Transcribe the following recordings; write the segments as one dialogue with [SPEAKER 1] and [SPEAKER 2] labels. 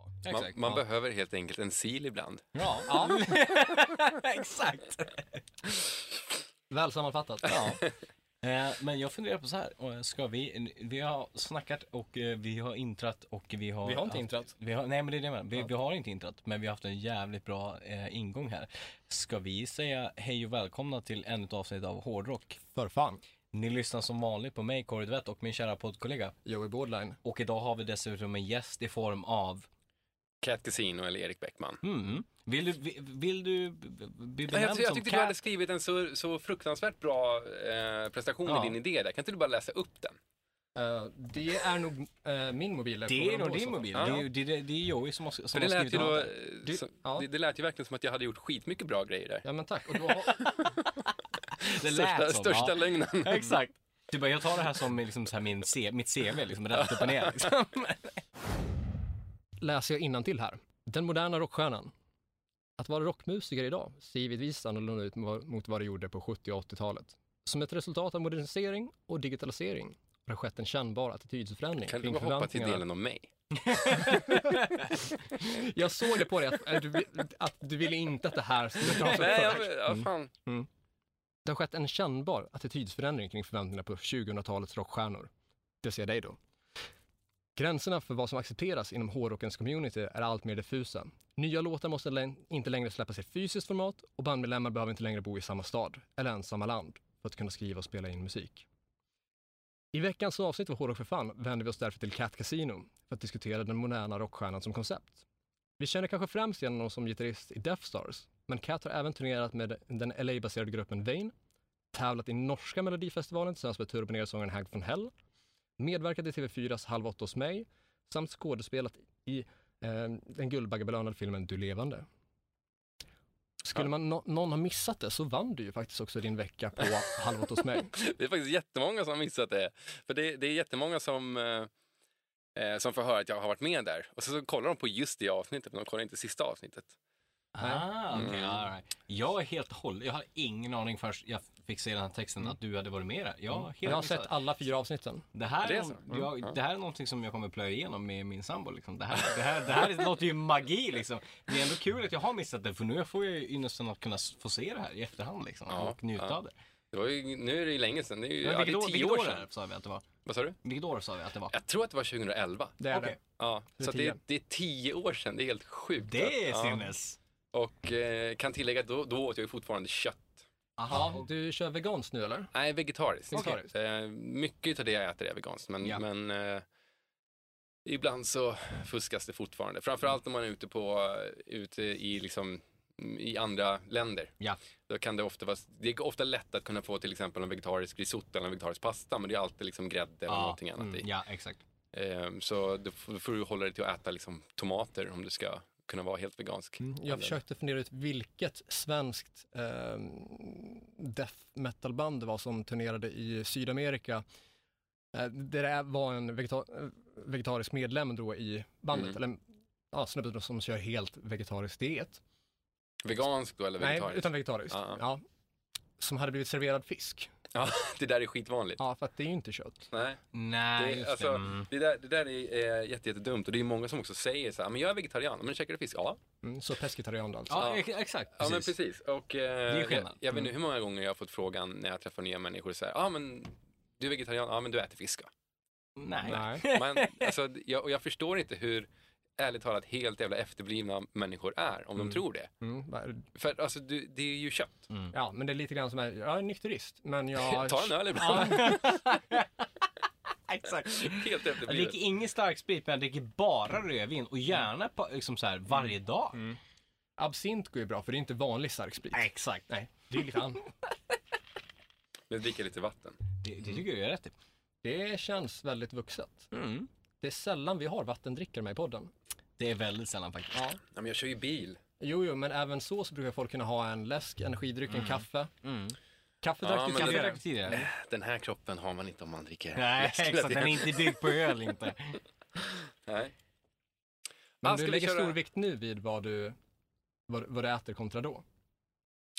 [SPEAKER 1] Man,
[SPEAKER 2] Exakt,
[SPEAKER 1] man
[SPEAKER 2] ja.
[SPEAKER 1] behöver helt enkelt en sil ibland.
[SPEAKER 2] Ja, exakt.
[SPEAKER 3] Väl sammanfattat.
[SPEAKER 2] Ja. Eh, Men jag funderar på så här, eh, ska vi, vi har snackat och eh, vi har intrat och vi har...
[SPEAKER 3] Vi har inte
[SPEAKER 2] haft-
[SPEAKER 3] intrat.
[SPEAKER 2] Vi har, nej men det är det jag menar. vi, vi har inte intrat, men vi har haft en jävligt bra eh, ingång här. Ska vi säga hej och välkomna till ännu ett avsnitt av Hårdrock?
[SPEAKER 3] För fan.
[SPEAKER 2] Ni lyssnar som vanligt på mig, Kåre Duvett, och min kära poddkollega.
[SPEAKER 3] Joey Bordline.
[SPEAKER 2] Och idag har vi dessutom en gäst i form av...
[SPEAKER 1] Cat Casino eller Erik Bäckman.
[SPEAKER 2] Mm. Vill du, vill, vill du b- b- bli
[SPEAKER 1] Jag,
[SPEAKER 2] benämnd
[SPEAKER 1] jag, jag
[SPEAKER 2] som
[SPEAKER 1] tyckte du hade
[SPEAKER 2] Cat?
[SPEAKER 1] skrivit en så, så fruktansvärt bra eh, prestation
[SPEAKER 2] Ja.
[SPEAKER 1] i din idé där. Kan inte du bara läsa upp den?
[SPEAKER 3] Eh, det är nog eh, min mobil. där.
[SPEAKER 2] Det
[SPEAKER 3] Kommer
[SPEAKER 2] är
[SPEAKER 3] de
[SPEAKER 2] nog
[SPEAKER 3] då
[SPEAKER 2] din
[SPEAKER 3] så?
[SPEAKER 2] mobil.
[SPEAKER 1] Ja.
[SPEAKER 2] Det, är- det, är- det är Joey som har, som har
[SPEAKER 1] För det lät,
[SPEAKER 2] skrivit
[SPEAKER 1] ju då,
[SPEAKER 2] den.
[SPEAKER 1] eh,
[SPEAKER 3] Du-
[SPEAKER 1] som,
[SPEAKER 3] ja.
[SPEAKER 1] det, det lät ju verkligen som att jag hade gjort skitmycket bra grejer där.
[SPEAKER 3] Ja men tack. Och då har,
[SPEAKER 2] Det lät
[SPEAKER 1] Största,
[SPEAKER 2] som,
[SPEAKER 1] största
[SPEAKER 2] ja.
[SPEAKER 1] lögnen.
[SPEAKER 2] Exakt. Du bara, jag tar det här som liksom så här min C, mitt CV, liksom, rätt upp och ner. Liksom.
[SPEAKER 3] läser jag innantill här. Den moderna rockstjärnan. Att vara rockmusiker idag ser givetvis annorlunda ut mo- mot vad det gjorde på 70 och 80-talet. Som ett resultat av modernisering och digitalisering har det skett en kännbar attitydförändring
[SPEAKER 1] Kan du
[SPEAKER 3] kring
[SPEAKER 1] bara hoppa till
[SPEAKER 3] förväntningarna.
[SPEAKER 1] delen om mig?
[SPEAKER 3] Jag såg det på dig att, att, du, att du ville inte att det här skulle dras upp
[SPEAKER 1] Nej,
[SPEAKER 3] först.
[SPEAKER 1] jag, ja,
[SPEAKER 2] Mm.
[SPEAKER 1] fan.
[SPEAKER 3] Det har skett en kännbar attitydsförändring kring förväntningarna på 2000-talets rockstjärnor. Det ser jag dig då. Gränserna för vad som accepteras inom hårdrockens community är allt mer diffusa. Nya låtar måste lä- inte längre släppas i fysiskt format och bandmedlemmar behöver inte längre bo i samma stad eller ens samma land för att kunna skriva och spela in musik. I veckans avsnitt av Hårdrock för fan vänder vi oss därför till Cat Casino för att diskutera den moderna rockstjärnan som koncept. Vi känner kanske främst igen honom som gitarrist i Death Stars, men Cat har även turnerat med den LA-baserade gruppen Vain tävlat i norska melodifestivalen tillsammans med turbonersångaren Hank von Hell, medverkat i TV4s Halv åtta hos mig, samt skådespelat i eh, den guldbaggebelönade filmen Du levande. Skulle man nå- någon ha missat det så vann du ju faktiskt också din vecka på Halv åtta hos mig.
[SPEAKER 1] Det är faktiskt jättemånga som har missat det. För det, det är jättemånga som, eh, eh, som får höra att jag har varit med där. Och så, så kollar de på just det avsnittet, men de kollar inte sista avsnittet.
[SPEAKER 2] Ah, okay, all right. Jag är helt håll. Jag hade ingen aning först jag fick se den här texten att du hade varit med där. Mm. Jag, har helt
[SPEAKER 3] Jag har
[SPEAKER 2] missat.
[SPEAKER 3] sett alla fyra avsnitten.
[SPEAKER 2] Det här,
[SPEAKER 1] Det
[SPEAKER 2] är
[SPEAKER 1] är
[SPEAKER 2] någon-
[SPEAKER 1] så? Mm.
[SPEAKER 2] jag, det här är någonting som jag kommer plöja igenom med min sambo. Liksom. Det, här, det, här, det här är- låter ju magi liksom. Det är ändå kul att jag har missat det för nu får jag ju ynnesten att kunna s- få se det här i efterhand liksom,
[SPEAKER 1] Ja,
[SPEAKER 2] och njuta
[SPEAKER 1] ja.
[SPEAKER 2] av det.
[SPEAKER 1] Det var ju, nu är det ju länge sedan. Det är, ju,
[SPEAKER 2] Men
[SPEAKER 1] ja, det
[SPEAKER 2] vilket
[SPEAKER 1] är
[SPEAKER 2] år,
[SPEAKER 1] tio
[SPEAKER 2] vilket
[SPEAKER 1] år
[SPEAKER 2] år är
[SPEAKER 1] sedan.
[SPEAKER 2] det, sa vi att det var?
[SPEAKER 1] Vad sa du?
[SPEAKER 2] Vilket år sa vi att det var?
[SPEAKER 1] Jag tror att det var 2011.
[SPEAKER 3] Det är
[SPEAKER 2] Okej.
[SPEAKER 3] det.
[SPEAKER 1] Ja,
[SPEAKER 3] Det är
[SPEAKER 1] så att det,
[SPEAKER 3] tio.
[SPEAKER 1] är, det är tio år sedan. Det är helt sjukt.
[SPEAKER 2] Det är
[SPEAKER 1] Ja.
[SPEAKER 2] sinnes!
[SPEAKER 1] Och eh, kan tillägga, då, då åt jag ju fortfarande kött.
[SPEAKER 2] Aha.
[SPEAKER 3] Du kör veganskt nu eller?
[SPEAKER 1] Nej, vegetariskt.
[SPEAKER 3] Vegetariskt.
[SPEAKER 1] Eh, mycket av det jag äter är veganskt, men,
[SPEAKER 2] Ja.
[SPEAKER 1] men eh, ibland så fuskas det fortfarande. Framförallt när man är ute, på, ute i, liksom, mm, i andra länder.
[SPEAKER 2] Ja.
[SPEAKER 1] Då kan det, ofta vara, det är ofta lätt att kunna få till exempel en vegetarisk risotto eller en vegetarisk pasta, men det är alltid liksom grädde och
[SPEAKER 2] Ja,
[SPEAKER 1] någonting annat i.
[SPEAKER 2] Mm, ja, exakt.
[SPEAKER 1] Ehm, Så då f- får du hålla dig till att äta liksom tomater om du ska kunna vara helt vegansk.
[SPEAKER 2] Mm.
[SPEAKER 3] Jag försökte fundera ut vilket svenskt eh, death metal-band det var som turnerade i Sydamerika. Eh, det där var en vegeta- eh, vegetarisk medlem då i bandet,
[SPEAKER 1] Mm.
[SPEAKER 3] eller ja, snubben som kör helt vegetarisk diet.
[SPEAKER 1] Vegansk då eller
[SPEAKER 3] Nej,
[SPEAKER 1] vegetariskt?
[SPEAKER 3] utan vegetariskt.
[SPEAKER 1] Ja.
[SPEAKER 3] Ja. Som hade blivit serverad fisk.
[SPEAKER 1] Ja, det där är skitvanligt.
[SPEAKER 3] Ja, för att det är ju inte kött.
[SPEAKER 1] Nej.
[SPEAKER 2] Nej,
[SPEAKER 1] Det,
[SPEAKER 2] just
[SPEAKER 1] alltså,
[SPEAKER 2] det. Mm.
[SPEAKER 1] det, där, det där är eh, jätte, jättedumt och det är många som också säger så här, men jag är vegetarian, men käkar du fisk? Ja,
[SPEAKER 3] Mm, så pescetarian då alltså.
[SPEAKER 2] Ja, ex- exakt.
[SPEAKER 1] ja men precis. Och, eh,
[SPEAKER 2] Det är skillnad.
[SPEAKER 1] jag, jag vet inte hur många gånger jag har fått frågan när jag träffar nya människor så här, ja ah, men du är vegetarian, ja men du äter fisk va?
[SPEAKER 2] Nej.
[SPEAKER 3] Nej.
[SPEAKER 1] Man, alltså, jag, och jag förstår inte hur, ärligt talat, helt jävla efterblivna människor är, om de tror det.
[SPEAKER 3] Mm, vad-
[SPEAKER 1] För alltså, du, det är ju kött.
[SPEAKER 3] ja, men det är lite grann som, här, jag är nykterist, men jag...
[SPEAKER 1] Ta en öl ibland.
[SPEAKER 2] Exakt.
[SPEAKER 1] Helt
[SPEAKER 2] Jag
[SPEAKER 1] efterblivet.
[SPEAKER 2] dricker ingen starksprit, men jag dricker bara rödvin
[SPEAKER 1] Mm.
[SPEAKER 2] och gärna på, liksom så här, varje dag.
[SPEAKER 3] Absint går ju bra, för det är inte vanlig starksprit.
[SPEAKER 2] Exakt. Nej.
[SPEAKER 3] Det är lite annat.
[SPEAKER 1] Men dricka lite vatten.
[SPEAKER 2] Det, det tycker jag är rätt i.
[SPEAKER 3] Det känns väldigt vuxet.
[SPEAKER 1] Mm.
[SPEAKER 3] Det är sällan vi har vattendrickare med i podden.
[SPEAKER 2] Det är väldigt sällan faktiskt. Ja.
[SPEAKER 1] Ja, men jag kör ju bil.
[SPEAKER 3] Jo, jo, men även så, så brukar folk kunna ha en läsk, energidryck, en kaffe. Kaffe drack
[SPEAKER 1] Mm. Ja,
[SPEAKER 3] du
[SPEAKER 2] Kan
[SPEAKER 1] men det-
[SPEAKER 2] du
[SPEAKER 3] tidigare.
[SPEAKER 2] drack tidigare?
[SPEAKER 1] Den här kroppen har man inte om man dricker
[SPEAKER 2] Nej,
[SPEAKER 1] läsk hela
[SPEAKER 2] exakt. Den
[SPEAKER 1] tiden.
[SPEAKER 2] är inte byggd på öl inte.
[SPEAKER 1] Nej. Ah,
[SPEAKER 3] Men du
[SPEAKER 1] ska vi
[SPEAKER 3] lägger
[SPEAKER 1] köra-
[SPEAKER 3] stor vikt nu vid vad du, vad, vad du äter kontra då.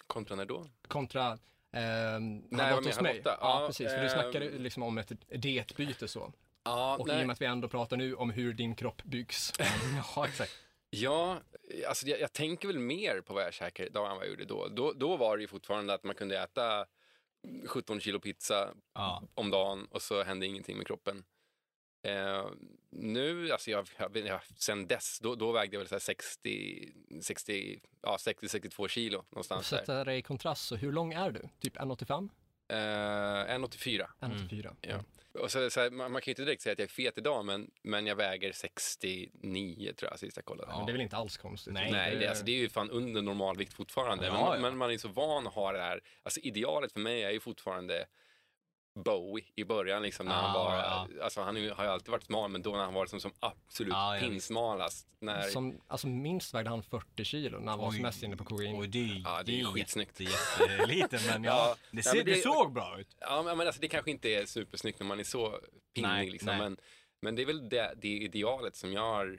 [SPEAKER 1] Kontra när då?
[SPEAKER 3] Kontra ehm,
[SPEAKER 1] vad
[SPEAKER 3] halv åtta
[SPEAKER 1] menar
[SPEAKER 3] hos
[SPEAKER 1] jag?
[SPEAKER 3] mig.
[SPEAKER 1] Åtta?
[SPEAKER 3] Ja,
[SPEAKER 1] Ja,
[SPEAKER 3] precis. För du
[SPEAKER 1] ehm.
[SPEAKER 3] snackade ju liksom om ett dietbyte så.
[SPEAKER 1] Ja,
[SPEAKER 3] Och i och med att vi ändå pratar nu om hur din kropp byggs.
[SPEAKER 2] ja, exakt.
[SPEAKER 1] Ja, alltså jag, jag tänker väl mer på vad jag käkar idag än vad jag gjorde då. Då, då var det ju fortfarande att man kunde äta 17 kilo pizza
[SPEAKER 2] Ja.
[SPEAKER 1] om dagen och så hände ingenting med kroppen. Eh, nu, alltså jag, jag, vet- jag, sen dess, då, då vägde jag väl så här 60, 60, ja, 60-62 kilo någonstans där.
[SPEAKER 3] Sätta dig eh, i kontrast, så hur lång är du? Typ 1,85?
[SPEAKER 1] Eh, 1,84.
[SPEAKER 2] Mm.
[SPEAKER 3] 1,84?
[SPEAKER 1] Ja. Och så, så här, man, man kan ju inte direkt säga att jag är fet idag, men, men jag väger 69 tror jag sist jag kollade.
[SPEAKER 3] Men det är väl inte alls konstigt?
[SPEAKER 2] Nej.
[SPEAKER 1] Nej, det, alltså, det är ju fan under normalvikt fortfarande.
[SPEAKER 2] Ja,
[SPEAKER 1] men, man,
[SPEAKER 2] ja.
[SPEAKER 1] men man är ju så van att ha det här. Alltså idealet för mig är ju fortfarande Bowie i början, liksom, när han
[SPEAKER 2] Ah,
[SPEAKER 1] var,
[SPEAKER 2] ja.
[SPEAKER 1] alltså han är ju- har ju alltid varit smal, men då när han var liksom, som absolut
[SPEAKER 2] Ah, ja, visst.
[SPEAKER 1] pinsmalast. När,
[SPEAKER 3] Som, alltså minst vägde han 40 kilo när han var
[SPEAKER 2] Oj.
[SPEAKER 3] som mest inne på kokain.
[SPEAKER 2] Och det är,
[SPEAKER 1] Ja, det är skitsnyggt.
[SPEAKER 2] jätte- jätteliten, men ja,
[SPEAKER 1] Ja,
[SPEAKER 2] det,
[SPEAKER 1] nej,
[SPEAKER 2] ser,
[SPEAKER 1] men
[SPEAKER 2] det...
[SPEAKER 1] det-
[SPEAKER 2] såg bra ut.
[SPEAKER 1] Ja, men men alltså, det kanske inte är supersnyggt när man är så pinnig,
[SPEAKER 2] Nej,
[SPEAKER 1] liksom,
[SPEAKER 2] nej.
[SPEAKER 1] Men, men det är väl det, det idealet som jag, har,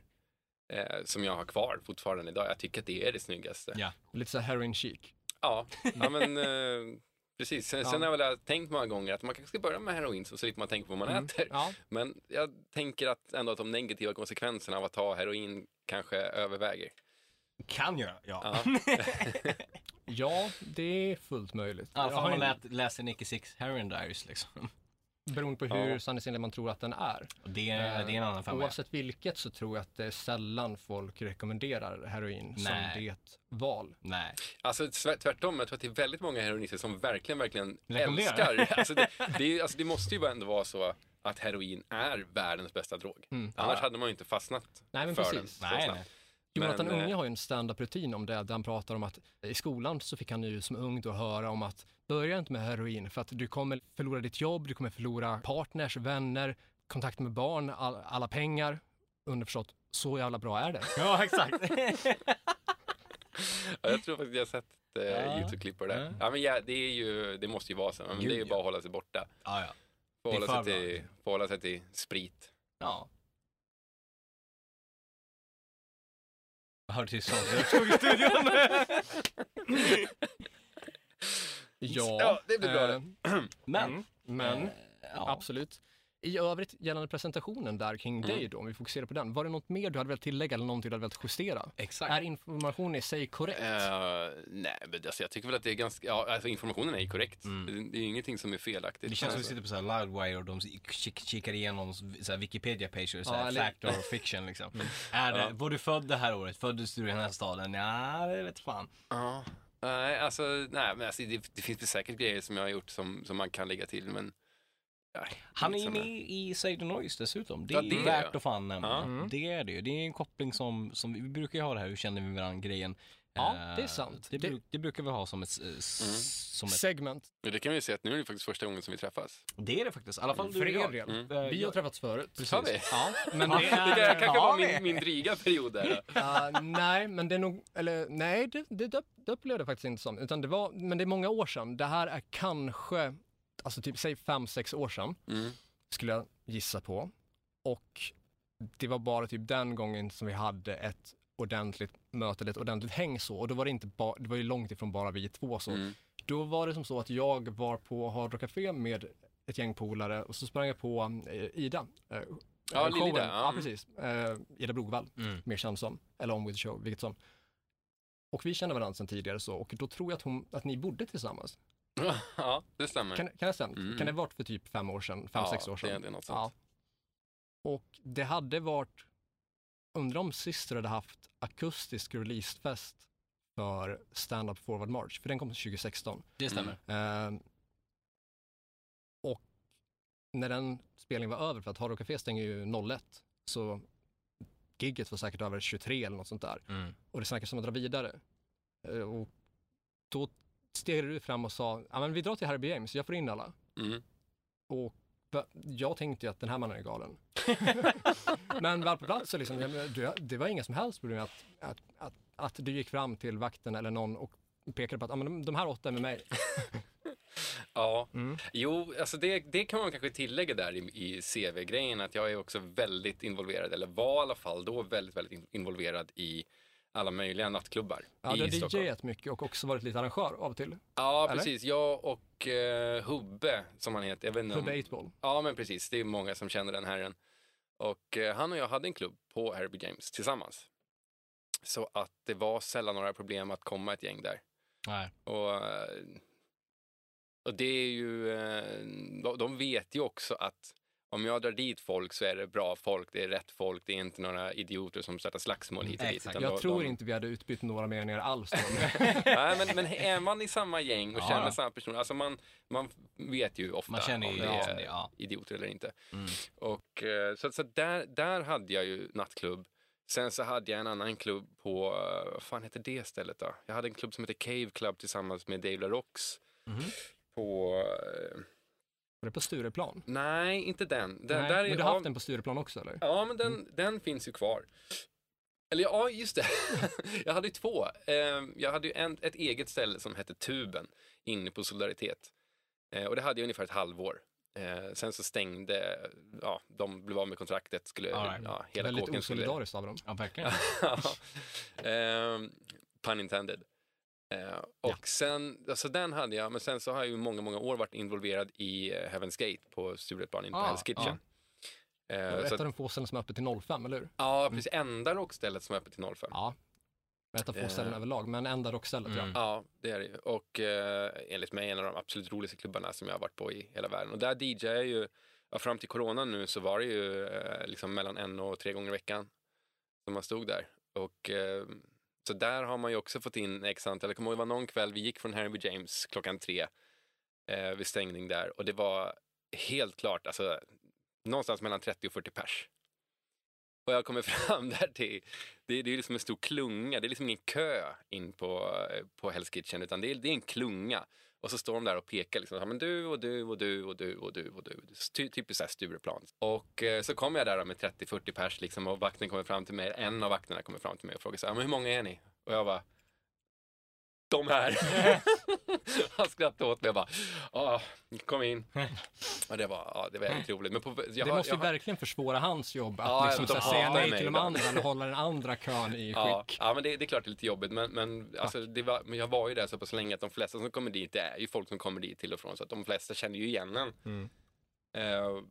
[SPEAKER 1] eh, som jag har kvar fortfarande idag. Jag tycker att det är det snyggaste.
[SPEAKER 2] Ja.
[SPEAKER 3] Lite så här heroin chic.
[SPEAKER 1] Ja, ja men eh, precis. Sen, sen har jag väl tänkt många gånger att man kanske ska börja med heroin så slipper man tänka på vad man äter.
[SPEAKER 3] Ja.
[SPEAKER 1] Men jag tänker att ändå att de negativa konsekvenserna av att ta heroin kanske överväger.
[SPEAKER 2] Kan göra, ja.
[SPEAKER 1] Ja.
[SPEAKER 3] ja, det är fullt möjligt.
[SPEAKER 2] I alla
[SPEAKER 3] Jag har
[SPEAKER 2] fall man
[SPEAKER 3] en-
[SPEAKER 2] lät, läser Nicky Six Heroin Diaries liksom.
[SPEAKER 3] Beroende på hur
[SPEAKER 1] Ja.
[SPEAKER 3] sanningsenlig man tror att den är.
[SPEAKER 2] Och det, är, det är en annan femma.
[SPEAKER 3] Oavsett vilket så tror jag att det är sällan folk rekommenderar heroin
[SPEAKER 2] Nej.
[SPEAKER 3] som det val.
[SPEAKER 2] Nej.
[SPEAKER 1] Alltså tvärt- tvärtom, jag tror att det är väldigt många heroinister som verkligen, verkligen
[SPEAKER 2] Rekommenderar.
[SPEAKER 1] älskar. Alltså det, det, är ju- alltså det måste ju ändå vara så att heroin är världens bästa drog. Annars hade man ju inte fastnat
[SPEAKER 3] Nej, men
[SPEAKER 1] för
[SPEAKER 3] precis.
[SPEAKER 1] den. så
[SPEAKER 2] Nej,
[SPEAKER 1] snabbt.
[SPEAKER 2] nej.
[SPEAKER 3] Jonathan
[SPEAKER 1] Men, eh,
[SPEAKER 3] Unge har ju en stand-up-rutin om det, där han pratar om att i skolan så fick han ju som ung då höra om att börja inte med heroin för att du kommer förlora ditt jobb, du kommer förlora partners, vänner, kontakt med barn, all, alla pengar. Underförstått, så jävla bra är det.
[SPEAKER 2] Ja, exakt.
[SPEAKER 1] Ja, jag tror faktiskt jag har sett eh,
[SPEAKER 2] Ja.
[SPEAKER 1] Youtube-klipp på det där.
[SPEAKER 2] Ja.
[SPEAKER 1] Ja. men ja, det, är ju, det måste ju vara så, men
[SPEAKER 2] Gud,
[SPEAKER 1] det är ju
[SPEAKER 2] ja. alltså.
[SPEAKER 1] bara att hålla sig borta.
[SPEAKER 2] ja, ja. Det
[SPEAKER 1] Få
[SPEAKER 2] är
[SPEAKER 1] hålla sig,
[SPEAKER 2] för
[SPEAKER 1] till, få hålla sig till sprit.
[SPEAKER 2] ja. Jag hörde tyst sånt. Jag tog i studion.
[SPEAKER 3] Ja,
[SPEAKER 1] Ja, det blir bra det.
[SPEAKER 2] Men,
[SPEAKER 3] eh, men
[SPEAKER 2] eh, ja.
[SPEAKER 3] absolut. I övrigt gällande presentationen där kring dig då, om vi fokuserar på den, var det något mer du hade velat tillägga eller någonting du hade velat justera?
[SPEAKER 2] Exakt.
[SPEAKER 3] Är informationen i sig korrekt?
[SPEAKER 1] Eh, nej, men alltså, jag tycker väl att det är ganska, ja, alltså, informationen är ju korrekt. Det, det är ju ingenting som är felaktigt.
[SPEAKER 2] Mm. Det känns som vi
[SPEAKER 1] Alltså.
[SPEAKER 2] sitter på så här Loudwire och de kik- kikar igenom så här Wikipedia-pager, så
[SPEAKER 3] Ja,
[SPEAKER 2] här
[SPEAKER 3] eller-
[SPEAKER 2] fact or fiction liksom. Är det, Var du född det här året? Föddes du i den här staden? Ja, det vet fan.
[SPEAKER 1] Ja. Nej, alltså, nej, men alltså, det, det finns väl säkert grejer som jag har gjort som, som man kan lägga till, men... nej,
[SPEAKER 2] Han är ju
[SPEAKER 1] liksom,
[SPEAKER 2] med i Save the Noise dessutom. Det är
[SPEAKER 1] Ja,
[SPEAKER 2] ju
[SPEAKER 1] det är
[SPEAKER 2] värt
[SPEAKER 1] det.
[SPEAKER 2] att fan nämna.
[SPEAKER 1] Ja.
[SPEAKER 2] Det är det ju. Det är en koppling som, som vi brukar ju ha det här, hur känner vi varandra grejen.
[SPEAKER 3] Ja,
[SPEAKER 2] Eh,
[SPEAKER 3] det är sant.
[SPEAKER 2] Det,
[SPEAKER 3] Det-
[SPEAKER 2] bru- det brukar vi ha som ett, eh, s- som ett...
[SPEAKER 3] Segment.
[SPEAKER 1] men Det kan vi ju säga att nu är det faktiskt första gången som vi träffas.
[SPEAKER 2] Det är det faktiskt. I alla fall
[SPEAKER 3] För
[SPEAKER 2] du Mm.
[SPEAKER 3] er
[SPEAKER 2] och jag. Eh,
[SPEAKER 3] del. Vi har träffats förut.
[SPEAKER 1] Sa vi?
[SPEAKER 3] Ja, men det
[SPEAKER 1] Det där
[SPEAKER 3] är...
[SPEAKER 1] kanske
[SPEAKER 2] har
[SPEAKER 1] var
[SPEAKER 2] vi.
[SPEAKER 1] min, min dryga period där.
[SPEAKER 3] Ja, nej, men det är nog... Eller nej, det, det, det, det upplevde jag faktiskt inte som. Utan det var, men det är många år sedan. Det här är kanske, alltså typ säg fem, sex år sedan,
[SPEAKER 1] Mm.
[SPEAKER 3] skulle jag gissa på. Och det var bara typ den gången som vi hade ett ordentligt möte, eller ett ordentligt häng så. Och då var det inte bara, det var ju långt ifrån bara vi två så.
[SPEAKER 1] Mm.
[SPEAKER 3] Då var det som så att jag var på Hard Rock Café med ett gäng polare och så sprang jag på eh, Ida. Eh,
[SPEAKER 1] Ja,
[SPEAKER 3] eh,
[SPEAKER 1] Lill-Ida,
[SPEAKER 3] showen.
[SPEAKER 1] ja.
[SPEAKER 3] Ja, precis. Eh, Ida Brogvall,
[SPEAKER 2] Mm.
[SPEAKER 3] mer känd som. Eller On With The Show, vilket som. Och vi kände varandra sedan tidigare så och då tror jag att, hon, att ni bodde tillsammans.
[SPEAKER 1] Ja, det stämmer.
[SPEAKER 3] Kan, kan det stämt?
[SPEAKER 1] Mm.
[SPEAKER 3] Kan det ha varit för typ fem år sedan? Fem,
[SPEAKER 1] Ja,
[SPEAKER 3] sex år sedan?
[SPEAKER 1] det- det är något sånt.
[SPEAKER 3] Ja. Och det hade varit, undrar om Sister hade haft akustisk releasefest för Stand Up Forward March, för den kom 2016.
[SPEAKER 2] Det stämmer.
[SPEAKER 1] Mm.
[SPEAKER 3] Ehm, och när den spelningen var över, för att Hard Rock Café stänger ju 01, så gigget var säkert över 23 eller något sånt där.
[SPEAKER 2] Mm.
[SPEAKER 3] Och det snackas om att dra vidare. Eh, och då steg du fram och sa, ja men vi drar till Harry B. James, jag får in alla.
[SPEAKER 1] Mm.
[SPEAKER 3] Och va- jag tänkte ju att den här mannen är galen. men väl på plats så liksom, ja, men du- det var inga som helst problem att, att, att, att du gick fram till vakten eller någon och pekade på att ja, men de- de här åtta är med mig.
[SPEAKER 1] Ja,
[SPEAKER 3] Mm.
[SPEAKER 1] jo, alltså det, det kan man kanske tillägga där i, i CV-grejen att jag är också väldigt involverad, eller var i alla fall då väldigt, väldigt in- involverad i alla möjliga nattklubbar
[SPEAKER 3] Ja,
[SPEAKER 1] i
[SPEAKER 3] du har
[SPEAKER 1] Stockholm.
[SPEAKER 3] DJat mycket och också varit lite arrangör av och till.
[SPEAKER 1] Ja,
[SPEAKER 3] eller?
[SPEAKER 1] precis. Jag och eh, Hubbe, som han heter. Jag vet inte
[SPEAKER 3] Hubbe
[SPEAKER 1] om...
[SPEAKER 3] 8-ball.
[SPEAKER 1] Ja, men precis. Det är många som känner den herren. Och eh, han och jag hade en klubb på Herbie James tillsammans. Så att det var sällan några problem att komma ett gäng där.
[SPEAKER 2] Nej.
[SPEAKER 1] Och, eh, och det är ju, eh, de- de vet ju också att om jag drar dit folk så är det bra folk, det är rätt folk, det är inte några idioter som startar slagsmål hit och dit.
[SPEAKER 2] Exakt.
[SPEAKER 1] utan
[SPEAKER 3] Jag
[SPEAKER 1] de-
[SPEAKER 3] tror
[SPEAKER 1] de-
[SPEAKER 3] inte vi hade utbytt några meningar alls då.
[SPEAKER 1] Nej, men, men är man i samma gäng och
[SPEAKER 2] Ja,
[SPEAKER 1] känner
[SPEAKER 2] ja.
[SPEAKER 1] samma personer, alltså man, man vet ju ofta
[SPEAKER 2] Man känner
[SPEAKER 1] om
[SPEAKER 2] ju
[SPEAKER 1] det
[SPEAKER 2] ja,
[SPEAKER 1] är
[SPEAKER 2] det, ja.
[SPEAKER 1] idioter eller inte.
[SPEAKER 2] Mm.
[SPEAKER 1] Och, eh, så så där, där hade jag ju nattklubb. Sen så hade jag en annan klubb på, eh, vad fan heter det stället då? Jag hade en klubb som heter Cave Club tillsammans med Dave LaRox.
[SPEAKER 2] Mhm.
[SPEAKER 1] På, eh,
[SPEAKER 3] Var det på Stureplan?
[SPEAKER 1] nej, inte den. den
[SPEAKER 3] Nej,
[SPEAKER 1] där
[SPEAKER 3] men
[SPEAKER 1] är,
[SPEAKER 3] du har
[SPEAKER 1] ja,
[SPEAKER 3] haft den på Stureplan också eller?
[SPEAKER 1] ja, men
[SPEAKER 2] Mm.
[SPEAKER 1] den, den finns ju kvar. Eller ja, just det. jag hade ju två. Eh, jag hade ju en, ett eget ställe som hette Tuben inne på Solidaritet. Eh, och det hade jag ungefär ett halvår. Eh, sen så stängde, ja, de blev av med kontraktet. Skulle,
[SPEAKER 2] All right.
[SPEAKER 1] ja, hela
[SPEAKER 3] Väldigt
[SPEAKER 1] kåken skulle...
[SPEAKER 3] osolidariskt av dem.
[SPEAKER 2] ja, verkligen.
[SPEAKER 1] Ja. Ehm, pun intended. Eh, och sen, alltså den hade jag, men sen så har jag ju många, många år varit involverad i eh, Heaven's Gate på Stureplanen på
[SPEAKER 2] Ah,
[SPEAKER 1] Hell's Kitchen.
[SPEAKER 3] Det
[SPEAKER 1] Eh,
[SPEAKER 3] var
[SPEAKER 1] så
[SPEAKER 3] ett av
[SPEAKER 1] att,
[SPEAKER 3] de få ställen som är öppet till 05, eller hur?
[SPEAKER 1] ja, precis. Enda rockstället som är öppet till 05.
[SPEAKER 3] Ja. Ett av få ställen
[SPEAKER 1] Eh.
[SPEAKER 3] överlag, men enda rockstället
[SPEAKER 2] Mm.
[SPEAKER 3] ja.
[SPEAKER 1] Ja, det är det ju. Och eh, enligt mig en av de absolut roligaste klubbarna som jag har varit på i hela världen. Och där DJ är ju, ja, fram till corona nu så var det ju eh, liksom mellan en och tre gånger i veckan som man stod där. Och eh, så där har man ju också fått in x antal, jag kommer ihåg det var någon kväll vi gick från Harry B. James klockan tre eh, vid stängning där och det var helt klart, alltså någonstans mellan 30 och 40 pers. Och jag kommer fram där till, det, det är liksom en stor klunga, det är liksom ingen kö in på, eh, på Hell's Kitchen utan det är, det är en klunga. Och så står de där och pekar liksom, "Ja, men du och du och du och du och du och du. Ty, typiskt såhär Stureplan. Och eh, så kommer jag där då med 30-40 pers liksom och vakten kommer fram till mig, en av vakterna kommer fram till mig och frågar så här, "Ja, men hur många är ni? Och jag bara, de här. Han skrattade åt mig och bara, ja, kom in. Och det var, ja, det var jävligt roligt. Men på, jag
[SPEAKER 3] det
[SPEAKER 1] har-
[SPEAKER 3] måste
[SPEAKER 1] jag
[SPEAKER 3] ju
[SPEAKER 1] har-
[SPEAKER 3] verkligen försvåra hans jobb att
[SPEAKER 1] Ja,
[SPEAKER 3] liksom,
[SPEAKER 1] de
[SPEAKER 3] så här, säga
[SPEAKER 1] hatar
[SPEAKER 3] nej
[SPEAKER 1] mig
[SPEAKER 3] till de
[SPEAKER 1] ibland.
[SPEAKER 3] andra eller hålla den andra kön i
[SPEAKER 1] Ja,
[SPEAKER 3] skick.
[SPEAKER 1] ja men det, det är klart det är lite jobbigt, men, men, alltså, det var, men jag var ju där så pass länge att de flesta som kommer dit, det är ju folk som kommer dit till och från, så att de flesta känner ju igen en.
[SPEAKER 3] Mm.
[SPEAKER 1] Eh,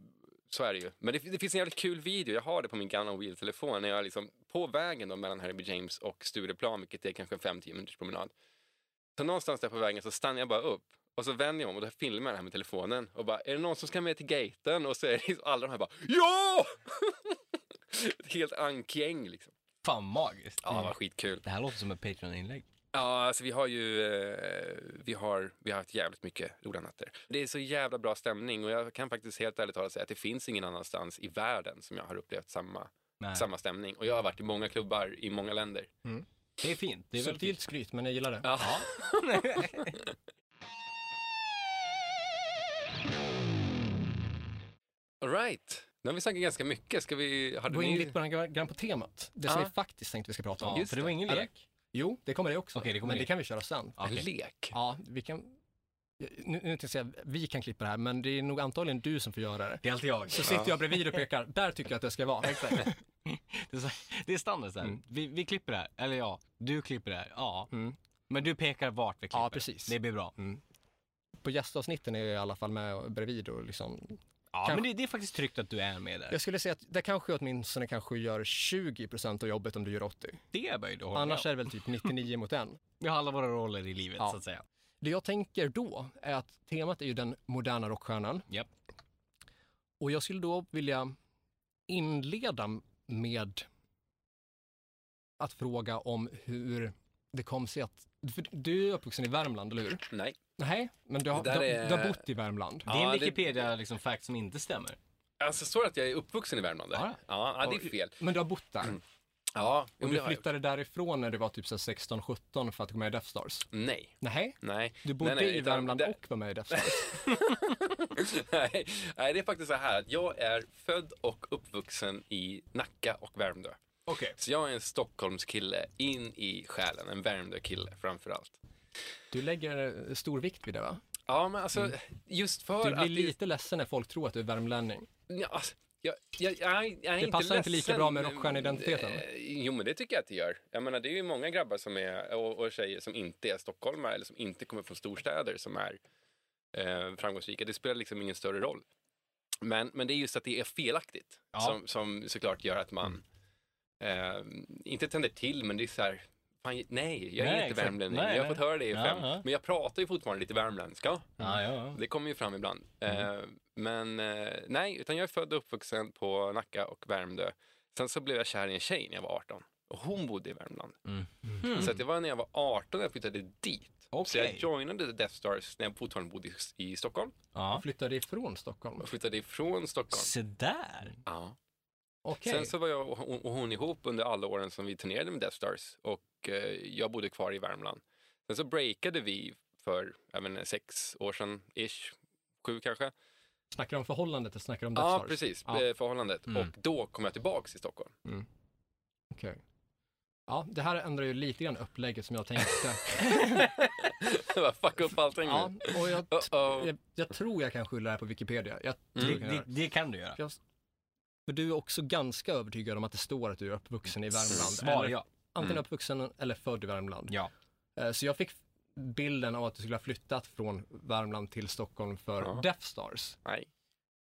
[SPEAKER 1] så är det ju. Men det, det finns en jävligt kul video, jag har det på min Gun on Wheel-telefon, när jag är liksom på vägen då, mellan Harry B. James och Stureplan, vilket är kanske en 5-10 minuters promenad. Så någonstans där på vägen så stannar jag bara upp och så vänder jag om och då filmar jag det här med telefonen och bara, är det någon som ska med till gaten? Och så är det liksom alla de här bara, ja! Ett helt ankgäng liksom.
[SPEAKER 2] Fan magiskt.
[SPEAKER 1] Ja, det var skitkul.
[SPEAKER 2] Det här låter som ett Patreon-inlägg.
[SPEAKER 1] Ja, alltså vi har ju eh, vi har, vi har haft jävligt mycket roliga nätter. Det är så jävla bra stämning och jag kan faktiskt helt ärligt talat säga att det finns ingen annanstans i världen som jag har upplevt samma,
[SPEAKER 2] Nej.
[SPEAKER 1] samma stämning. Och jag har varit i många klubbar i många länder.
[SPEAKER 2] Det är fint. Det är väldigt
[SPEAKER 3] Subtilt skryt, men jag gillar det.
[SPEAKER 1] Ja. All right. Nu har vi snackat ganska mycket. Ska vi... Hade
[SPEAKER 3] Gå in
[SPEAKER 1] ni-
[SPEAKER 3] lite bara grann på temat, det som
[SPEAKER 1] Ja.
[SPEAKER 3] vi faktiskt tänkte vi ska prata om.
[SPEAKER 2] Ja,
[SPEAKER 1] Just
[SPEAKER 2] för det var
[SPEAKER 1] det.
[SPEAKER 2] ingen
[SPEAKER 3] Eller?
[SPEAKER 2] lek.
[SPEAKER 3] Jo, det kommer det också,
[SPEAKER 2] Okej, det kommer
[SPEAKER 3] men
[SPEAKER 2] det.
[SPEAKER 3] det kan vi köra sen.
[SPEAKER 1] En
[SPEAKER 2] Okej.
[SPEAKER 1] lek?
[SPEAKER 3] Ja, vi kan... Nu, nu tänkte jag säga, vi kan klippa det här, men det är nog antagligen du som får göra det.
[SPEAKER 2] Det är alltid jag.
[SPEAKER 3] Så sitter jag bredvid och pekar, där tycker jag att jag ska vara.
[SPEAKER 2] Det är, så, det är standard så här. Vi, vi klipper det här. Eller ja, du klipper det här. Ja.
[SPEAKER 3] Mm.
[SPEAKER 2] Men du pekar vart vi klipper.
[SPEAKER 3] Ja, precis.
[SPEAKER 2] Det blir bra.
[SPEAKER 3] På gästavsnitten är jag i alla fall med och bredvid och liksom.
[SPEAKER 2] Ja,
[SPEAKER 3] Kanske-
[SPEAKER 2] men det, det är faktiskt tryggt att du är med där.
[SPEAKER 3] Jag skulle säga att det kanske åtminstone kanske gör 20% av jobbet om du gör 80.
[SPEAKER 2] Det bör ju du hålla
[SPEAKER 3] Annars är
[SPEAKER 2] med
[SPEAKER 3] det väl typ 99 mot en.
[SPEAKER 2] om. Vi har alla våra roller i livet
[SPEAKER 3] Ja.
[SPEAKER 2] så att säga.
[SPEAKER 3] Det jag tänker då är att temat är ju den moderna rockstjärnan.
[SPEAKER 2] Japp.
[SPEAKER 3] Och jag skulle då vilja inleda med att fråga om hur det kom sig att... För du är uppvuxen i Värmland, eller hur?
[SPEAKER 1] Nej.
[SPEAKER 3] Nej, men du har,
[SPEAKER 1] Det
[SPEAKER 3] du,
[SPEAKER 1] där
[SPEAKER 3] har-
[SPEAKER 1] är-
[SPEAKER 3] du har bott i Värmland.
[SPEAKER 1] Ja,
[SPEAKER 2] det är en
[SPEAKER 1] det-
[SPEAKER 2] Wikipedia-fact liksom, fact som inte stämmer.
[SPEAKER 1] Alltså, står det att jag är uppvuxen i Värmland? där?
[SPEAKER 2] Ja.
[SPEAKER 1] ja, ja, det är fel.
[SPEAKER 3] Men du har bott där.
[SPEAKER 1] Ja,
[SPEAKER 3] Och
[SPEAKER 1] Mm. det
[SPEAKER 3] du
[SPEAKER 1] har jag.
[SPEAKER 3] flyttade därifrån när du var typ 16-17 för att gå med i Death Stars?
[SPEAKER 1] Nej.
[SPEAKER 3] Nej,
[SPEAKER 1] Nej.
[SPEAKER 3] du bodde
[SPEAKER 1] Nej, nej,
[SPEAKER 3] i
[SPEAKER 1] utan
[SPEAKER 3] Värmland
[SPEAKER 1] det-
[SPEAKER 3] och var med i Death Stars.
[SPEAKER 1] nej, nej, det är faktiskt så här att jag är född och uppvuxen i Nacka och Värmdö.
[SPEAKER 3] Okej.
[SPEAKER 1] Så jag är en Stockholmskille in i själen, en Värmdökille framför allt.
[SPEAKER 3] Du lägger eh, stor vikt vid det va?
[SPEAKER 1] Ja, men alltså just för
[SPEAKER 3] Mm. Du
[SPEAKER 1] att...
[SPEAKER 3] blir lite ledsen när folk tror att du är värmlänning.
[SPEAKER 1] det- Ja, alltså, jag, jag, jag, är- jag är
[SPEAKER 3] Det passar inte
[SPEAKER 1] ledsen,
[SPEAKER 3] lika bra med
[SPEAKER 1] men-
[SPEAKER 3] rockstjärneidentiteten.
[SPEAKER 1] eh, Jo, men det tycker jag att det gör. Jag menar, det är ju många grabbar som är, och, och tjejer som inte är stockholmare eller som inte kommer från storstäder som är eh, framgångsrika. Det spelar liksom ingen större roll. Men, men det är just att det är felaktigt
[SPEAKER 2] Ja. Mm.
[SPEAKER 1] som, som såklart gör att man eh, inte tänder till, men det är så här, fan, nej, jag
[SPEAKER 2] Nej,
[SPEAKER 1] är inte
[SPEAKER 2] exakt.
[SPEAKER 1] värmlänning.
[SPEAKER 2] Nej,
[SPEAKER 1] jag har
[SPEAKER 2] nej.
[SPEAKER 1] fått höra det i
[SPEAKER 2] Ja,
[SPEAKER 1] fem,
[SPEAKER 2] ja.
[SPEAKER 1] men jag pratar ju fortfarande lite värmländska.
[SPEAKER 2] Ja, ja, ja.
[SPEAKER 1] Det kommer ju fram ibland. Eh,
[SPEAKER 2] Mm.
[SPEAKER 1] men eh, nej, utan jag är född och uppvuxen på Nacka och Värmdö. Sen så blev jag kär i en tjej när jag var 18 och hon bodde i Värmland.
[SPEAKER 2] Mm.
[SPEAKER 1] Så att det var när jag var 18 när jag flyttade dit. Så jag
[SPEAKER 2] Okej.
[SPEAKER 1] joinade Death Stars när jag fortfarande bodde i i Stockholm
[SPEAKER 2] Ja.
[SPEAKER 3] Flyttade ifrån Stockholm?
[SPEAKER 1] och flyttade ifrån Stockholm.
[SPEAKER 2] Se där.
[SPEAKER 1] Ja.
[SPEAKER 3] Okej.
[SPEAKER 1] Sen så var jag och hon- och hon ihop under alla åren som vi turnerade med Death Stars och eh, jag bodde kvar i Värmland. Sen så breakade vi för jag vet inte, sex år sedan, ish, sju kanske.
[SPEAKER 3] Snackar du om förhållandet eller snackar du om Death
[SPEAKER 1] Ja,
[SPEAKER 3] Stars?
[SPEAKER 1] precis,
[SPEAKER 3] Ja.
[SPEAKER 1] eh, förhållandet.
[SPEAKER 2] Mm.
[SPEAKER 1] Och då kom jag tillbaka till Stockholm.
[SPEAKER 3] Okej. Ja, det här ändrar ju lite grann upplägget som jag tänkte.
[SPEAKER 1] Jag bara, Fuck upp allting
[SPEAKER 3] ja,
[SPEAKER 1] nu.
[SPEAKER 3] och jag,
[SPEAKER 1] Uh-oh.
[SPEAKER 3] jag, jag tror jag kan skylla det här på Wikipedia. Jag
[SPEAKER 2] Det,
[SPEAKER 3] tror jag kan göra
[SPEAKER 2] det, det kan du göra.
[SPEAKER 3] det. jag, för du är också ganska övertygad om att det står att du är uppvuxen i Värmland.
[SPEAKER 2] Svar
[SPEAKER 3] eller,
[SPEAKER 2] ja.
[SPEAKER 3] Antingen
[SPEAKER 1] Mm.
[SPEAKER 3] uppvuxen eller född i Värmland.
[SPEAKER 2] Ja.
[SPEAKER 3] Eh, Så jag fick bilden av att du skulle ha flyttat från Värmland till Stockholm för
[SPEAKER 1] Ja.
[SPEAKER 3] Death Stars.
[SPEAKER 1] Nej.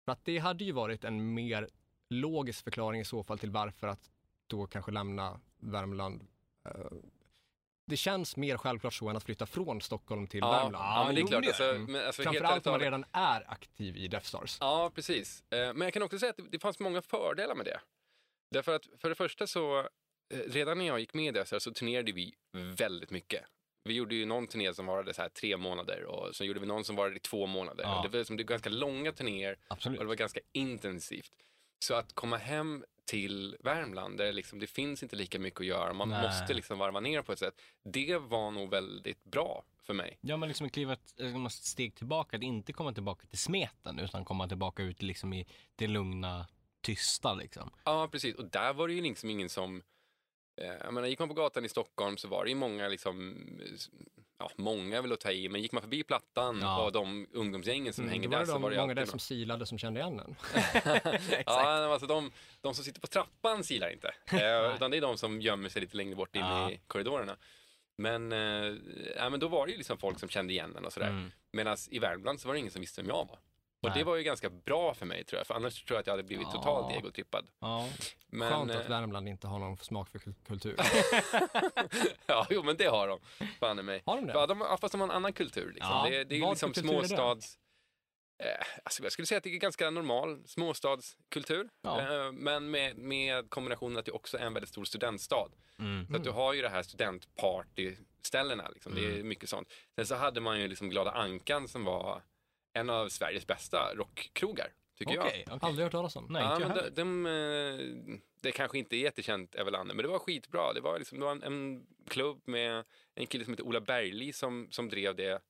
[SPEAKER 3] För att det hade ju varit en mer logisk förklaring i så fall till varför att då kanske lämna Värmland. Eh, Det känns mer självklart så än att flytta från Stockholm till
[SPEAKER 1] Ja,
[SPEAKER 3] Värmland.
[SPEAKER 1] ja, men det är
[SPEAKER 2] jo,
[SPEAKER 1] klart.
[SPEAKER 2] det gör
[SPEAKER 1] Alltså,
[SPEAKER 2] det.
[SPEAKER 1] men, alltså, helt ärligt
[SPEAKER 3] Mm. Framförallt om man
[SPEAKER 1] talat-
[SPEAKER 3] redan är aktiv i Death Stars.
[SPEAKER 1] Ja, precis. Eh, Men jag kan också säga att det- det fanns många fördelar med det. Därför att för det första så, eh, redan när jag gick med i Death Star så turnerade vi väldigt mycket. Vi gjorde ju någon turné som varade så här tre månader och sen gjorde vi någon som varade i två månader.
[SPEAKER 2] Ja.
[SPEAKER 1] Och Det var liksom, det är ganska långa turnéer
[SPEAKER 2] Absolut.
[SPEAKER 1] och det var ganska intensivt. Så att komma hem till Värmland där liksom, det finns inte lika mycket att göra, man
[SPEAKER 2] Nej.
[SPEAKER 1] måste liksom varva ner på ett sätt. Det var nog väldigt bra för mig.
[SPEAKER 2] Ja, men liksom kliva ett eh, något steg tillbaka, att inte komma tillbaka till smeten utan komma tillbaka ut liksom i det lugna, tysta liksom.
[SPEAKER 1] Ja, precis. Och där var det ju liksom ingen som... Eh, jag menar, gick man på gatan i Stockholm så var det ju många, liksom, eh, s- ja, många vill att ta i, men gick man förbi Plattan
[SPEAKER 2] Ja.
[SPEAKER 1] och de ungdomsgängen som hänger
[SPEAKER 3] det Mm, var
[SPEAKER 1] där
[SPEAKER 3] det
[SPEAKER 1] så
[SPEAKER 3] de
[SPEAKER 1] var det ju
[SPEAKER 3] många
[SPEAKER 1] alltid
[SPEAKER 3] där
[SPEAKER 1] någon.
[SPEAKER 3] som silade som kände igen en.
[SPEAKER 1] ja, alltså de, de som sitter på trappan silar inte, eh, utan det är de som gömmer sig lite längre bort inne
[SPEAKER 2] Ja.
[SPEAKER 1] i korridorerna. Men, eh, ja, men då var det ju liksom folk som kände igen en och sådär.
[SPEAKER 2] Mm.
[SPEAKER 1] Medan i Värmland så var det ingen som visste vem jag var. Och
[SPEAKER 2] Nej.
[SPEAKER 1] det var ju ganska bra för mig tror jag, för annars tror jag att jag hade blivit
[SPEAKER 2] Ja.
[SPEAKER 1] totalt egotrippad.
[SPEAKER 2] Ja.
[SPEAKER 1] Men,
[SPEAKER 3] Skönt
[SPEAKER 1] eh,
[SPEAKER 3] att Värmland inte har någon smak för kul- kultur.
[SPEAKER 1] Ja, jo men det har de. Fan i mig.
[SPEAKER 3] Har de det?
[SPEAKER 1] Ja, de, ja, fast de har en annan kultur. Liksom.
[SPEAKER 2] Ja,
[SPEAKER 1] Det, det är
[SPEAKER 3] vad
[SPEAKER 1] ju liksom
[SPEAKER 3] för kultur är det?
[SPEAKER 1] småstads... Eh, alltså, jag skulle säga att det är ganska normal småstadskultur.
[SPEAKER 2] Ja.
[SPEAKER 1] Eh, men med, med kombinationen att det också är en väldigt stor studentstad.
[SPEAKER 2] Mm.
[SPEAKER 1] Så att du har ju det här studentpartyställena. Liksom. Det är mycket sånt. Sen så hade man ju liksom Glada Ankan som var en av Sveriges bästa rockkrogar, tycker jag.
[SPEAKER 2] Okej, okej.
[SPEAKER 3] Aldrig hört talas om.
[SPEAKER 2] Nej,
[SPEAKER 1] Ja,
[SPEAKER 2] inte jag
[SPEAKER 1] men
[SPEAKER 2] heller.
[SPEAKER 1] de, de, eh, det kanske inte är jättekänt över landet, men det var skitbra. Det var, liksom, det var en, en klubb med en kille som heter Ola Bergli som, som drev det.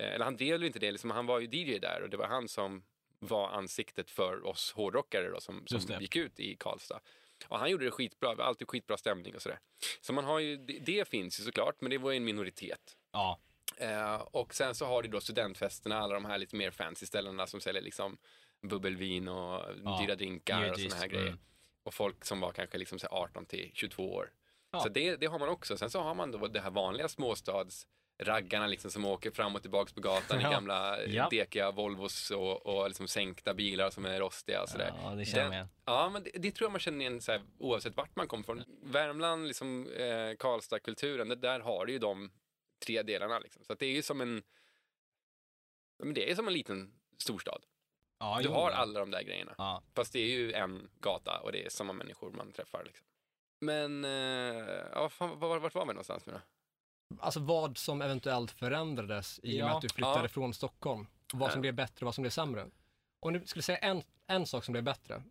[SPEAKER 1] Eh, Eller han drev ju inte det, liksom, han var ju DJ där och det var han som var ansiktet för oss hårdrockare då, som,
[SPEAKER 2] Just
[SPEAKER 1] som
[SPEAKER 2] det.
[SPEAKER 1] gick ut i Karlstad. Och han gjorde det skitbra, det var alltid skitbra stämning och sådär. Så man har ju, det, det finns ju såklart, men det var ju en minoritet.
[SPEAKER 2] Ja.
[SPEAKER 1] Eh, och sen så har du då studentfesterna, alla de här lite mer fancy ställena som säljer liksom bubbelvin och
[SPEAKER 2] Ja,
[SPEAKER 1] dyra drinkar och
[SPEAKER 2] givetvis.
[SPEAKER 1] såna här grejer.
[SPEAKER 2] Mm.
[SPEAKER 1] Och folk som var kanske liksom så här 18 till 22 år.
[SPEAKER 2] Ja.
[SPEAKER 1] Så det, det har man också. Sen så har man då det här vanliga småstads raggarna liksom som åker fram och tillbaks på gatan
[SPEAKER 2] Ja.
[SPEAKER 1] i gamla eh,
[SPEAKER 2] Ja.
[SPEAKER 1] dekiga Volvos och, och liksom sänkta bilar som är rostiga och sådär.
[SPEAKER 2] Ja, det känner man igen.
[SPEAKER 1] Ja, men det, det tror jag man känner igen så här, oavsett vart man kommer från. Värmland, liksom, eh, Karlstad-kulturen, det där har ju de tre delarna. Liksom. Så att det är ju som en, ja, men det är som en liten storstad.
[SPEAKER 2] Ja,
[SPEAKER 1] Du
[SPEAKER 2] jo,
[SPEAKER 1] har
[SPEAKER 2] ja.
[SPEAKER 1] alla de där grejerna.
[SPEAKER 2] Ja.
[SPEAKER 1] Fast det är ju en gata och det är samma människor man träffar. Liksom. Men, eh, ja, fan, var, vart var vi någonstans nu då?
[SPEAKER 3] Alltså vad som eventuellt förändrades i och med
[SPEAKER 2] Ja.
[SPEAKER 3] att du flyttade
[SPEAKER 1] Ja.
[SPEAKER 3] från Stockholm. Och vad som
[SPEAKER 1] Ja.
[SPEAKER 3] blev bättre och vad som blev sämre. Om du skulle säga en, en sak som blev bättre.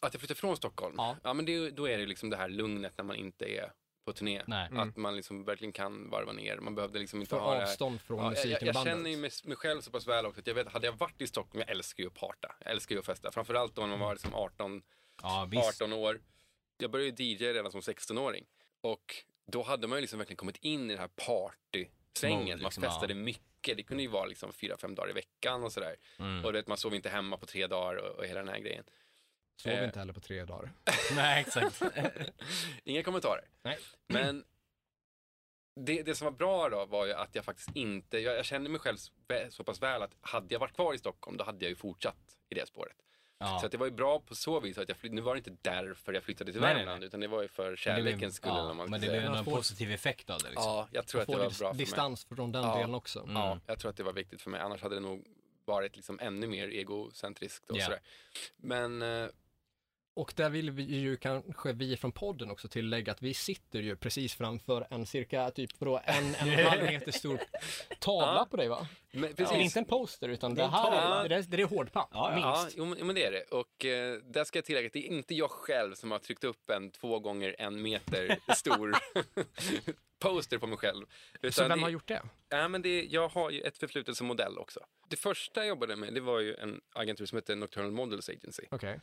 [SPEAKER 1] Att jag flyttade från Stockholm?
[SPEAKER 3] Ja.
[SPEAKER 1] men det, är ju- då är det ju liksom det här lugnet när man inte är på turné.
[SPEAKER 2] Nej.
[SPEAKER 3] Mm.
[SPEAKER 1] Att man liksom verkligen kan varva ner. Man behövde liksom inte
[SPEAKER 3] För
[SPEAKER 1] ha det här-
[SPEAKER 3] avstånd från
[SPEAKER 1] Ja,
[SPEAKER 3] musiken
[SPEAKER 1] jag, jag,
[SPEAKER 3] och
[SPEAKER 1] jag
[SPEAKER 3] bandet.
[SPEAKER 1] känner ju mig, mig själv så pass väl också att jag vet, hade jag varit i Stockholm, jag älskar ju att parta, jag älskar ju att festa. Framförallt då när man var liksom 18,
[SPEAKER 2] Ja, Mm. visst.
[SPEAKER 1] 18 år. Jag började ju DJ redan som 16-åring och då hade man ju liksom verkligen kommit in i den här partysvängen.
[SPEAKER 2] Mode,
[SPEAKER 1] Man
[SPEAKER 2] liksom, ja.
[SPEAKER 1] festade mycket, det kunde ju vara liksom 4-5 dagar i veckan och sådär. Och
[SPEAKER 2] Mm.
[SPEAKER 1] du vet, man sov inte hemma på tre dagar och, och hela den här grejen.
[SPEAKER 3] Sov
[SPEAKER 1] eh.
[SPEAKER 3] inte heller på tre dagar.
[SPEAKER 2] Nej, exakt.
[SPEAKER 1] Inga kommentarer.
[SPEAKER 3] Nej.
[SPEAKER 1] Men det, det som var bra då var ju att jag faktiskt inte, jag, jag kände mig själv så- så pass väl att hade jag varit kvar i Stockholm då hade jag ju fortsatt i det spåret.
[SPEAKER 2] Ja.
[SPEAKER 1] Så att det var ju bra på så vis att jag flytt, nu var det inte därför jag flyttade till
[SPEAKER 2] Nej, nej,
[SPEAKER 1] Värmland utan det var ju för kärlekens skull eller
[SPEAKER 2] ja,
[SPEAKER 1] vad man
[SPEAKER 2] Men
[SPEAKER 1] ska
[SPEAKER 2] det blev
[SPEAKER 1] säga.
[SPEAKER 2] ändå en
[SPEAKER 3] Man får-
[SPEAKER 2] positiv effekt av det. Liksom.
[SPEAKER 1] Ja, jag tror att det
[SPEAKER 3] Få
[SPEAKER 1] var bra
[SPEAKER 3] dis-
[SPEAKER 1] för mig.
[SPEAKER 3] distans från den
[SPEAKER 1] Ja.
[SPEAKER 3] delen också. Mm.
[SPEAKER 1] Ja, jag tror att det var viktigt för mig. Annars hade det nog varit liksom ännu mer egocentriskt och
[SPEAKER 2] Ja.
[SPEAKER 1] sådär. Men eh,
[SPEAKER 3] Och där vill vi ju kanske vi från podden också tillägga att vi sitter ju precis framför en cirka typ vadå, en, en och en halv meter stor tavla
[SPEAKER 1] Ja.
[SPEAKER 3] på dig va?
[SPEAKER 1] men
[SPEAKER 3] Det är
[SPEAKER 1] precis.
[SPEAKER 3] Inte en poster utan det
[SPEAKER 2] en
[SPEAKER 3] här,
[SPEAKER 1] tavla.
[SPEAKER 3] det där, det där är hårdpapp,
[SPEAKER 2] Ja, ja.
[SPEAKER 1] Ja,
[SPEAKER 3] minst.
[SPEAKER 1] jo, men jo, men det är det. Och eh, där ska jag tillägga att det är inte jag själv som har tryckt upp en två gånger en meter stor poster på mig själv.
[SPEAKER 3] Så
[SPEAKER 1] Utan
[SPEAKER 3] vem
[SPEAKER 1] det-
[SPEAKER 3] har gjort det?
[SPEAKER 1] Ja, men det, jag har ju ett förflutet som modell också. Det första jag jobbade med det var ju en agentur som heter Nocturnal Models Agency.
[SPEAKER 3] Okej.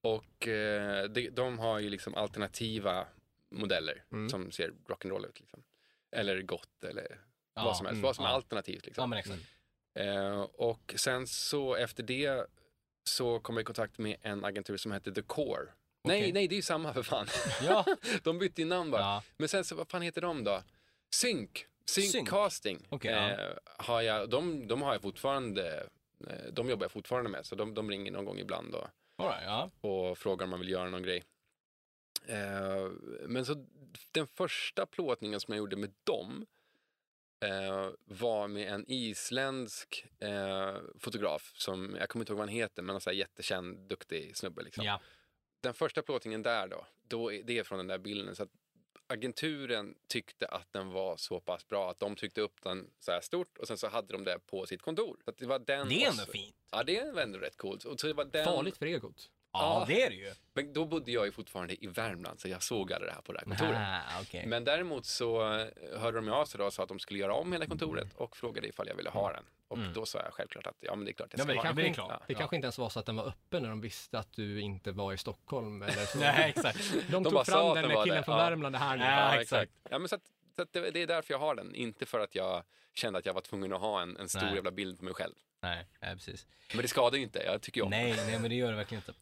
[SPEAKER 1] Och eh, de, de har ju liksom alternativa modeller
[SPEAKER 3] Mm.
[SPEAKER 1] som ser rock'n'roll ut. Liksom. Eller gott eller
[SPEAKER 2] Ja,
[SPEAKER 1] vad som helst.
[SPEAKER 3] mm,
[SPEAKER 1] vad som är
[SPEAKER 2] ja.
[SPEAKER 1] alternativt. Liksom.
[SPEAKER 2] Ja, men exakt.
[SPEAKER 1] Eh, och sen så efter det så kom jag i kontakt med en agentur som hette The Core. Nej, nej, det är ju samma för fan.
[SPEAKER 2] Ja.
[SPEAKER 1] de bytte ju namn bara.
[SPEAKER 2] Ja.
[SPEAKER 1] Men sen så, vad fan heter de då? Sync. Sync,
[SPEAKER 2] Sync.
[SPEAKER 1] Casting.
[SPEAKER 2] Okej,
[SPEAKER 1] eh, har jag, de, de har jag fortfarande, eh, de jobbar jag fortfarande med. Så de, de ringer någon gång ibland och,
[SPEAKER 2] All right, ja.
[SPEAKER 1] och frågar om man vill göra någon grej. Eh, men så den första plåtningen som jag gjorde med dem eh, var med en isländsk eh, fotograf som, jag kommer inte ihåg vad han heter, men en sån här jättekänd, duktig snubbe. Liksom.
[SPEAKER 2] Ja.
[SPEAKER 1] Den första plåtningen där då, då är, det är från den där bilden. Så att agenturen tyckte att den var så pass bra att de tryckte upp den så här stort och sen så hade de det på sitt kontor. Så att det, var den
[SPEAKER 2] Det är
[SPEAKER 1] och
[SPEAKER 2] ändå
[SPEAKER 1] så-
[SPEAKER 2] fint.
[SPEAKER 1] Ja, det är ändå rätt coolt. Och så det var den,
[SPEAKER 3] Farligt för egot.
[SPEAKER 2] Ja,
[SPEAKER 1] Ja.
[SPEAKER 2] det är det ju.
[SPEAKER 1] men då bodde jag ju fortfarande i Värmland så jag såg aldrig det här på det här kontoret.
[SPEAKER 2] Ah, okej.
[SPEAKER 1] Men däremot så eh, hörde de av sig då och sa att de skulle göra om hela
[SPEAKER 2] Mm.
[SPEAKER 1] kontoret och frågade ifall jag ville ha den. Och då sa jag självklart att ja men det är klart jag
[SPEAKER 2] Ja,
[SPEAKER 1] ska
[SPEAKER 2] men
[SPEAKER 1] ha
[SPEAKER 2] det
[SPEAKER 1] den.
[SPEAKER 2] kanske
[SPEAKER 3] det är
[SPEAKER 2] är klart.
[SPEAKER 3] Det
[SPEAKER 2] Ja.
[SPEAKER 3] kanske inte ens var så att den var öppen när de visste att du inte var i Stockholm eller så.
[SPEAKER 2] Nej, exakt.
[SPEAKER 3] De tog
[SPEAKER 1] bara sa
[SPEAKER 3] fram
[SPEAKER 1] att
[SPEAKER 3] den
[SPEAKER 1] den
[SPEAKER 3] där
[SPEAKER 1] var
[SPEAKER 3] killen
[SPEAKER 1] där.
[SPEAKER 3] från
[SPEAKER 1] Ja.
[SPEAKER 3] Värmland, det här nu.
[SPEAKER 2] Ja, exakt.
[SPEAKER 1] Ja, men så att, så att det, det är därför jag har den, inte för att jag kände att jag var tvungen att ha en, en stor
[SPEAKER 2] Nej.
[SPEAKER 1] jävla bild på mig själv.
[SPEAKER 2] Nej, nej, precis.
[SPEAKER 1] Men det skadar ju inte, jag tycker ju om
[SPEAKER 2] Nej, nej, men det gör det verkligen inte.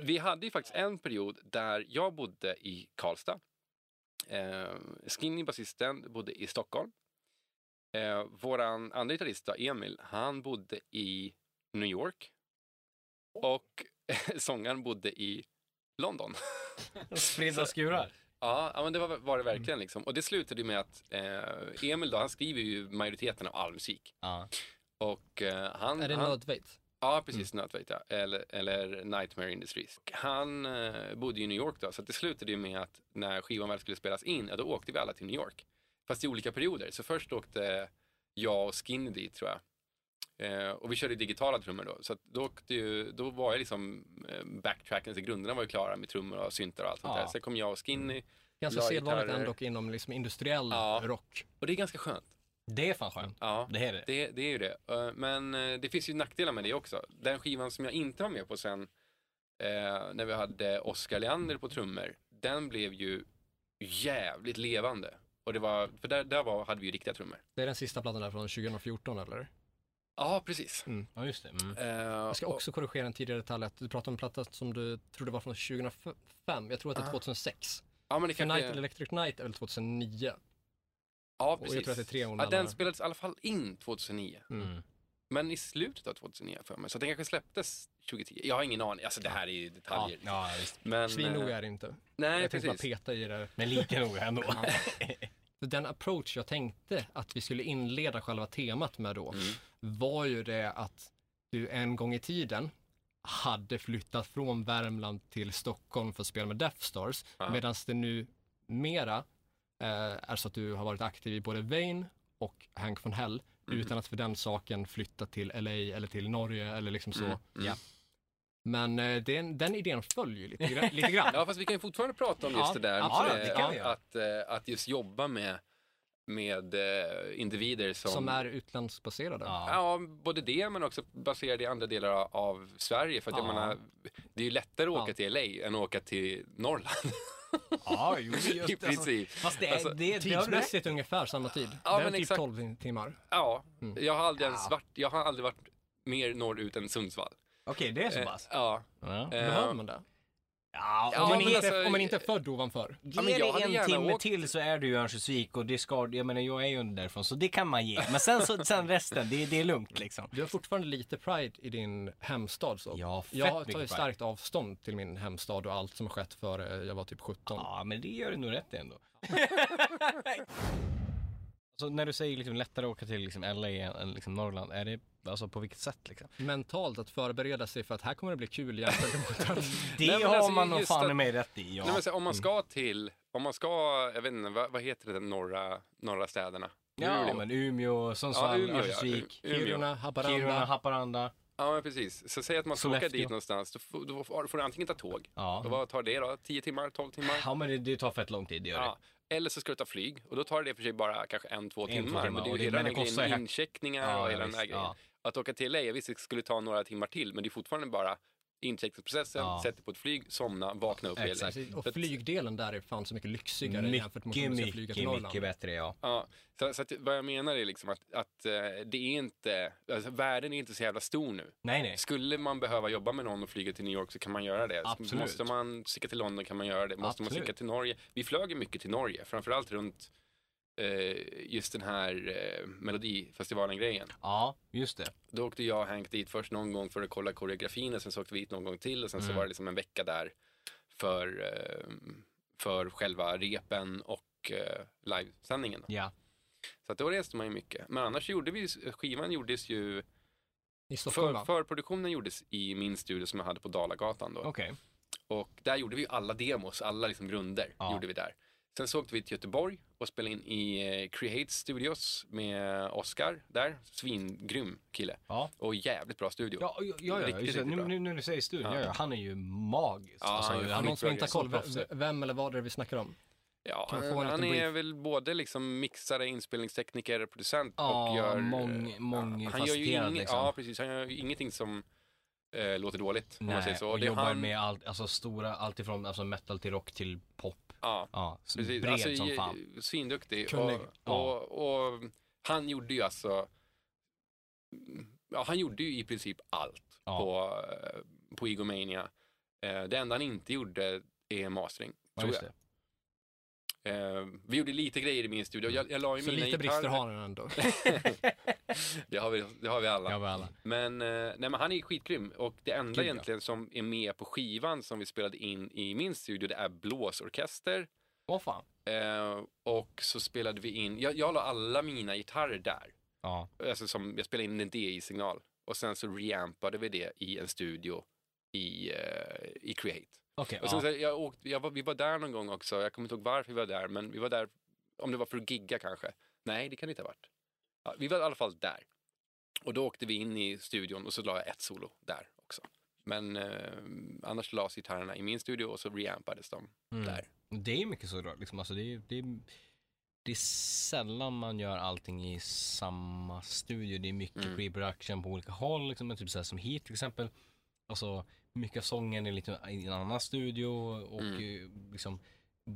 [SPEAKER 1] Vi hade ju faktiskt en period där jag bodde i Karlstad. Eh, Skinny, basisten, bodde i Stockholm. Eh, våran andra gitarrist, då, Emil, han bodde i New York. Och sångaren bodde i London.
[SPEAKER 2] Spridda skurar.
[SPEAKER 1] Ja, ja, men det var, var det verkligen. Liksom. Och det slutade ju med att eh, Emil då, han skriver ju majoriteten av all musik.
[SPEAKER 2] Ja.
[SPEAKER 1] Och, eh, han,
[SPEAKER 3] Är det
[SPEAKER 1] han,
[SPEAKER 3] nödvejt?
[SPEAKER 1] Ja, precis. Mm. Nötveit, ja. eller, eller Nightmare Industries. Han eh, bodde i New York då, så att det slutade ju med att när skivan väl skulle spelas in, ja, då åkte vi alla till New York. Fast i olika perioder. Så först åkte jag och Skinny dit, tror jag. Eh, och vi körde digitala trummor då. Så att då, åkte ju, då var jag liksom eh, backtracken, så grunderna var ju klara med trummor och syntar och allt sånt
[SPEAKER 2] Ja.
[SPEAKER 1] där. Sen kom jag och Skinny.
[SPEAKER 3] Ganska
[SPEAKER 1] la
[SPEAKER 3] sedvanligt
[SPEAKER 1] gitarrer.
[SPEAKER 3] ändå inom liksom industriell
[SPEAKER 1] Ja.
[SPEAKER 3] rock.
[SPEAKER 1] Och det är ganska skönt.
[SPEAKER 2] Det är fan skönt.
[SPEAKER 1] Ja.
[SPEAKER 2] Det är det.
[SPEAKER 1] Det, det är ju det. Eh, Men eh, det finns ju nackdelar med det också. Den skivan som jag inte var med på sen, eh, när vi hade Oscar Leander på trummor, den blev ju jävligt levande. Och det var, för där, där var, hade vi ju riktiga trummor.
[SPEAKER 3] Det är den sista plattan där från 2014 eller?
[SPEAKER 1] Ja, precis.
[SPEAKER 2] Ja, just det. Mm.
[SPEAKER 1] Eh,
[SPEAKER 3] Jag ska
[SPEAKER 1] och-
[SPEAKER 3] också korrigera en tidigare detalj, att du pratade om en platta som du trodde var från 2005. Jag tror att det är 2006.
[SPEAKER 1] ja, men det
[SPEAKER 3] United
[SPEAKER 1] Ah. kanske,
[SPEAKER 3] Electric Night är väl 2009?
[SPEAKER 1] ja,
[SPEAKER 3] Och jag tror att det är
[SPEAKER 1] precis.
[SPEAKER 3] tre år
[SPEAKER 1] Ja,
[SPEAKER 3] mellan.
[SPEAKER 1] den spelades i alla fall in 2009.
[SPEAKER 2] Mm.
[SPEAKER 1] Men i slutet av 2009 för mig. Så den kanske släpptes 2010. Jag har ingen aning. Alltså det här är ju
[SPEAKER 2] Ja,
[SPEAKER 1] detaljer.
[SPEAKER 2] ja, visst.
[SPEAKER 1] Men,
[SPEAKER 3] Svinnoga
[SPEAKER 1] eh,
[SPEAKER 3] är det inte.
[SPEAKER 1] Nej,
[SPEAKER 3] jag tänkte bara
[SPEAKER 1] precis.
[SPEAKER 3] peta i det.
[SPEAKER 2] Men lika noga ändå.
[SPEAKER 3] Den approach jag tänkte att vi skulle inleda själva temat med då
[SPEAKER 1] Mm.
[SPEAKER 3] var ju det att du en gång i tiden hade flyttat från Värmland till Stockholm för att spela med Death Stars
[SPEAKER 1] Ja.
[SPEAKER 3] medan det nu mera eh, är så att du har varit aktiv i både Vain och Hank von Hell
[SPEAKER 1] Mm.
[SPEAKER 3] utan att för den saken flytta till LA eller till Norge eller liksom så.
[SPEAKER 1] Mm, mm.
[SPEAKER 2] Ja.
[SPEAKER 3] Men eh, den, den idén följer ju lite, grann- lite grann.
[SPEAKER 1] Ja, fast vi kan ju fortfarande prata om just det
[SPEAKER 3] Ja,
[SPEAKER 1] där.
[SPEAKER 3] absolut,
[SPEAKER 1] eh,
[SPEAKER 2] det kan vi göra.
[SPEAKER 1] att, eh, att just jobba med, med eh, individer som...
[SPEAKER 3] Som är utlandsbaserade.
[SPEAKER 2] Ja.
[SPEAKER 1] Ja, både det men också baserade i andra delar av- av Sverige. För att jag
[SPEAKER 3] Ja.
[SPEAKER 1] menar, det är ju lättare att åka
[SPEAKER 3] Ja.
[SPEAKER 1] till LA än att åka till Norrland.
[SPEAKER 2] ja, jo, just
[SPEAKER 1] I princip.
[SPEAKER 2] Alltså, fast det är...
[SPEAKER 1] Alltså,
[SPEAKER 2] det, det har du rätt i.
[SPEAKER 3] Tidsmässigt ungefär samma tid.
[SPEAKER 1] Ja,
[SPEAKER 3] det är
[SPEAKER 1] men
[SPEAKER 3] typ
[SPEAKER 1] exakt. Eh,
[SPEAKER 3] 12 timmar.
[SPEAKER 1] Ja, jag har aldrig ens
[SPEAKER 2] Mm. Ja.
[SPEAKER 1] varit, jag har aldrig varit mer norrut än Sundsvall.
[SPEAKER 2] Okej, det är så
[SPEAKER 1] Eh,
[SPEAKER 2] pass.
[SPEAKER 1] ja.
[SPEAKER 2] Ja.
[SPEAKER 1] Eh,
[SPEAKER 3] Behöver man det?
[SPEAKER 2] Ja,
[SPEAKER 1] Ja,
[SPEAKER 3] Om man,
[SPEAKER 1] men
[SPEAKER 3] inte,
[SPEAKER 1] alltså-
[SPEAKER 3] om man inte är född ovanför.
[SPEAKER 1] Ja, men
[SPEAKER 2] Ge
[SPEAKER 1] jag hade
[SPEAKER 2] dig en
[SPEAKER 1] gärna
[SPEAKER 2] timme
[SPEAKER 1] åkt.
[SPEAKER 2] till så är du i Örnsköldsvik och det ska, jag menar jag är ju därifrån så det kan man ge. Men sen, så, sen resten, det, det är lugnt liksom.
[SPEAKER 3] Du har fortfarande lite pride i din hemstad. Så.
[SPEAKER 2] Ja, fett
[SPEAKER 3] jag
[SPEAKER 2] mycket
[SPEAKER 3] tar ju
[SPEAKER 2] pride.
[SPEAKER 3] starkt avstånd till min hemstad och allt som har skett före jag var typ 17.
[SPEAKER 2] Ja, men det gör du nog rätt i ändå. så när du säger liksom lättare att åka till liksom LA än liksom Norrland, är det alltså på vilket sätt liksom?
[SPEAKER 3] Mentalt att förbereda sig för att här kommer det bli kul jämfört med att-
[SPEAKER 2] Det
[SPEAKER 1] Nej, men
[SPEAKER 2] har
[SPEAKER 1] alltså,
[SPEAKER 2] man nog
[SPEAKER 1] just
[SPEAKER 2] fan
[SPEAKER 1] att-
[SPEAKER 2] i mig rätt i, ja.
[SPEAKER 1] Nej, men så, om
[SPEAKER 2] Mm.
[SPEAKER 1] man ska till, om man ska, jag vet inte, vad, vad heter den norra, norra städerna?
[SPEAKER 2] ja,
[SPEAKER 1] Luleå.
[SPEAKER 2] men Umeå,
[SPEAKER 1] ja,
[SPEAKER 2] Sundsvall,
[SPEAKER 1] Umeå, ja.
[SPEAKER 2] Örnsköldsvik,
[SPEAKER 1] Umeå.
[SPEAKER 3] Kiruna, Haparanda.
[SPEAKER 2] Kiruna, Haparanda.
[SPEAKER 1] Ja, men precis. Så säg att man ska åka
[SPEAKER 2] Sollefteå.
[SPEAKER 1] dit någonstans, då får, då får får du antingen ta tåg,
[SPEAKER 2] Ja.
[SPEAKER 1] och vad tar det då? 10 timmar, 12 timmar?
[SPEAKER 2] Ja, men det, det tar fett lång tid, det gör det.
[SPEAKER 1] Ja. Eller så ska du ta flyg och då tar det i och för sig bara kanske en, två
[SPEAKER 2] En, två
[SPEAKER 1] timmar.
[SPEAKER 2] timmar,
[SPEAKER 1] Men det är
[SPEAKER 2] och
[SPEAKER 1] ju
[SPEAKER 2] det-
[SPEAKER 1] hela
[SPEAKER 2] men
[SPEAKER 1] den
[SPEAKER 2] det
[SPEAKER 1] här
[SPEAKER 2] kostar
[SPEAKER 1] grejen,
[SPEAKER 2] ju-
[SPEAKER 1] incheckningar
[SPEAKER 2] Ja,
[SPEAKER 1] och
[SPEAKER 2] ja,
[SPEAKER 1] hela den här
[SPEAKER 2] visst,
[SPEAKER 1] grejen.
[SPEAKER 2] ja.
[SPEAKER 1] Att åka till LA, jag visste det skulle ta några timmar till, men det är fortfarande bara incheckningsprocessen,
[SPEAKER 2] Ja.
[SPEAKER 1] sätta på ett flyg, somna, vakna upp i LA.
[SPEAKER 2] Exakt.
[SPEAKER 3] Och
[SPEAKER 1] Så att-
[SPEAKER 3] flygdelen där är fan så mycket lyxigare jämfört med om
[SPEAKER 2] Mycket,
[SPEAKER 3] man ska flyga till
[SPEAKER 2] mycket,
[SPEAKER 3] Norrland.
[SPEAKER 2] mycket bättre, ja.
[SPEAKER 1] Ja, så, så att, vad jag menar är liksom att, att eh, det är inte, alltså, världen är inte så jävla stor nu.
[SPEAKER 2] Nej, nej.
[SPEAKER 1] Skulle man behöva jobba med någon och flyga till New York så kan man göra det.
[SPEAKER 2] Absolut.
[SPEAKER 1] Måste man sticka till London kan man göra det. Måste man
[SPEAKER 2] Absolut.
[SPEAKER 1] sticka till Norge. Vi flög ju mycket till Norge, framförallt runt eh, just den här eh, Melodifestivalen-grejen.
[SPEAKER 2] Ja, just det.
[SPEAKER 1] Då åkte jag och Hank dit först någon gång för att kolla koreografin och sen så åkte vi dit någon gång till och sen
[SPEAKER 2] Mm.
[SPEAKER 1] så var det liksom en vecka där för, eh, för själva repen och eh, livesändningen. då.
[SPEAKER 2] Ja.
[SPEAKER 1] Så att då reste man ju mycket. Men annars gjorde vi, skivan gjordes ju,
[SPEAKER 3] I Stockholm
[SPEAKER 1] för,
[SPEAKER 3] va?
[SPEAKER 1] förproduktionen gjordes i min studio som jag hade på Dalagatan då.
[SPEAKER 2] Okej.
[SPEAKER 1] Och där gjorde vi ju alla demos, alla liksom grunder
[SPEAKER 2] Ja.
[SPEAKER 1] gjorde vi där. Sen så åkte vi till Göteborg och spelade in i eh, Create Studios med Oscar där. Svingrym kille.
[SPEAKER 2] Ja.
[SPEAKER 1] Och jävligt bra studio.
[SPEAKER 2] Ja, ja, ja, ja
[SPEAKER 1] Riktigt,
[SPEAKER 2] just det.
[SPEAKER 1] riktigt
[SPEAKER 2] Nu,
[SPEAKER 1] bra.
[SPEAKER 2] nu när du säger studion, ja.
[SPEAKER 1] Ja.
[SPEAKER 2] ja, han är ju magisk. Alltså,
[SPEAKER 1] Ja, han är ju
[SPEAKER 3] För någon som
[SPEAKER 1] skitbra
[SPEAKER 3] inte har koll,
[SPEAKER 2] grej. Så
[SPEAKER 3] v- vem eller vad är det vi snackar om?
[SPEAKER 1] Ja,
[SPEAKER 3] Kan få en
[SPEAKER 1] han, han
[SPEAKER 3] liten
[SPEAKER 1] är
[SPEAKER 3] brief.
[SPEAKER 1] väl både liksom mixare, inspelningstekniker, producent
[SPEAKER 2] Ja,
[SPEAKER 1] och gör...
[SPEAKER 2] mång-
[SPEAKER 1] eh, han gör ju
[SPEAKER 2] mångfacetterad,
[SPEAKER 1] inget,
[SPEAKER 2] liksom.
[SPEAKER 1] Ja, precis. Han gör ju ingenting som eh, låter dåligt, om man
[SPEAKER 2] Nej,
[SPEAKER 1] säger så.
[SPEAKER 2] och
[SPEAKER 1] Det är
[SPEAKER 2] jobbar
[SPEAKER 1] han-
[SPEAKER 2] med allt, alltså stora, allt ifrån alltså metal till rock till pop.
[SPEAKER 1] Ja,
[SPEAKER 2] Ja, så
[SPEAKER 1] precis.
[SPEAKER 2] bred
[SPEAKER 1] Alltså,
[SPEAKER 2] som
[SPEAKER 1] i-
[SPEAKER 2] fan.
[SPEAKER 1] Svinduktig. Och,
[SPEAKER 3] Kunnig.
[SPEAKER 2] Ja.
[SPEAKER 1] och, och han gjorde ju alltså... Ja, han gjorde ju i princip allt
[SPEAKER 2] Ja.
[SPEAKER 1] på, eh, på Egomania. Eh, det enda han inte gjorde är mastering,
[SPEAKER 2] Ja,
[SPEAKER 1] tror
[SPEAKER 2] just
[SPEAKER 1] jag.
[SPEAKER 2] det.
[SPEAKER 1] Eh, vi gjorde lite grejer i min studio.
[SPEAKER 2] Mm.
[SPEAKER 1] Jag, jag la ju
[SPEAKER 3] Så
[SPEAKER 1] mina
[SPEAKER 3] lite brister
[SPEAKER 1] gitarrer-
[SPEAKER 3] har han ändå.
[SPEAKER 1] Det har vi, det har vi alla.
[SPEAKER 2] Ja, väl alla.
[SPEAKER 1] Men, eh, nej, men han är skitgrym och det enda
[SPEAKER 2] Gud, ja.
[SPEAKER 1] egentligen som är med på skivan som vi spelade in i min studio det är blåsorkester
[SPEAKER 2] Åh fan.
[SPEAKER 1] eh, och så spelade vi in, jag, jag la alla mina gitarrer där.
[SPEAKER 2] Ja,
[SPEAKER 1] Alltså som, jag spelade in en DI-signal och sen så reampade vi det i en studio i, eh, i Create.
[SPEAKER 2] okej.
[SPEAKER 1] Och sen,
[SPEAKER 2] ja.
[SPEAKER 1] så, jag åkte, jag var, vi var där någon gång också, jag kommer inte ihåg varför vi var där, men vi var där, om det var för att gigga kanske. Nej, det kan det inte ha varit. Ja, vi var i alla fall där. Och då åkte vi in i studion och så la jag ett solo där också. Men eh, annars lades gitarrerna i min studio och så reampades de
[SPEAKER 2] Mm.
[SPEAKER 1] där.
[SPEAKER 2] Det är mycket så då, liksom. Alltså, det, är, det, är, det är sällan man gör allting i samma studio. Det är mycket
[SPEAKER 1] Mm.
[SPEAKER 2] pre-production på olika håll, liksom. Men typ så här, som hit till exempel. Alltså, mycket av sången är lite i en annan studio och
[SPEAKER 1] Mm.
[SPEAKER 2] eh, liksom,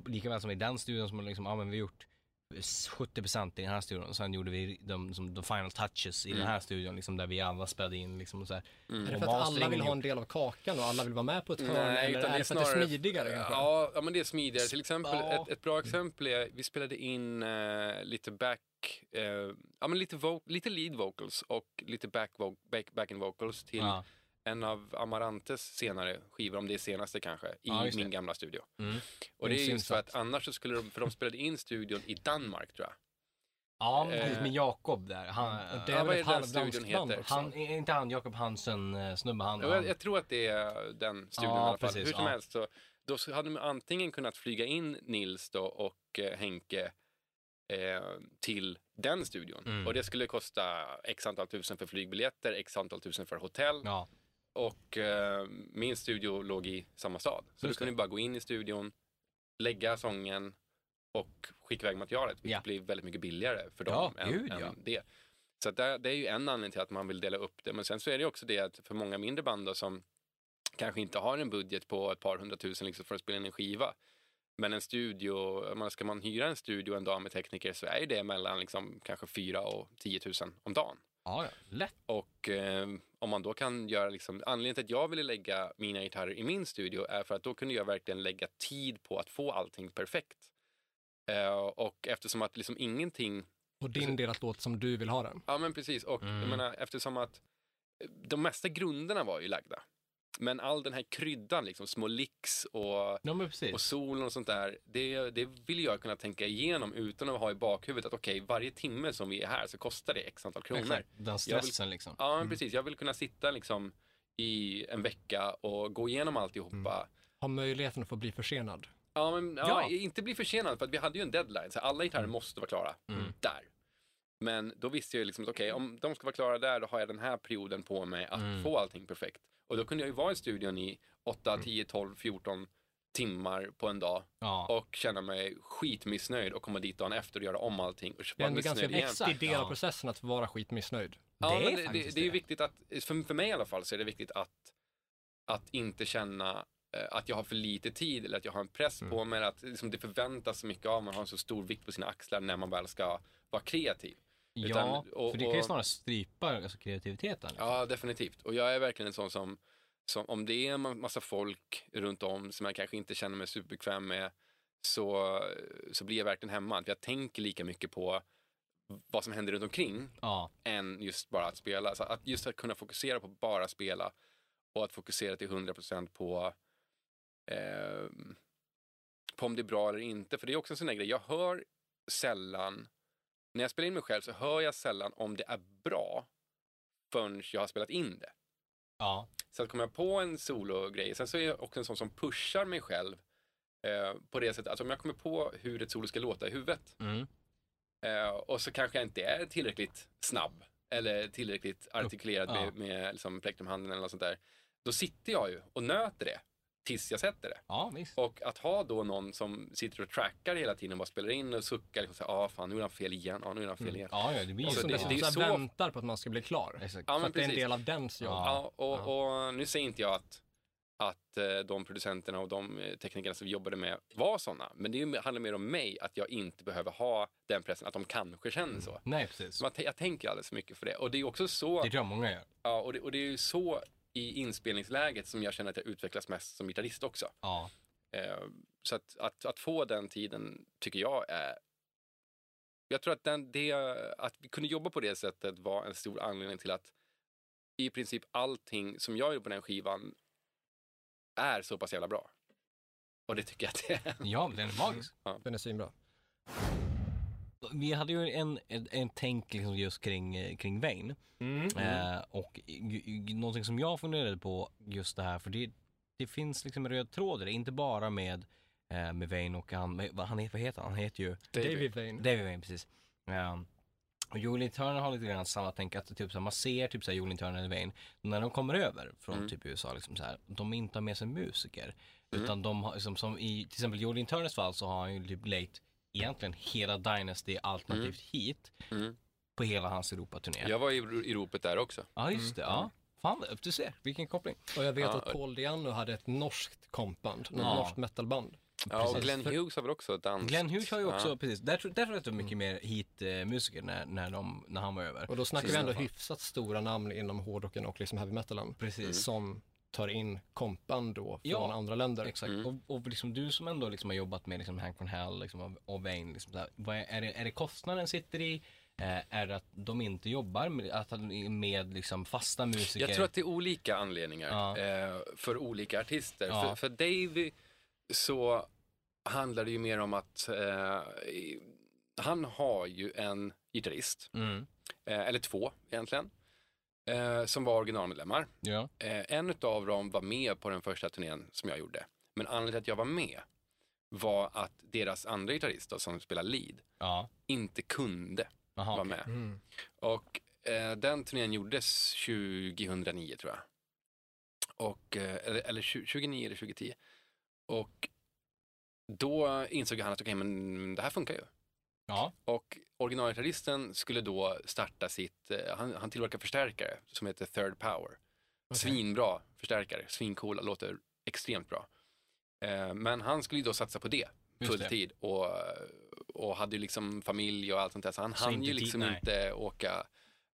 [SPEAKER 2] lika väl som i den studion som man liksom, ja men vi har gjort 70% i den här studion och sen gjorde vi de, som, de final touches i
[SPEAKER 1] Mm.
[SPEAKER 2] den här studion liksom, där vi alla spelade in liksom och så här.
[SPEAKER 3] Är det
[SPEAKER 2] Och
[SPEAKER 3] för att alla
[SPEAKER 2] masteringen
[SPEAKER 3] vill ha
[SPEAKER 2] gjord.
[SPEAKER 3] en del av kakan och alla vill vara med på ett hörn? eller
[SPEAKER 1] Mm. utan
[SPEAKER 3] är det för att det är
[SPEAKER 1] snarare-
[SPEAKER 3] smidigare kanske? Mm.
[SPEAKER 1] Ja, ja, men det är smidigare. Till exempel,
[SPEAKER 2] Ja.
[SPEAKER 1] ett, ett bra exempel är, vi spelade in eh, lite back, eh, ja men lite, vo- lite lead vocals och lite back, vo- back, back in vocals till
[SPEAKER 2] Ja.
[SPEAKER 1] en av Amarantes senare skivor, om det är senaste kanske, i
[SPEAKER 2] Ja, just det.
[SPEAKER 1] min gamla studio.
[SPEAKER 2] Mm.
[SPEAKER 1] Och det är just för
[SPEAKER 2] Intressant.
[SPEAKER 1] att annars så skulle de, för de spelade in studion i Danmark tror jag.
[SPEAKER 2] Ja,
[SPEAKER 1] Eh. Mm,
[SPEAKER 2] precis, med Jakob där. Han,
[SPEAKER 3] Och det
[SPEAKER 1] Ja,
[SPEAKER 3] är
[SPEAKER 1] vad
[SPEAKER 3] väl
[SPEAKER 1] är
[SPEAKER 3] ett
[SPEAKER 1] det den
[SPEAKER 3] halvdanskt
[SPEAKER 1] studion
[SPEAKER 3] band
[SPEAKER 1] heter?
[SPEAKER 3] också?
[SPEAKER 2] han, är inte han Jakob Hansen, eh, snubbe han?
[SPEAKER 1] Och Jag,
[SPEAKER 2] han
[SPEAKER 1] jag tror att det är eh, den studion
[SPEAKER 2] Ja,
[SPEAKER 1] i alla fall.
[SPEAKER 2] precis,
[SPEAKER 1] Hur som
[SPEAKER 2] ja.
[SPEAKER 1] helst så då så hade de antingen kunnat flyga in Nils då och eh, Henke eh, till den studion.
[SPEAKER 2] Mm.
[SPEAKER 1] Och det skulle kosta x antal tusen för flygbiljetter, x antal tusen för hotell.
[SPEAKER 2] ja.
[SPEAKER 1] Och eh, min studio låg i samma stad. Så
[SPEAKER 2] Just
[SPEAKER 1] du kunde bara gå in i studion, lägga sången och skicka iväg materialet. Vilket
[SPEAKER 2] Ja.
[SPEAKER 1] blir väldigt mycket billigare för
[SPEAKER 2] Ja,
[SPEAKER 1] dem än,
[SPEAKER 2] gud,
[SPEAKER 1] än
[SPEAKER 2] ja.
[SPEAKER 1] det. Så att där, det är ju en anledning till att man vill dela upp det. Men sen så är det ju också det att för många mindre band då, som kanske inte har en budget på ett par hundratusen liksom för att spela in en skiva. Men en studio, jag menar, ska man hyra en studio en dag med tekniker så är ju det mellan liksom kanske fyra och 10 000 om dagen.
[SPEAKER 3] Ja, ja. Lätt.
[SPEAKER 1] Och eh, om man då kan göra liksom, anledningen till att jag ville lägga mina gitarrer i min studio är för att då kunde jag verkligen lägga tid på att få allting perfekt. Eh, och eftersom att liksom ingenting,
[SPEAKER 3] Och din del att låta som du vill ha den.
[SPEAKER 1] ja men precis, och jag
[SPEAKER 2] Mm.
[SPEAKER 1] menar eftersom att eh, de mesta grunderna var ju lagda. Men all den här kryddan, liksom, små licks och
[SPEAKER 2] Ja, men precis.
[SPEAKER 1] och solen och sånt där, det, det vill jag kunna tänka igenom utan att ha i bakhuvudet att okej, varje timme som vi är här så kostar det x antal kronor.
[SPEAKER 2] Exakt. Den stressen liksom.
[SPEAKER 1] Ja, men precis. Jag vill kunna sitta liksom i en vecka och gå igenom alltihopa.
[SPEAKER 3] Ha möjligheten att få bli försenad.
[SPEAKER 1] Ja, men ja,
[SPEAKER 2] Ja.
[SPEAKER 1] inte bli försenad för att vi hade ju en deadline. Så alla gitarrer måste vara klara där. Men då visste jag ju liksom att okej, om de ska vara klara där, då har jag den här perioden på mig att få allting perfekt. Och då kunde jag ju vara i studion i 8, 10, 12, 14 timmar på en dag
[SPEAKER 2] Ja.
[SPEAKER 1] och känna mig skitmissnöjd och komma dit dagen efter och göra om allting och
[SPEAKER 3] Det är
[SPEAKER 1] vara
[SPEAKER 3] ändå ganska
[SPEAKER 1] missnöjd igen.
[SPEAKER 3] viktig del av
[SPEAKER 2] Ja.
[SPEAKER 3] processen att vara skitmissnöjd.
[SPEAKER 1] Ja,
[SPEAKER 2] Det är
[SPEAKER 1] men det, det,
[SPEAKER 2] faktiskt
[SPEAKER 1] det är ju
[SPEAKER 2] det.
[SPEAKER 1] viktigt att, för, för mig i alla fall så är det viktigt att, att inte känna eh, att jag har för lite tid eller att jag har en press
[SPEAKER 2] Mm.
[SPEAKER 1] på mig, eller att liksom, det förväntas så mycket av mig, man har en så stor vikt på sina axlar när man väl ska vara kreativ. Utan-
[SPEAKER 2] ja,
[SPEAKER 1] och-
[SPEAKER 2] för det kan ju
[SPEAKER 1] och-
[SPEAKER 2] snarare strypa alltså, kreativiteten. liksom.
[SPEAKER 1] Ja, definitivt. Och jag är verkligen en sån som, som om det är en ma- massa folk runt om som jag kanske inte känner mig superbekväm med, så, så blir jag verkligen hemma. För Jag tänker lika mycket på vad som händer runt omkring
[SPEAKER 2] Ja.
[SPEAKER 1] än just bara att spela. Så att just att kunna fokusera på bara spela och att fokusera till 100% på, eh, på om det är bra eller inte. För det är också en sån där grej, jag hör sällan, när jag spelar in mig själv så hör jag sällan om det är bra förrän jag har spelat in det.
[SPEAKER 2] ja.
[SPEAKER 1] Så att kommer jag på en sologrej, sen så är jag också en sån som pushar mig själv eh, på det sättet att om jag kommer på hur ett solo ska låta i huvudet
[SPEAKER 2] Mm.
[SPEAKER 1] Eh, och så kanske jag inte är tillräckligt snabb eller tillräckligt artikulerad
[SPEAKER 2] ja.
[SPEAKER 1] med, med liksom plektrumhanden eller något sånt där. Då sitter jag ju och nöter det tills jag sätter det.
[SPEAKER 2] ja, visst.
[SPEAKER 1] Och att ha då någon som sitter och trackar hela tiden och bara spelar in och suckar. Liksom, så här, ah, fan, nu är han fel igen. Ah, nu är han
[SPEAKER 3] Mm.
[SPEAKER 1] fel igen.
[SPEAKER 2] Ja, ja, det blir
[SPEAKER 1] Och
[SPEAKER 2] ju
[SPEAKER 1] så
[SPEAKER 3] som
[SPEAKER 1] det-
[SPEAKER 3] dessutom
[SPEAKER 1] det är
[SPEAKER 3] så här
[SPEAKER 1] så-
[SPEAKER 3] väntar på att man ska bli klar.
[SPEAKER 2] Exakt.
[SPEAKER 1] Ja,
[SPEAKER 3] så
[SPEAKER 1] men
[SPEAKER 3] att det är en
[SPEAKER 1] precis.
[SPEAKER 3] del av dens jobb.
[SPEAKER 2] Ja.
[SPEAKER 1] Ja, och, och nu säger inte jag att, att eh, de producenterna och de eh, teknikerna som vi jobbade med var sådana. Men det är ju- handlar mer om mig, att jag inte behöver ha den pressen, att de kanske
[SPEAKER 2] Mm.
[SPEAKER 1] känner så.
[SPEAKER 2] Nej, precis.
[SPEAKER 1] Så man, jag tänker alldeles för mycket för det. Och det är ju också så...
[SPEAKER 2] Det tror jag många gör.
[SPEAKER 1] Ja, och det, och det är ju så i inspelningsläget som jag känner att jag utvecklas mest som gitarrist också.
[SPEAKER 2] Ja.
[SPEAKER 1] Eh, så att, att, att få den tiden tycker jag är... Jag tror att, den, det, att vi kunde jobba på det sättet var en stor anledning till att i princip allting som jag gör på den skivan är så pass jävla bra. Och det tycker jag att det är.
[SPEAKER 2] Ja, men den är magisk.
[SPEAKER 3] Den är svinbra.
[SPEAKER 2] Vi hade ju en, en, en tänk liksom just kring, eh, kring Wayne.
[SPEAKER 3] Mm.
[SPEAKER 1] Mm.
[SPEAKER 2] Eh, och g- g- någonting som jag funderade på just det här, för det, det finns liksom en röd tråd i det, inte bara med, eh, med Wayne och han, med, vad, han heter, vad heter han? Han heter ju
[SPEAKER 1] David.
[SPEAKER 3] David Vane.
[SPEAKER 2] David Wayne, precis. Ehm, och Julian Turner har lite grann samma tänk, att typ, så här, man ser typ så här, Julian Turner eller Wayne, när de kommer över från
[SPEAKER 1] Mm.
[SPEAKER 2] typ USA, liksom, så här, de inte har med sig musiker. Utan de har, liksom, som i till exempel Julian Turners fall så har han ju typ lejt egentligen hela Dynasty alternativt hit
[SPEAKER 1] Mm.
[SPEAKER 2] på hela hans Europaturné. Ja,
[SPEAKER 1] Jag var i, i ropet där också.
[SPEAKER 2] just det.
[SPEAKER 1] Mm.
[SPEAKER 2] Ja. Fan, vad- du ser, vilken koppling.
[SPEAKER 3] Och jag vet
[SPEAKER 1] Ja.
[SPEAKER 3] att Paul Diano hade ett norskt kompband, ett
[SPEAKER 2] Ja.
[SPEAKER 3] norskt metalband.
[SPEAKER 1] Ja, och
[SPEAKER 2] Precis.
[SPEAKER 1] Glenn Hughes har väl också dans...
[SPEAKER 2] Glenn Hughes har ju också,
[SPEAKER 1] Ja. Mm.
[SPEAKER 2] precis, där tror, där tror jag att det var mycket mer hit-musiker när, när, de, när han var över.
[SPEAKER 3] Och då snackar vi
[SPEAKER 2] Precis.
[SPEAKER 3] ändå hyfsat stora namn inom hårdrocken och liksom heavy metalen.
[SPEAKER 2] Precis.
[SPEAKER 3] Som tar in kompband då från
[SPEAKER 2] Ja.
[SPEAKER 3] andra länder.
[SPEAKER 2] Exakt.
[SPEAKER 1] Mm.
[SPEAKER 2] Och, och liksom du som ändå liksom har jobbat med liksom Hank von Hell liksom, och- och Wayne, liksom, så här, vad är, är, det, är det kostnaden sitter i? Eh, är det att de inte jobbar med, att, han- med liksom fasta musiker?
[SPEAKER 1] Jag tror att det är olika anledningar
[SPEAKER 2] Ja.
[SPEAKER 1] eh, för olika artister.
[SPEAKER 2] Ja.
[SPEAKER 1] För, för Davy så handlar det ju mer om att eh, i- han har ju en gitarrist,
[SPEAKER 2] Mm.
[SPEAKER 1] eh, eller två egentligen, eh, som var originalmedlemmar.
[SPEAKER 2] Ja.
[SPEAKER 1] Eh, en av dem var med på den första turnén som jag gjorde. Men anledningen till att jag var med var att deras andra gitarrist då, som spelar lead
[SPEAKER 2] Ja.
[SPEAKER 1] inte kunde
[SPEAKER 2] Aha,
[SPEAKER 1] vara
[SPEAKER 2] okej.
[SPEAKER 1] med.
[SPEAKER 3] Mm.
[SPEAKER 1] Och eh, den turnén gjordes 2009 tror jag. Och, eh, eller, eller 20, 2009 eller 2010. Och då insåg han att okej, men det här funkar ju.
[SPEAKER 2] Ja.
[SPEAKER 1] Och originalgitarristen skulle då starta sitt, eh, han, han tillverkar förstärkare som heter Third Power. Svinbra förstärkare, svincoola, låter extremt bra. Eh, men han skulle ju då satsa på det
[SPEAKER 2] Just det.
[SPEAKER 1] fulltid och, och hade ju liksom familj och allt sånt där. Så han
[SPEAKER 2] Så
[SPEAKER 1] hann
[SPEAKER 2] inte
[SPEAKER 1] ju
[SPEAKER 2] dit,
[SPEAKER 1] liksom
[SPEAKER 2] nej.
[SPEAKER 1] inte åka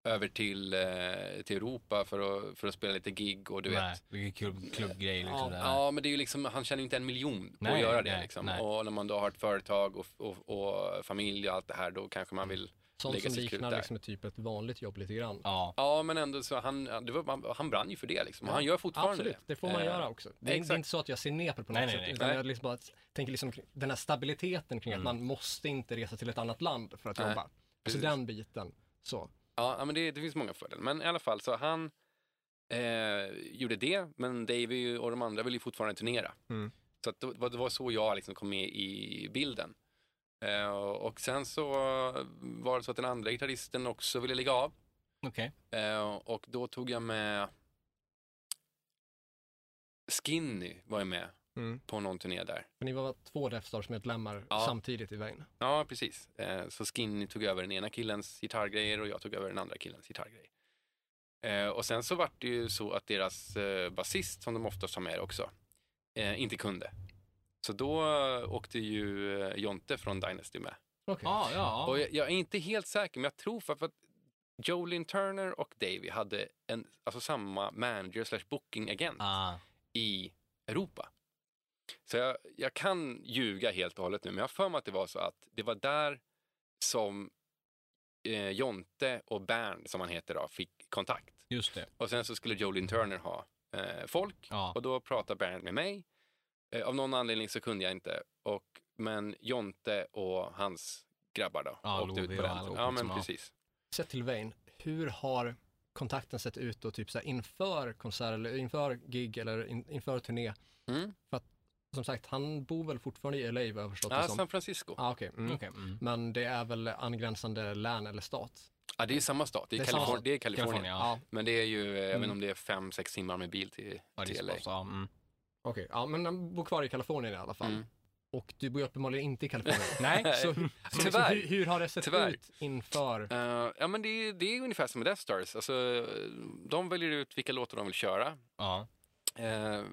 [SPEAKER 1] över till, eh, till Europa för att, för att spela lite gig och du
[SPEAKER 2] Nej,
[SPEAKER 1] vet.
[SPEAKER 2] vilken klubb, klubbgrej liksom.
[SPEAKER 1] Ja,
[SPEAKER 2] det här.
[SPEAKER 1] ja, men det är ju liksom, han tjänar ju inte en miljon på att
[SPEAKER 2] Nej,
[SPEAKER 1] göra det.
[SPEAKER 2] nej,
[SPEAKER 1] liksom.
[SPEAKER 2] nej.
[SPEAKER 1] Och när man då har ett företag och, och, och familj och allt det här, då kanske
[SPEAKER 2] Mm.
[SPEAKER 1] man vill
[SPEAKER 3] Sånt
[SPEAKER 1] lägga
[SPEAKER 3] som
[SPEAKER 1] sitt krut
[SPEAKER 3] liknar
[SPEAKER 1] där.
[SPEAKER 3] liksom ett typ ett vanligt jobb lite grann.
[SPEAKER 2] ja.
[SPEAKER 1] Ja, men ändå så han, det var, han, han brann ju för det liksom. Och han gör fortfarande
[SPEAKER 3] Absolut, det får man
[SPEAKER 1] Eh,
[SPEAKER 3] göra också. Det är, det
[SPEAKER 1] exakt.
[SPEAKER 3] är inte så att jag ser ner på det på något
[SPEAKER 2] Nej, nej,
[SPEAKER 3] sätt,
[SPEAKER 2] nej.
[SPEAKER 3] utan
[SPEAKER 1] Nej. Mm.
[SPEAKER 3] jag liksom bara tänker liksom kring den här stabiliteten kring att man måste inte resa till ett annat land för att
[SPEAKER 1] Nej,
[SPEAKER 3] jobba. Alltså
[SPEAKER 1] precis.
[SPEAKER 3] den biten. Så.
[SPEAKER 1] Ja, ja, men det, det finns många fördelar. Men i alla fall, så han eh, gjorde det, men Davey och de andra ville ju fortfarande turnera.
[SPEAKER 3] Mm.
[SPEAKER 1] Så att det, var- det var så jag liksom kom med i bilden. Eh, och sen så var det så att den andra gitarristen också ville lägga av.
[SPEAKER 2] Okej.
[SPEAKER 1] Eh, och då tog jag med Skinny var jag med
[SPEAKER 3] Mm.
[SPEAKER 1] på någon turné där.
[SPEAKER 3] Men ni var två Death Stars-medlemmar
[SPEAKER 1] Ja.
[SPEAKER 3] samtidigt i vägen.
[SPEAKER 1] Ja, precis. Eh, så Skinny tog över den ena killens gitarrgrejer och jag tog över den andra killens gitarrgrej. Eh, och sen så vart det ju så att deras eh, basist, som de oftast har med också, eh, inte kunde. Så då eh, åkte ju eh, Jonte från Dynasty med.
[SPEAKER 3] Okej.
[SPEAKER 2] Ja, ja.
[SPEAKER 1] Och jag, jag är inte helt säker, men jag tror för, för att Jolin Turner och Davey hade en, alltså samma manager slash bookingagent
[SPEAKER 2] Ah.
[SPEAKER 1] i Europa. Så jag, jag kan ljuga helt och hållet nu, men jag har för mig att det var så att det var där som eh, Jonte och Bernd, som han heter då, fick kontakt.
[SPEAKER 2] Just det.
[SPEAKER 1] Och sen så skulle Jolin Turner ha eh, folk
[SPEAKER 2] Ja.
[SPEAKER 1] och då pratade Bernd med mig. Eh, av någon anledning så kunde jag inte, och, men Jonte och hans grabbar då
[SPEAKER 2] Ja, Lovi
[SPEAKER 1] åkte ut på
[SPEAKER 2] och
[SPEAKER 1] den.
[SPEAKER 2] allihop
[SPEAKER 1] Ja,
[SPEAKER 2] liksom,
[SPEAKER 1] men
[SPEAKER 2] ja.
[SPEAKER 1] precis.
[SPEAKER 3] Sett till Wayne, hur har kontakten sett ut då, typ så här, inför konsert eller inför gig eller in, inför turné?
[SPEAKER 1] Mm.
[SPEAKER 3] Som sagt, han bor väl fortfarande i LA vad jag har förstått det
[SPEAKER 1] Ja,
[SPEAKER 3] som.
[SPEAKER 1] San Francisco.
[SPEAKER 3] Ah, okej. mm.
[SPEAKER 2] Okej. Mm.
[SPEAKER 3] Men det är väl angränsande län eller stat?
[SPEAKER 1] Ja, det är samma stat, det är,
[SPEAKER 3] Det är samma
[SPEAKER 1] Kalifornien.
[SPEAKER 3] stat.
[SPEAKER 1] Det är Kalifornien.
[SPEAKER 2] Kalifornien, ja.
[SPEAKER 1] Men det är ju, eh, jag vet
[SPEAKER 3] Mm.
[SPEAKER 1] inte om det är fem, sex timmar med bil till,
[SPEAKER 2] Ja, det är
[SPEAKER 1] till LA.
[SPEAKER 2] så pass, ja, mm.
[SPEAKER 3] Okej, ja men han bor kvar i Kalifornien i alla fall.
[SPEAKER 1] Mm.
[SPEAKER 3] Och du bor ju uppenbarligen inte i Kalifornien.
[SPEAKER 2] Nej.
[SPEAKER 3] Så, så liksom,
[SPEAKER 1] Tyvärr.
[SPEAKER 3] hur, hur har det sett
[SPEAKER 1] Tyvärr.
[SPEAKER 3] ut inför?
[SPEAKER 1] Eh, ja, men det, är- det är ungefär som med Death Stars. Alltså, eh, de väljer ut vilka låtar de vill köra.
[SPEAKER 2] Ja.
[SPEAKER 1] Eh,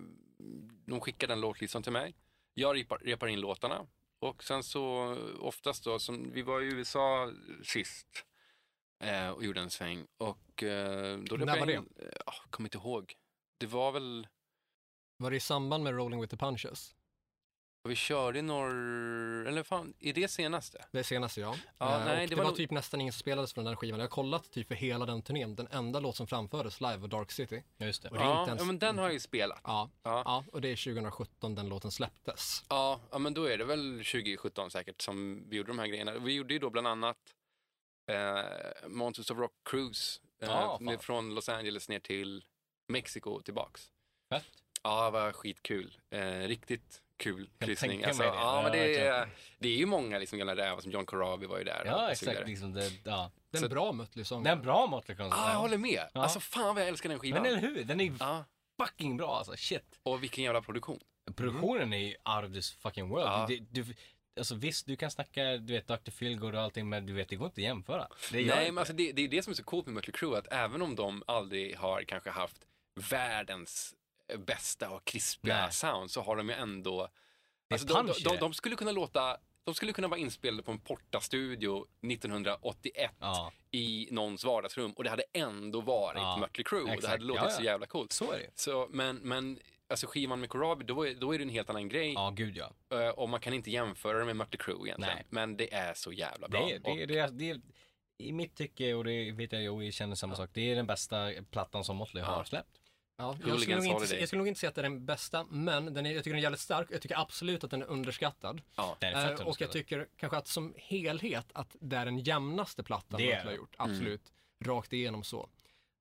[SPEAKER 1] de skickar den låtlistan till mig. Jag repar, repar in låtarna. Och sen så eh, oftast då, som, vi var i USA sist eh, och gjorde en sväng. Och, eh, då
[SPEAKER 3] När
[SPEAKER 1] repade
[SPEAKER 3] var
[SPEAKER 1] jag in- eh, ah, kommer inte ihåg. Det var väl,
[SPEAKER 3] Var det i samband med Rolling with the Punches?
[SPEAKER 1] vi körde i norr, eller fan, är det senaste?
[SPEAKER 3] Det senaste ja.
[SPEAKER 1] Ja,
[SPEAKER 3] Eh,
[SPEAKER 1] nej,
[SPEAKER 3] och
[SPEAKER 1] det
[SPEAKER 3] det,
[SPEAKER 1] var
[SPEAKER 3] var,
[SPEAKER 1] nog-
[SPEAKER 3] typ nästan ingen som spelades från den skivan. Jag har kollat typ för hela den turnén. Den enda låt som framfördes live var Dark City.
[SPEAKER 2] Ja, Just det.
[SPEAKER 3] Och det är
[SPEAKER 1] ja,
[SPEAKER 3] inte ens...
[SPEAKER 1] ja, men den har jag ju spelat.
[SPEAKER 3] ja.
[SPEAKER 1] Ja.
[SPEAKER 3] ja, och det är 2017 den låten släpptes.
[SPEAKER 1] Ja, ja, men då är det väl 2017 säkert som vi gjorde de här grejerna. Vi gjorde ju då bland annat eh, Monsters of Rock Cruise eh,
[SPEAKER 2] Ja, fan.
[SPEAKER 1] från Los Angeles ner till Mexiko och tillbaks.
[SPEAKER 2] Fett.
[SPEAKER 1] Ja, det var skitkul. Eh, riktigt kul
[SPEAKER 2] Kan
[SPEAKER 1] kryssning.
[SPEAKER 2] tänka
[SPEAKER 1] Alltså,
[SPEAKER 2] mig det.
[SPEAKER 1] ja, men det,
[SPEAKER 2] Ja,
[SPEAKER 1] är, det är ju många liksom, gamla rävar som John Corabi var ju där.
[SPEAKER 2] Ja,
[SPEAKER 1] och så vidare.
[SPEAKER 2] exakt. Liksom det, ja.
[SPEAKER 3] Den
[SPEAKER 1] Så-
[SPEAKER 3] bra liksom. Mötley
[SPEAKER 2] Den är
[SPEAKER 3] sången.
[SPEAKER 2] en bra Motley Crue.
[SPEAKER 1] Ah, jag håller med.
[SPEAKER 2] Ja.
[SPEAKER 1] Alltså fan vad jag älskar den skivan.
[SPEAKER 2] Men eller hur? Den är
[SPEAKER 1] Ja, Ah.
[SPEAKER 2] fucking bra alltså. Shit.
[SPEAKER 1] och vilken jävla produktion.
[SPEAKER 2] Mm-hmm. Produktionen är ju out of this fucking world.
[SPEAKER 1] Ja.
[SPEAKER 2] Du, du, alltså visst, du kan snacka du vet, Dr. Feelgood och allting, men du vet, det går inte att jämföra. Det gör
[SPEAKER 1] Nej,
[SPEAKER 2] inte.
[SPEAKER 1] men alltså det, det är det som är så coolt med Mötley Crüe, att även om de aldrig har kanske haft världens bästa och krispiga
[SPEAKER 2] Nej.
[SPEAKER 1] sound så har de ju ändå...
[SPEAKER 2] Det är
[SPEAKER 1] Alltså de, de,
[SPEAKER 2] punch i
[SPEAKER 1] de,
[SPEAKER 2] det.
[SPEAKER 1] de skulle kunna låta... De skulle kunna vara inspelade på en Porta-studio 1981
[SPEAKER 2] Ja.
[SPEAKER 1] i någons vardagsrum och det hade ändå varit
[SPEAKER 2] Ja,
[SPEAKER 1] Mötley Crüe och det
[SPEAKER 2] exakt.
[SPEAKER 1] hade låtit
[SPEAKER 2] Ja, ja.
[SPEAKER 1] så jävla coolt.
[SPEAKER 2] Så är det ju.
[SPEAKER 1] Så, men, men alltså skivan med Corabi, då är, då är det en helt annan grej
[SPEAKER 2] Ja, gud ja.
[SPEAKER 1] eh, och man kan inte jämföra det med Mötley Crüe egentligen.
[SPEAKER 2] Nej.
[SPEAKER 1] Men det är så jävla bra.
[SPEAKER 2] Det är, det,
[SPEAKER 1] Och-
[SPEAKER 2] är, det, är, det är, I mitt tycke, och det vet jag, och jag känner samma sak, det är den bästa plattan som Motley
[SPEAKER 1] Ja.
[SPEAKER 2] har släppt.
[SPEAKER 3] Ja, jag,
[SPEAKER 1] Hooligans
[SPEAKER 3] skulle nog inte,
[SPEAKER 1] Holiday.
[SPEAKER 3] jag skulle nog inte säga att det är den bästa, men den är, jag tycker den är jävligt stark. Jag tycker absolut att den är underskattad.
[SPEAKER 1] ja.
[SPEAKER 2] Den är
[SPEAKER 3] Eh,
[SPEAKER 2] fett
[SPEAKER 3] och jag tycker kanske att som helhet att det är den jämnaste plattan
[SPEAKER 2] Det är
[SPEAKER 3] Mötley har
[SPEAKER 2] det.
[SPEAKER 3] gjort.
[SPEAKER 1] Mm.
[SPEAKER 3] Absolut. Rakt igenom så.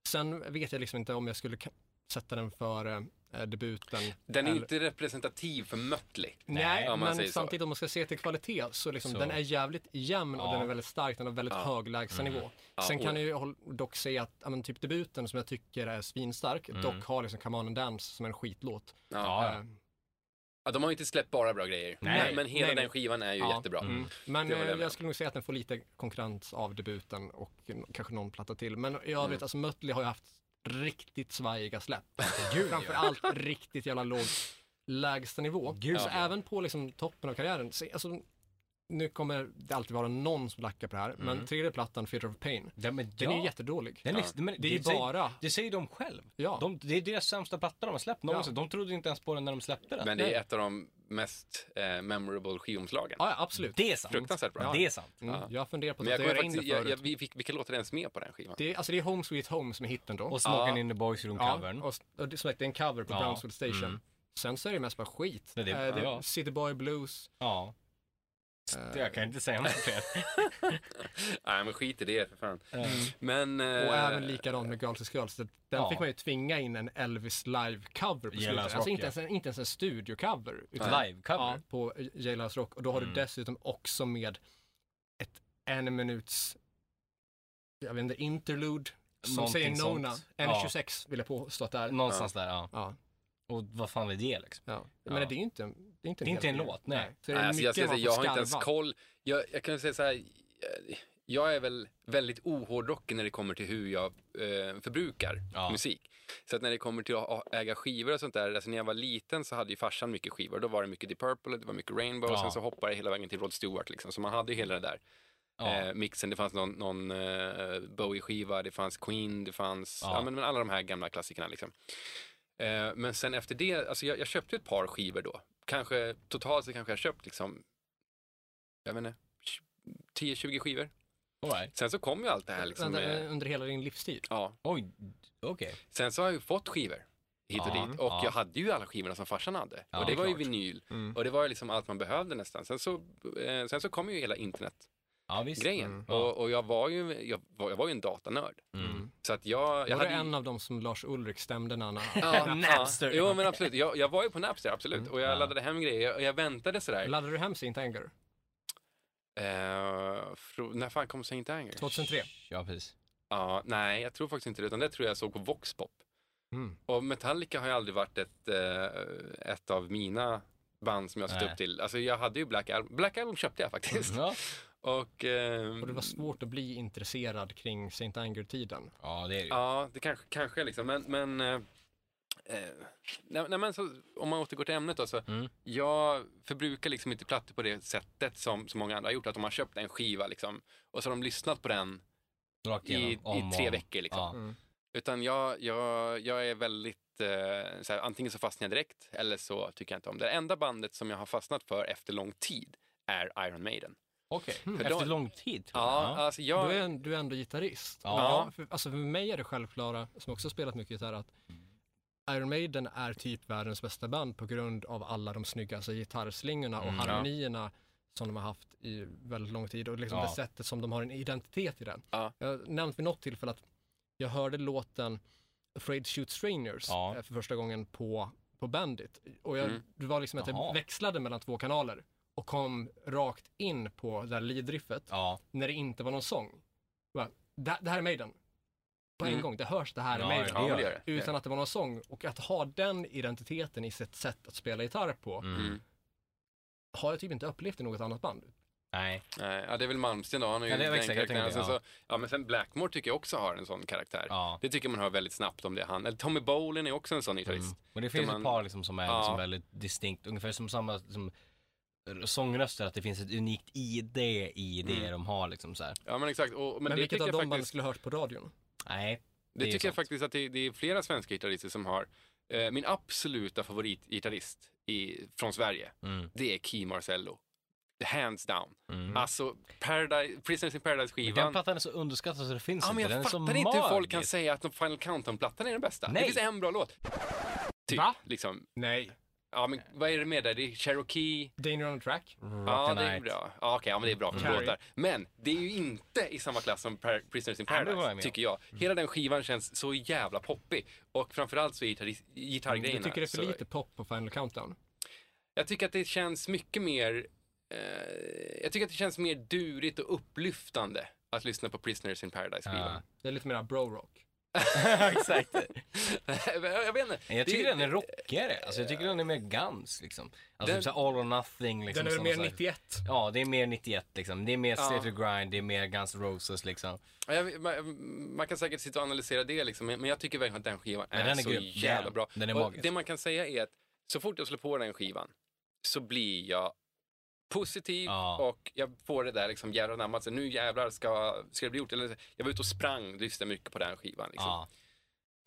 [SPEAKER 3] Sen vet jag liksom inte om jag skulle ka- sätta den före eh, debuten.
[SPEAKER 1] Den är
[SPEAKER 3] eller-
[SPEAKER 1] inte representativ för Mötley.
[SPEAKER 3] Nej,
[SPEAKER 1] om man säger
[SPEAKER 3] men
[SPEAKER 1] så.
[SPEAKER 3] samtidigt om man ska se till kvalitet så liksom
[SPEAKER 2] Så.
[SPEAKER 3] den är jävligt jämn och
[SPEAKER 2] Ja. Mm.
[SPEAKER 3] den är väldigt stark, den har väldigt hög lägstanivå. Sen
[SPEAKER 1] och-
[SPEAKER 3] kan jag ju håll- dock säga att ja, men, typ debuten som jag tycker är svinstark, dock har liksom Come on and dance som en skitlåt.
[SPEAKER 1] Ja.
[SPEAKER 2] Mm. Ja,
[SPEAKER 3] Eh,
[SPEAKER 1] Ja, de har ju inte släppt bara bra grejer.
[SPEAKER 2] Nej.
[SPEAKER 1] Men, men hela
[SPEAKER 3] Nej, nej.
[SPEAKER 1] den skivan är ju
[SPEAKER 3] Ja. Mm.
[SPEAKER 1] jättebra.
[SPEAKER 3] Men eh,
[SPEAKER 1] Det håller jag
[SPEAKER 3] jag,
[SPEAKER 1] med om.
[SPEAKER 3] jag skulle nog säga att den får lite konkurrens av debuten och n- kanske någon platta till. Men i övrigt,
[SPEAKER 1] Mm.
[SPEAKER 3] alltså Mötley har ju haft riktigt svajiga släpp. Framförallt riktigt jävla låg lägstanivå.
[SPEAKER 2] Gud,
[SPEAKER 3] så
[SPEAKER 2] ja.
[SPEAKER 3] även på liksom toppen av karriären, så, alltså, nu kommer det alltid vara någon som lackar på det här,
[SPEAKER 1] Mm.
[SPEAKER 3] men tredje plattan, Theater of Pain,
[SPEAKER 2] Ja, men
[SPEAKER 3] den är
[SPEAKER 2] ja.
[SPEAKER 3] ju jättedålig.
[SPEAKER 2] Den är,
[SPEAKER 1] Ja.
[SPEAKER 2] men,
[SPEAKER 3] Det är ju
[SPEAKER 2] säger-
[SPEAKER 3] bara-
[SPEAKER 2] Det säger de själv.
[SPEAKER 3] Ja.
[SPEAKER 2] De, det är deras sämsta platta de har släppt någonsin. De trodde inte ens på den när de släppte den.
[SPEAKER 1] Men det är ett av de mest eh, memorable skivomslagen.
[SPEAKER 3] Ja, ja, absolut.
[SPEAKER 2] det är sant.
[SPEAKER 1] Fruktansvärt bra.
[SPEAKER 2] Det är sant.
[SPEAKER 3] Mm, jag funderar på att
[SPEAKER 1] Men jag kommer
[SPEAKER 3] tatuera in det
[SPEAKER 1] faktiskt, jag,
[SPEAKER 3] förut.
[SPEAKER 1] jag, vi, vi, vilka låtar är ens med på den skivan?
[SPEAKER 3] Det, är, alltså det är Home Sweet Home som är hitten då.
[SPEAKER 2] Och Smoking in the Boys Room-covern.
[SPEAKER 3] Ja, och, s- och det, som sagt, det är en cover på
[SPEAKER 2] Ja,
[SPEAKER 3] Brownsville Station.
[SPEAKER 2] mm.
[SPEAKER 3] Sen så är det mest bara skit.
[SPEAKER 2] Nej, det är
[SPEAKER 3] Eh, det,
[SPEAKER 2] bra.
[SPEAKER 3] City Boy Blues.
[SPEAKER 2] Ja.
[SPEAKER 3] eh,
[SPEAKER 2] Jag kan inte säga något fel.
[SPEAKER 1] Nej, men skit i det för fan.
[SPEAKER 2] Mm.
[SPEAKER 1] Men...
[SPEAKER 3] och
[SPEAKER 1] eh,
[SPEAKER 3] även likadant med Girls is Girls. Så Den
[SPEAKER 2] Ja.
[SPEAKER 3] fick man ju tvinga in en Elvis live-cover på slutet.
[SPEAKER 2] Jailhouse Rock,
[SPEAKER 3] Alltså inte
[SPEAKER 2] ja.
[SPEAKER 3] ens, en- inte ens en studio-cover. utan- Ja,
[SPEAKER 2] Live-cover.
[SPEAKER 3] på Jailhouse Rock. Och då har
[SPEAKER 2] Mm.
[SPEAKER 3] du dessutom också med ett en minuts, jag vet inte, interlude. Som
[SPEAKER 2] Någonting
[SPEAKER 3] säger
[SPEAKER 2] sånt.
[SPEAKER 3] Nona. En
[SPEAKER 2] Ja.
[SPEAKER 3] 26 vill jag påstå att det är.
[SPEAKER 2] Någonstans där, ja.
[SPEAKER 3] Ja,
[SPEAKER 2] Och vad fan är det liksom?
[SPEAKER 3] ja. Men
[SPEAKER 2] Ja.
[SPEAKER 3] det är ju inte, det är inte
[SPEAKER 2] Det är inte
[SPEAKER 3] hel
[SPEAKER 2] en
[SPEAKER 3] del.
[SPEAKER 2] låt, nej.
[SPEAKER 3] Så det är
[SPEAKER 1] Nej, alltså jag, ska säga,
[SPEAKER 3] mycket man
[SPEAKER 1] jag
[SPEAKER 3] får
[SPEAKER 1] har inte ens
[SPEAKER 3] skarva.
[SPEAKER 1] koll. Jag, jag kan säga så här, eh, jag är väl väldigt ohårdrockig när det kommer till hur jag eh, förbrukar
[SPEAKER 2] Ja.
[SPEAKER 1] musik. Så att när det kommer till att ha- äga skivor och sånt där, alltså när jag var liten så hade ju farsan mycket skivor. Då var det mycket Deep Purple, det var mycket Rainbow och
[SPEAKER 2] Ja.
[SPEAKER 1] sen så hoppade jag hela vägen till Rod Stewart liksom. Så man hade ju hela det där
[SPEAKER 2] Ja.
[SPEAKER 1] eh, mixen. Det fanns någon, någon eh, Bowie-skiva, det fanns Queen, det fanns
[SPEAKER 2] Ja.
[SPEAKER 1] ja. men, men alla de här gamla klassikerna. Liksom. Eh, men sen efter det, alltså jag, jag köpte ett par skivor då. Kanske, totalt så kanske jag köpt liksom, jag vet inte, 10-20 skivor.
[SPEAKER 2] All right.
[SPEAKER 1] Sen så kom ju allt det här liksom.
[SPEAKER 3] Vänta,
[SPEAKER 1] Med,
[SPEAKER 3] eh, under hela din livstid.
[SPEAKER 1] ja.
[SPEAKER 2] Oj, okej.
[SPEAKER 1] Sen så har jag ju fått skivor hit och
[SPEAKER 2] Ja,
[SPEAKER 1] dit och
[SPEAKER 2] ja.
[SPEAKER 1] jag hade ju alla skivorna som farsan hade.
[SPEAKER 2] Ja,
[SPEAKER 1] och det var ju
[SPEAKER 2] klart. Mm.
[SPEAKER 1] vinyl och det var ju liksom allt man behövde nästan. Sen så, eh, sen så kom ju hela internetgrejen
[SPEAKER 2] Ja, visst. Mm. Ja.
[SPEAKER 1] och, och jag var ju, jag var, jag var ju en datanörd.
[SPEAKER 2] Mm.
[SPEAKER 1] Så att jag, jag
[SPEAKER 3] var du
[SPEAKER 1] hade ju-
[SPEAKER 3] en av dem som Lars Ulrik stämde när han
[SPEAKER 1] Ja,
[SPEAKER 2] Napster.
[SPEAKER 1] Ja. Jo, men absolut. Jag, jag var ju på Napster, absolut. Och
[SPEAKER 3] Mm,
[SPEAKER 1] jag
[SPEAKER 2] Ja.
[SPEAKER 1] laddade hem grejer. Jag, jag väntade sådär.
[SPEAKER 3] Laddade du hem Saint Anger?
[SPEAKER 1] Eh, fro- när fan kom Saint Anger?
[SPEAKER 3] 2003?
[SPEAKER 2] Ja, precis.
[SPEAKER 1] Ja, nej, jag tror faktiskt inte det. Utan det tror jag såg på Voxpop.
[SPEAKER 3] Mm.
[SPEAKER 1] Och Metallica har ju aldrig varit ett, eh, ett av mina band som jag sett
[SPEAKER 2] Nej.
[SPEAKER 1] upp till. Alltså jag hade ju Black Album. Black Album köpte jag faktiskt.
[SPEAKER 2] Mm. Ja.
[SPEAKER 1] Och, ehm,
[SPEAKER 3] Mm, Och det var svårt att bli intresserad kring Saint Anger-tiden.
[SPEAKER 2] ja, det är det ju.
[SPEAKER 1] Ja, det kanske, kanske liksom. Men, men, eh, eh, nej, nej, men så, om man återgår till ämnet då. Så
[SPEAKER 2] Mm.
[SPEAKER 1] Jag förbrukar liksom inte plattor på det sättet som, som många andra har gjort. Att de har köpt en skiva liksom, och så har de lyssnat på den
[SPEAKER 2] Rakt
[SPEAKER 1] i,
[SPEAKER 2] igenom. om
[SPEAKER 1] i
[SPEAKER 2] och
[SPEAKER 1] tre
[SPEAKER 2] om.
[SPEAKER 1] veckor. Liksom.
[SPEAKER 2] Ja.
[SPEAKER 1] Utan jag, jag, jag är väldigt, eh, så här, antingen så fastnar jag direkt eller så tycker jag inte om det. Det enda bandet som jag har fastnat för efter lång tid är Iron Maiden.
[SPEAKER 2] Okej.
[SPEAKER 1] För
[SPEAKER 2] Efter
[SPEAKER 1] då-
[SPEAKER 2] lång tid, tror jag.
[SPEAKER 1] Ja, alltså jag...
[SPEAKER 3] Du, är, en- du är ändå gitarrist.
[SPEAKER 2] Ja.
[SPEAKER 3] Ja, för, alltså för mig är det självklara, som också har spelat mycket gitarr, att Iron Maiden är typ världens bästa band på grund av alla de snygga alltså, gitarrslingorna och
[SPEAKER 2] Mm, ja.
[SPEAKER 3] harmonierna som de har haft i väldigt lång tid och liksom
[SPEAKER 2] Ja.
[SPEAKER 3] det sättet som de har en identitet i den.
[SPEAKER 1] Ja.
[SPEAKER 3] Jag har nämnt vid något tillfälle att jag hörde låten Afraid to Shoot Strangers
[SPEAKER 2] Ja.
[SPEAKER 3] eh, för första gången på, på Bandit. Och jag,
[SPEAKER 1] Mm.
[SPEAKER 3] det var liksom att
[SPEAKER 2] Jaha.
[SPEAKER 3] jag växlade mellan två kanaler och kom rakt in på det där lead-riffet
[SPEAKER 2] Ja.
[SPEAKER 3] när det inte var någon sång. Bara, det, det här är Maiden. På en
[SPEAKER 1] Mm.
[SPEAKER 3] gång, det hörs det här är
[SPEAKER 2] Ja,
[SPEAKER 3] Maiden.
[SPEAKER 1] ja, men
[SPEAKER 2] det
[SPEAKER 1] det gör det.
[SPEAKER 3] Utan att det var någon sång. Och att ha den identiteten i sitt sätt att spela gitarr på
[SPEAKER 2] Mm.
[SPEAKER 1] Mm.
[SPEAKER 3] har jag typ inte upplevt i något annat band.
[SPEAKER 2] Nej.
[SPEAKER 1] Nej, ja, det är väl Malmsten då. Han har ju
[SPEAKER 2] Ja, det är
[SPEAKER 1] den
[SPEAKER 2] exakt, jag
[SPEAKER 1] karaktären.
[SPEAKER 2] tänkte
[SPEAKER 1] Sen
[SPEAKER 2] det, ja.
[SPEAKER 1] så, ja, men sen Blackmore tycker jag också har en sån karaktär.
[SPEAKER 2] Ja.
[SPEAKER 1] Det tycker man hör väldigt snabbt om det är han. Eller Tommy Bolin är också en sån gitarrist.
[SPEAKER 2] Mm. Men det finns
[SPEAKER 1] Där
[SPEAKER 2] ett
[SPEAKER 1] man-
[SPEAKER 2] par liksom som är
[SPEAKER 1] Ja.
[SPEAKER 2] liksom väldigt distinkt, ungefär som samma som sångröster, att det finns ett unikt ID i det
[SPEAKER 1] Mm.
[SPEAKER 2] de har liksom så här.
[SPEAKER 1] Ja, men exakt. Och, men
[SPEAKER 3] Men,
[SPEAKER 1] det
[SPEAKER 3] vilket
[SPEAKER 1] tycker,
[SPEAKER 3] av
[SPEAKER 1] jag
[SPEAKER 3] de banden
[SPEAKER 1] faktiskt,
[SPEAKER 3] skulle ha hört på radion?
[SPEAKER 2] Nej,
[SPEAKER 1] det
[SPEAKER 2] är
[SPEAKER 1] tycker jag
[SPEAKER 2] sant.
[SPEAKER 1] faktiskt att det, det är flera svenska gitarrister som har. Eh, min absoluta favoritgitarrist i, från Sverige,
[SPEAKER 2] Mm.
[SPEAKER 1] det är Key Marcello. Hands down.
[SPEAKER 2] Mm.
[SPEAKER 1] Alltså, Paradise, Prisoners in
[SPEAKER 2] Den
[SPEAKER 1] Paradise-skivan.
[SPEAKER 2] plattan är så underskattad så det finns
[SPEAKER 1] Ja,
[SPEAKER 2] inte.
[SPEAKER 1] men jag
[SPEAKER 2] den är så
[SPEAKER 1] fattar inte hur folk
[SPEAKER 2] magisk.
[SPEAKER 1] kan säga att de Final Countdown-plattan är den bästa.
[SPEAKER 2] Nej.
[SPEAKER 1] Det finns en bra låt. Typ,
[SPEAKER 3] Va?
[SPEAKER 1] liksom.
[SPEAKER 3] Nej.
[SPEAKER 1] Ja,
[SPEAKER 3] Eh.
[SPEAKER 1] men vad är det med där? Det är Cherokee.
[SPEAKER 3] Danger on a track?
[SPEAKER 2] Rock
[SPEAKER 1] Ja,
[SPEAKER 2] and
[SPEAKER 1] det är
[SPEAKER 2] Night.
[SPEAKER 1] bra. Ja, okej, ja, men det är bra för
[SPEAKER 3] Carrie.
[SPEAKER 1] låtar. Men det är ju inte i samma klass som Par- Prisoners in
[SPEAKER 2] Nej, det håller jag
[SPEAKER 1] Paradise,
[SPEAKER 2] med
[SPEAKER 1] tycker jag.
[SPEAKER 3] Mm.
[SPEAKER 1] Hela den skivan känns så jävla poppig. Och framförallt så är gitarr- gitarrgrejerna.
[SPEAKER 3] Mm, Du tycker det är för
[SPEAKER 1] så-
[SPEAKER 3] lite pop på Final Countdown?
[SPEAKER 1] Jag tycker att det känns mycket mer... Eh, jag tycker att det känns mer durigt och upplyftande att lyssna på Prisoners in Paradise-skivan.
[SPEAKER 3] Det är lite mer bro-rock.
[SPEAKER 2] Exakt.
[SPEAKER 1] jag vet inte.
[SPEAKER 2] Jag tycker
[SPEAKER 1] Det-
[SPEAKER 2] den är rockigare. Alltså, jag tycker den är mer Guns liksom. Alltså
[SPEAKER 1] Den-
[SPEAKER 2] typ så här all or nothing liksom.
[SPEAKER 3] Den är väl
[SPEAKER 2] som
[SPEAKER 3] mer
[SPEAKER 2] så här-
[SPEAKER 3] 91?
[SPEAKER 2] Ja, det är mer 91 liksom. Det är mer
[SPEAKER 1] Ja.
[SPEAKER 2] State of Grind, det är mer Guns N' Roses liksom.
[SPEAKER 1] Ja, Jag, man, man kan säkert sitta och analysera det, liksom, men men jag tycker verkligen att den skivan
[SPEAKER 2] Men
[SPEAKER 1] är,
[SPEAKER 2] den är
[SPEAKER 1] så
[SPEAKER 2] grym. Det är
[SPEAKER 1] jävla
[SPEAKER 2] den.
[SPEAKER 1] bra.
[SPEAKER 2] Den är
[SPEAKER 1] och
[SPEAKER 2] magisk.
[SPEAKER 1] det man kan säga är att så fort jag slår på den skivan så blir jag positiv
[SPEAKER 2] Ja.
[SPEAKER 1] och jag får det där liksom jävlar anamma. Så nu jävlar ska, ska det bli gjort. Eller, jag var ute och sprang, lyssnade mycket på den här skivan. Liksom.
[SPEAKER 2] Ja.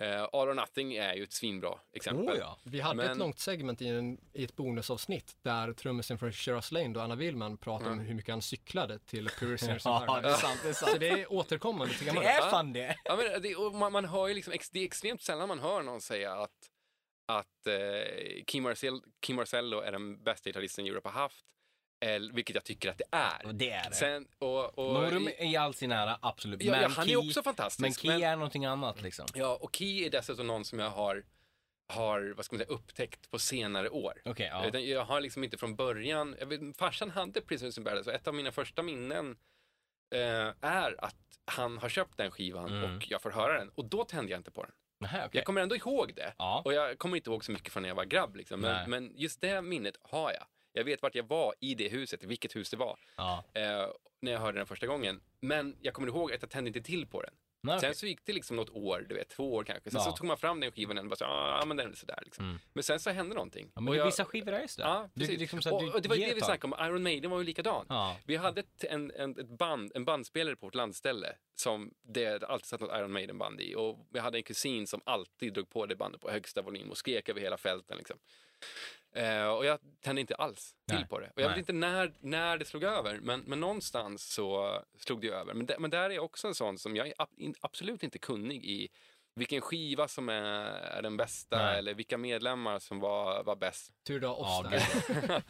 [SPEAKER 1] Eh, All or Nothing är ju ett svinbra exempel.
[SPEAKER 2] Oh, ja.
[SPEAKER 3] Vi hade
[SPEAKER 1] Men-
[SPEAKER 3] ett långt segment i, en, i ett bonusavsnitt där trummisen från Shiraz Lane, då Anna Willman, pratade om hur mycket han cyklade till Career Sinners and
[SPEAKER 2] Mm. ja, det är
[SPEAKER 3] Paradise.
[SPEAKER 2] sant. Det är,
[SPEAKER 3] Så
[SPEAKER 2] sant.
[SPEAKER 3] det är återkommande till
[SPEAKER 2] Det
[SPEAKER 3] gamla
[SPEAKER 2] är fan det.
[SPEAKER 1] Ja, men det, och man, man hör ju liksom, ex- det är extremt sällan man hör någon säga att, att eh, Kim, Marcel, Kim Marcello är den bästa gitarristen Europe har haft, eller, vilket jag tycker att det
[SPEAKER 2] Och
[SPEAKER 1] är.
[SPEAKER 2] det är det.
[SPEAKER 1] Sen, och, och,
[SPEAKER 2] Norum är i all sin ära, absolut.
[SPEAKER 1] ja, ja,
[SPEAKER 2] Men
[SPEAKER 1] han
[SPEAKER 2] Key-
[SPEAKER 1] är också
[SPEAKER 2] Men
[SPEAKER 1] fantastisk.
[SPEAKER 2] Key är någonting annat liksom.
[SPEAKER 1] ja, och Key är dessutom någon som jag har, har vad ska man säga, upptäckt på senare år.
[SPEAKER 2] Okej, ja.
[SPEAKER 1] Utan jag har liksom inte från början, jag vet, farsan hade Prisoners in Paradise och ett av mina första minnen eh, är att han har köpt den skivan
[SPEAKER 2] Mm.
[SPEAKER 1] och jag får höra den och då tände jag inte på den.
[SPEAKER 2] Nähä, okej.
[SPEAKER 1] Jag kommer ändå ihåg det.
[SPEAKER 2] Ja.
[SPEAKER 1] Och jag kommer inte ihåg så mycket från när jag var grabb. Liksom.
[SPEAKER 2] Nej.
[SPEAKER 1] Men, men just det minnet har jag. Jag vet vart jag var i det huset, vilket hus det var,
[SPEAKER 2] ja.
[SPEAKER 1] eh, när jag hörde den första gången. Men jag kommer ihåg att jag tände inte till på den.
[SPEAKER 2] Nej, okej.
[SPEAKER 1] Sen så gick det liksom något år, du vet, två år kanske. Sen
[SPEAKER 2] Ja.
[SPEAKER 1] så tog man fram den skivan och bara så, ah, men den är sådär. Liksom.
[SPEAKER 2] Mm.
[SPEAKER 1] Men sen så hände någonting.
[SPEAKER 2] Ja, men
[SPEAKER 1] och jag,
[SPEAKER 2] Vissa skivor är ju sådär.
[SPEAKER 1] ja,
[SPEAKER 2] Du-
[SPEAKER 1] precis.
[SPEAKER 2] liksom så här, du
[SPEAKER 1] och, och det var ju
[SPEAKER 2] ger
[SPEAKER 1] det vi
[SPEAKER 2] ett tag.
[SPEAKER 1] snackade om, Iron Maiden var ju likadan.
[SPEAKER 2] Ja.
[SPEAKER 1] Vi hade ett, en, en, ett band, en bandspelare på vårt landställe som det alltid satt något Iron Maiden-band i. Och vi hade en kusin som alltid drog på det bandet på högsta volym och skrek över hela fälten. Liksom. Eh, och jag tände inte alls till
[SPEAKER 2] Nej.
[SPEAKER 1] på det. Och jag
[SPEAKER 2] Nej.
[SPEAKER 1] vet inte när, när det slog över, men, men någonstans så slog det ju över. Men, där- men där är också en sån som jag är ab- in, absolut inte kunnig i vilken skiva som är, är den bästa
[SPEAKER 2] Nej.
[SPEAKER 1] eller vilka medlemmar som var, var bäst.
[SPEAKER 3] Tur du har oss
[SPEAKER 2] Ja,
[SPEAKER 3] där.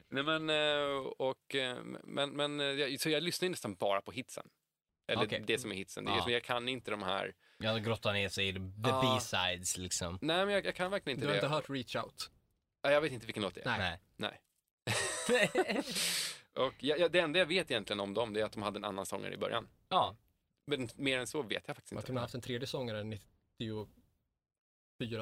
[SPEAKER 1] Nej, men, eh, och, eh, men, men, eh, jag- så jag lyssnar ju nästan bara på hitsen. Eller
[SPEAKER 2] Okej.
[SPEAKER 1] det som är hitsen. Det är,
[SPEAKER 2] Ja.
[SPEAKER 1] just- Jag kan inte de här...
[SPEAKER 2] Jag grottar ner sig i the
[SPEAKER 1] Ja.
[SPEAKER 2] B-sides liksom.
[SPEAKER 1] Nej, men jag, jag kan verkligen
[SPEAKER 3] Du
[SPEAKER 1] inte
[SPEAKER 3] har
[SPEAKER 1] det.
[SPEAKER 3] inte hört Reach Out?
[SPEAKER 1] Ja, Jag vet inte vilken låt det är.
[SPEAKER 3] Nej.
[SPEAKER 1] Nej. Och jag, jag, det enda jag vet egentligen om dem det är att de hade en annan sångare i början.
[SPEAKER 2] ja.
[SPEAKER 1] Men mer än så vet jag faktiskt
[SPEAKER 3] Jag
[SPEAKER 1] inte.
[SPEAKER 3] tror de har haft en tredje sångare 94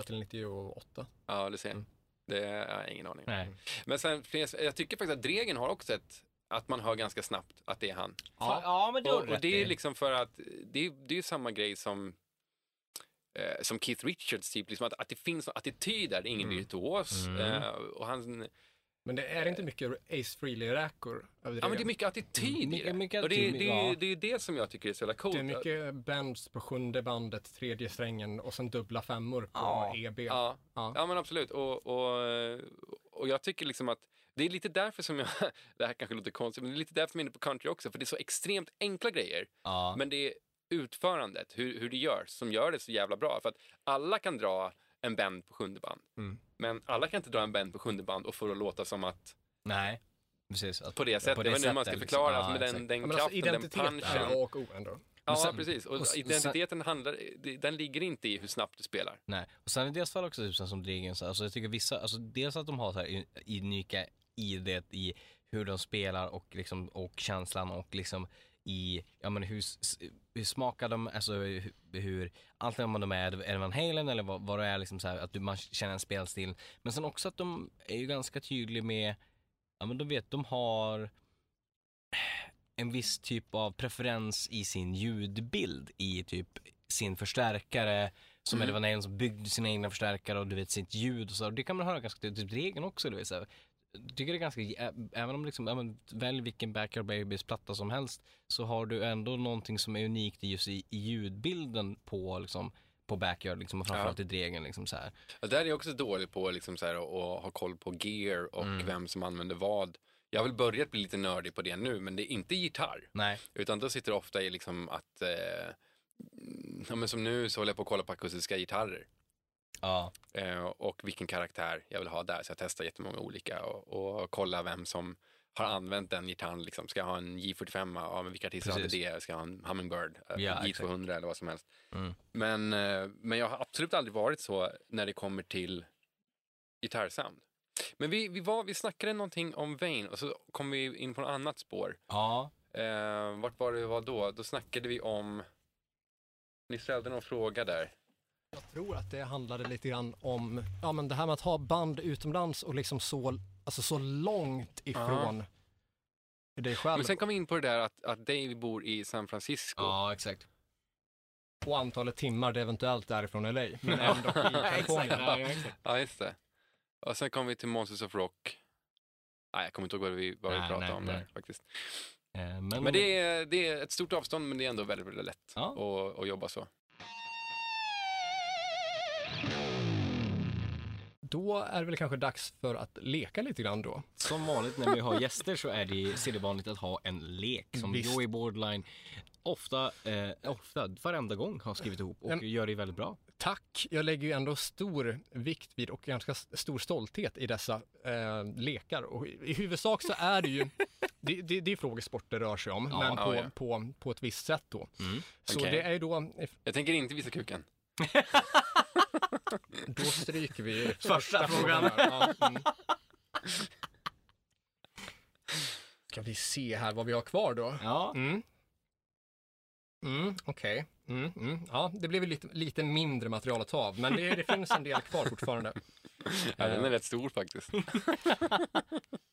[SPEAKER 3] till 98.
[SPEAKER 1] Ja, du ser.
[SPEAKER 3] Mm.
[SPEAKER 1] Det jag har ingen aning. om.
[SPEAKER 2] Nej.
[SPEAKER 1] Men sen, finns- jag tycker faktiskt att Dregen har också ett, att man hör ganska snabbt att det är han.
[SPEAKER 2] Ja. ja, men det har
[SPEAKER 1] Och,
[SPEAKER 2] du
[SPEAKER 1] och
[SPEAKER 2] rätt
[SPEAKER 1] det
[SPEAKER 2] i.
[SPEAKER 1] är liksom för att eh, det är, det är ju samma grej som, eh, som Keith Richards, typ, liksom att, att det finns någon attityd där, det är ingen
[SPEAKER 3] Mm.
[SPEAKER 1] virtuos.
[SPEAKER 2] Mm.
[SPEAKER 1] Eh, och han,
[SPEAKER 3] Men det är inte mycket Ace Frehley-räkor över det.
[SPEAKER 1] ja, men det är mycket attityd i det.
[SPEAKER 2] Mycket- mycket
[SPEAKER 1] och det, är-
[SPEAKER 2] attityd,
[SPEAKER 1] det, är,
[SPEAKER 2] ja.
[SPEAKER 1] det är det som jag tycker är så jävla coolt.
[SPEAKER 3] Det är mycket bands på sjunde bandet, tredje strängen och sen dubbla femmor på E
[SPEAKER 2] Ja.
[SPEAKER 3] EB.
[SPEAKER 1] Ja,
[SPEAKER 3] Ja.
[SPEAKER 1] ja men absolut. Och, och, eh, och jag tycker liksom att det är lite därför som jag, det här kanske låter konstigt, men det är lite därför jag är inne på country också, för det är så extremt enkla grejer.
[SPEAKER 2] Ja.
[SPEAKER 1] Men det är utförandet, hur, hur det görs, som gör det så jävla bra. För att alla kan dra en band på sjunde band.
[SPEAKER 3] Mm.
[SPEAKER 1] Men alla kan inte dra en band på sjunde band och få det att låta som att
[SPEAKER 2] Nej, precis. Att,
[SPEAKER 1] på det sättet. jag vet inte hur man ska
[SPEAKER 2] sättet,
[SPEAKER 1] förklara,
[SPEAKER 2] liksom.
[SPEAKER 1] alltså, med
[SPEAKER 2] Ja,
[SPEAKER 1] den,
[SPEAKER 2] exakt.
[SPEAKER 1] den
[SPEAKER 3] Ja, men alltså
[SPEAKER 1] kraften, den
[SPEAKER 3] identitet är
[SPEAKER 1] punchen.
[SPEAKER 3] A och O ändå.
[SPEAKER 1] Ja,
[SPEAKER 2] sen-
[SPEAKER 1] precis. Och,
[SPEAKER 2] och s-
[SPEAKER 1] identiteten handlar, den ligger inte i hur snabbt du spelar.
[SPEAKER 2] Nej, och sen i deras fall också typ så här som Dregen, så här, alltså jag tycker vissa, alltså dels att de har så här unika i det i hur de spelar och liksom och känslan och liksom i, ja men hur, s- hur smakar de, alltså hur, hur allt om de är, är det Van Halen eller vad, vad det är liksom så här, att du, man känner en spelstil. Men sen också att de är ju ganska tydliga med, ja men de vet, de har en viss typ av preferens i sin ljudbild i typ sin förstärkare som mm.
[SPEAKER 1] Mm.
[SPEAKER 2] Eddie Van Halen som byggde sina egna förstärkare och du vet sitt ljud och så. Och det kan man höra ganska tydligt, typ regeln också. Du vet, så här. Jag tycker det är ganska, ä- även om liksom, ja, men, välj vilken Backyard Babies platta som helst så har du ändå någonting som är unikt i just i, i ljudbilden på liksom på backyard liksom och framförallt i Dregen liksom så här.
[SPEAKER 1] Och där är jag också dålig på liksom, så här, att att ha koll på gear och vem som använder vad. Jag har väl börjat bli lite nördig på det nu, men det är inte gitarr.
[SPEAKER 2] Nej.
[SPEAKER 1] Utan då sitter det ofta i liksom att, eh, ja, men som nu så håller jag på att kolla på akustiska gitarrer
[SPEAKER 2] Ja.
[SPEAKER 1] eh, och vilken karaktär jag vill ha där. Så jag testar jättemånga olika och, och kollar vem som har använt den gitarren. Liksom. Ska jag ha en J45? Ja, men vilka artister hade
[SPEAKER 2] Precis.
[SPEAKER 1] det? Ska jag ha en Hummingbird? eh,
[SPEAKER 2] Ja,
[SPEAKER 1] J200
[SPEAKER 2] exakt.
[SPEAKER 1] eller vad som helst.
[SPEAKER 2] Mm.
[SPEAKER 1] Men, eh, men jag har absolut aldrig varit så när det kommer till gitarrsound. Men vi, vi, var, vi snackade någonting om Vain och så kom vi in på något annat spår.
[SPEAKER 2] Ja.
[SPEAKER 1] Eh, vart var det vi var då? Då snackade vi om... Ni ställde någon fråga där.
[SPEAKER 3] Jag tror att det handlade lite grann om ja, men det här med att ha band utomlands och liksom så, alltså så långt ifrån dig själv
[SPEAKER 1] Men sen kom vi in på det där att, att Dave bor i San Francisco.
[SPEAKER 2] Ja, exakt.
[SPEAKER 3] och antalet timmar det eventuellt är ifrån LA. Men ändå i Kalifornien.
[SPEAKER 1] Ja, just det. Och sen kom vi till Monsters of Rock. Nej, jag kommer inte ihåg vad vi, vad vi
[SPEAKER 2] Nej,
[SPEAKER 1] pratade
[SPEAKER 2] nej,
[SPEAKER 1] om
[SPEAKER 2] nej.
[SPEAKER 1] där faktiskt.
[SPEAKER 2] Eh, men
[SPEAKER 1] Men det är, det är ett stort avstånd, men det är ändå väldigt, väldigt lätt
[SPEAKER 2] Ja.
[SPEAKER 1] att, att jobba så.
[SPEAKER 3] Då är det väl kanske dags för att leka lite grann då.
[SPEAKER 2] som vanligt när vi har gäster så är det sedvanligt att ha en lek som
[SPEAKER 3] Visst.
[SPEAKER 2] Joey Borderline ofta, eh, ofta, varenda gång har skrivit ihop och
[SPEAKER 3] Men-
[SPEAKER 2] gör det väldigt bra.
[SPEAKER 3] Tack! Jag lägger ju ändå stor vikt vid och ganska s- stor stolthet i dessa eh, lekar. Och i, I huvudsak så är det ju, det, det, det är frågesport det rör sig om,
[SPEAKER 2] Ja,
[SPEAKER 3] men
[SPEAKER 1] ja,
[SPEAKER 3] på,
[SPEAKER 1] ja.
[SPEAKER 3] På, på ett visst sätt då.
[SPEAKER 2] Mm.
[SPEAKER 3] Så
[SPEAKER 1] Okej.
[SPEAKER 3] det är ju då,
[SPEAKER 1] Jag tänker inte visa kuken.
[SPEAKER 3] då stryker vi ju
[SPEAKER 2] Första
[SPEAKER 3] här. Ja, mm. Ska vi se här vad vi har kvar då.
[SPEAKER 2] Ja,
[SPEAKER 3] Mm. Mm, Okej. Mm, mm. Ja, det blev ju lite, lite mindre material att ta av, men det, det finns en del kvar fortfarande. Eh,
[SPEAKER 1] Ja, den är rätt stor faktiskt.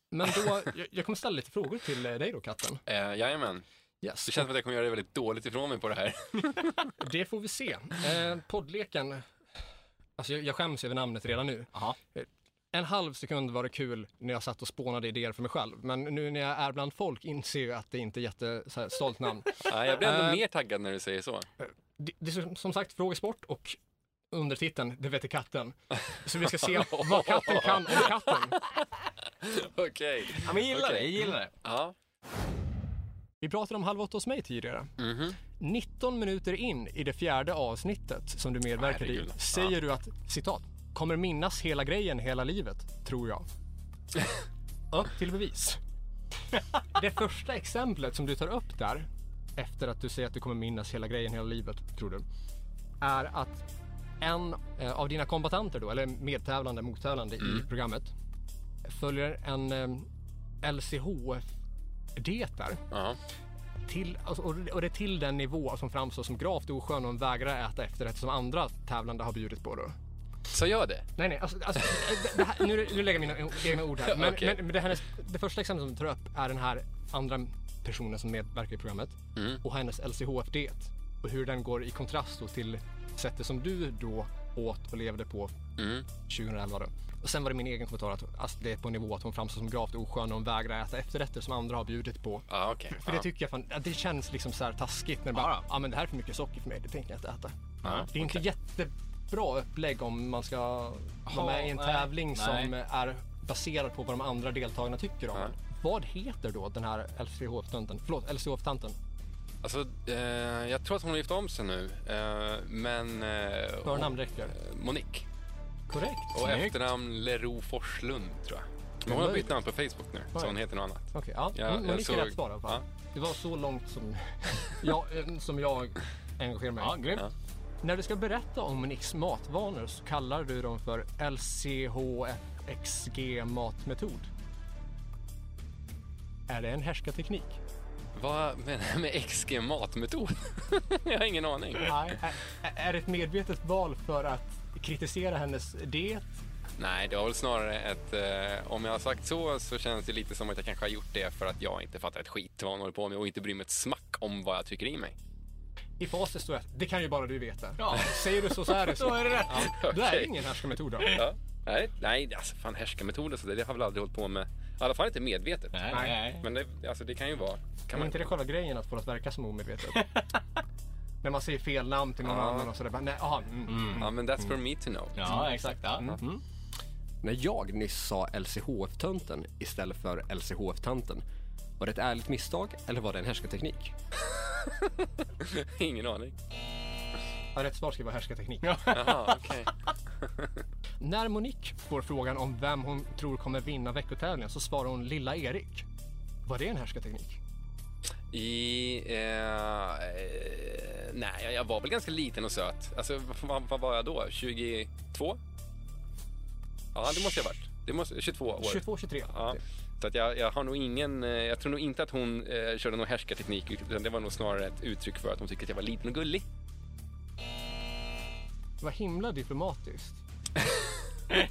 [SPEAKER 3] Men då, jag, jag kommer ställa lite frågor till eh, dig då, katten.
[SPEAKER 1] Eh, jajamän.
[SPEAKER 3] Yes.
[SPEAKER 1] Det känns som att jag kommer göra det väldigt dåligt ifrån mig på det här.
[SPEAKER 3] Det får vi se. Eh, poddleken, alltså jag, jag skäms över namnet redan nu. Eh,
[SPEAKER 2] Aha.
[SPEAKER 3] En halv sekund var det kul när jag satt och spånade idéer för mig själv, men nu när jag är bland folk inser jag att det inte är jätte, så här, stolt namn.
[SPEAKER 1] Nej, jag blir ändå
[SPEAKER 3] Eh.
[SPEAKER 1] mer taggad när du säger så.
[SPEAKER 3] Det, det är som- som sagt frågesport och undertiteln, det vete katten. Så vi ska se vad katten kan om katten.
[SPEAKER 1] Okej.
[SPEAKER 2] Ja, men jag gillar
[SPEAKER 1] Okej.
[SPEAKER 2] det, jag gillar det.
[SPEAKER 1] Ja.
[SPEAKER 3] Vi pratade om Halv åtta hos mig tidigare.
[SPEAKER 1] Mhm.
[SPEAKER 3] 19 minuter in i det fjärde avsnittet som du medverkar i
[SPEAKER 1] Herregud. Ja.
[SPEAKER 3] säger du att citat, kommer minnas hela grejen hela livet, tror jag. Upp till bevis. Det första exemplet som du tar upp där, efter att du säger att du kommer minnas hela grejen hela livet, tror du, är att en eh, av dina kombatanter då, eller medtävlande, mottävlande
[SPEAKER 1] Mm.
[SPEAKER 3] i programmet, följer en eh, LCHF-diet där
[SPEAKER 1] Ja.
[SPEAKER 3] till, alltså, och och det är till den nivå som framstår som gravt oskön och hon vägrar äta efterrätt som andra tävlande har bjudit på. Då.
[SPEAKER 1] Så gör det?
[SPEAKER 3] Nej, nej, alltså, alltså, det- det här, nu, nu lägger jag mina egna ord här. Men,
[SPEAKER 1] Okej.
[SPEAKER 3] men, men det, hennes, det första exemplet som du tar upp är den här andra personen som medverkar i programmet
[SPEAKER 2] Mm.
[SPEAKER 3] och hennes LCHF-diet och hur den går i kontrast då till sättet som du då åt och levde på
[SPEAKER 1] Mm.
[SPEAKER 3] 2011. Då. Och sen var det min egen kommentar att alltså, det är på en nivå att hon framstår som gravt oskön och hon vägrar äta efterrätter som andra har bjudit på.
[SPEAKER 1] Ja, okej.
[SPEAKER 3] För det tycker jag fan, ja, det känns liksom så här taskigt när det bara, ja ah, men det här är för mycket socker för mig, det tänker jag inte äta.
[SPEAKER 1] Ja.
[SPEAKER 3] Det är inte jättebra upplägg om man ska vara med i en
[SPEAKER 2] nej.
[SPEAKER 3] tävling
[SPEAKER 2] Nej.
[SPEAKER 3] som är baserad på vad de andra deltagarna tycker om en. Vad heter då den här LCHF-tanten? Förlåt, LCHF-tanten.
[SPEAKER 1] Alltså, eh, jag tror att hon har gift om sig nu, eh, men... Eh,
[SPEAKER 3] Förnamn räcker.
[SPEAKER 1] hon- Monique.
[SPEAKER 3] Korrekt.
[SPEAKER 1] Och
[SPEAKER 2] Snyggt.
[SPEAKER 1] efternamn Lero Forslund, tror jag. Men hon har bytt namn på Facebook nu, så hon heter något annat.
[SPEAKER 3] Okej, ja.
[SPEAKER 1] Ja,
[SPEAKER 3] mm, men
[SPEAKER 1] jag
[SPEAKER 3] det
[SPEAKER 1] såg-
[SPEAKER 3] är rätt svar i alla fall. Det var så långt som jag, eh, som jag engagerar mig.
[SPEAKER 2] Ja, grymt.
[SPEAKER 1] Ja.
[SPEAKER 3] När du ska berätta om Nicks matvanor så kallar du dem för LCHFXG matmetod. Är det en härskarteknik?
[SPEAKER 1] Vad menar jag med XG matmetod? jag har ingen aning.
[SPEAKER 3] Nej. Är det ett medvetet val för att kritisera hennes diet?
[SPEAKER 1] Nej, det var väl snarare ett... Eh, om jag har sagt så, så känns det lite som att jag kanske har gjort det för att jag inte fattar ett skit vad hon håller på med och inte bryr mig ett smack om vad jag trycker i mig.
[SPEAKER 3] I facit står det att det kan ju bara du veta.
[SPEAKER 2] Ja.
[SPEAKER 3] Säger du så så är det så.
[SPEAKER 2] Då är det rätt.
[SPEAKER 3] Ja, Det är
[SPEAKER 1] Okej.
[SPEAKER 3] ingen härskarmetod då.
[SPEAKER 1] Ja. Nej, nej, alltså fan härskarmetoder så det, det har jag väl aldrig hållit på med. I alla fall inte medvetet.
[SPEAKER 2] Nej,
[SPEAKER 3] Nej.
[SPEAKER 2] nej.
[SPEAKER 1] Men det, alltså, det kan ju vara... Kan
[SPEAKER 3] Men
[SPEAKER 1] man...
[SPEAKER 3] inte det själva grejen att få det att verka som omedvetet? När man säger fel namn till någon
[SPEAKER 1] Ja.
[SPEAKER 3] annan och sådär. bara, Nej, aha, mm.
[SPEAKER 1] Ja, men that's for me to know.
[SPEAKER 2] Ja, exakt. Ja.
[SPEAKER 4] När jag nyss sa LCHF-tönten istället för LCHF-tanten, var det ett ärligt misstag eller var det en härskarteknik?
[SPEAKER 1] Ingen aning.
[SPEAKER 3] Ja, rätt svar ska vara härskarteknik.
[SPEAKER 1] Jaha, okej.
[SPEAKER 3] När Monique får frågan om vem hon tror kommer vinna veckotävlingen så svarar hon Lilla Erik. Var det en härskarteknik?
[SPEAKER 1] I... Eh, eh, nej, jag- jag var väl ganska liten och söt. Alltså, vad- vad, vad var jag då? 22? Ja, det måste jag ha varit. Det måste, 22 år.
[SPEAKER 3] 22, 23.
[SPEAKER 1] Ja. Så att jag, jag har nog ingen... eh, Jag tror nog inte att hon eh, körde någon härskarteknik utan det var nog snarare ett uttryck för att hon tyckte att jag var liten och gullig.
[SPEAKER 3] Det var himla diplomatiskt.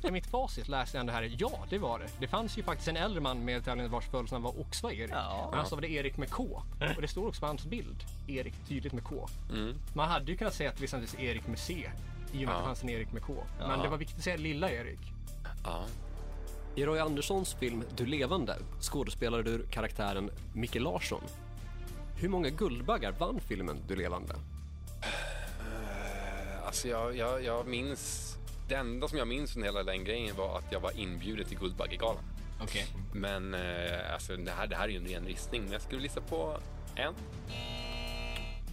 [SPEAKER 3] I mitt facit läste jag det här. Ja, det var det. Det fanns ju faktiskt en äldre man med i tävlingen vars födelsenamn var också var Erik.
[SPEAKER 2] Ja.
[SPEAKER 3] Men han stavade Erik med K. Och det står också på hans bild. Erik tydligt med K. Man hade ju kunnat säga till exempel Erik med C. I och med att det fanns en Erik med K. Men det var viktigt att säga Lilla Erik.
[SPEAKER 1] Ja.
[SPEAKER 5] I Roy Anderssons film Du levande skådespelar du karaktären Micke Larsson. Hur många Guldbaggar vann filmen Du levande?
[SPEAKER 1] Alltså jag, jag, jag minns... Det enda som jag minns från hela den grejen var att jag var inbjuden till Guldbaggegalan.
[SPEAKER 2] Okej.
[SPEAKER 1] Men eh, alltså, det, här, det här är ju en ren gissning, men jag skulle gissa på en.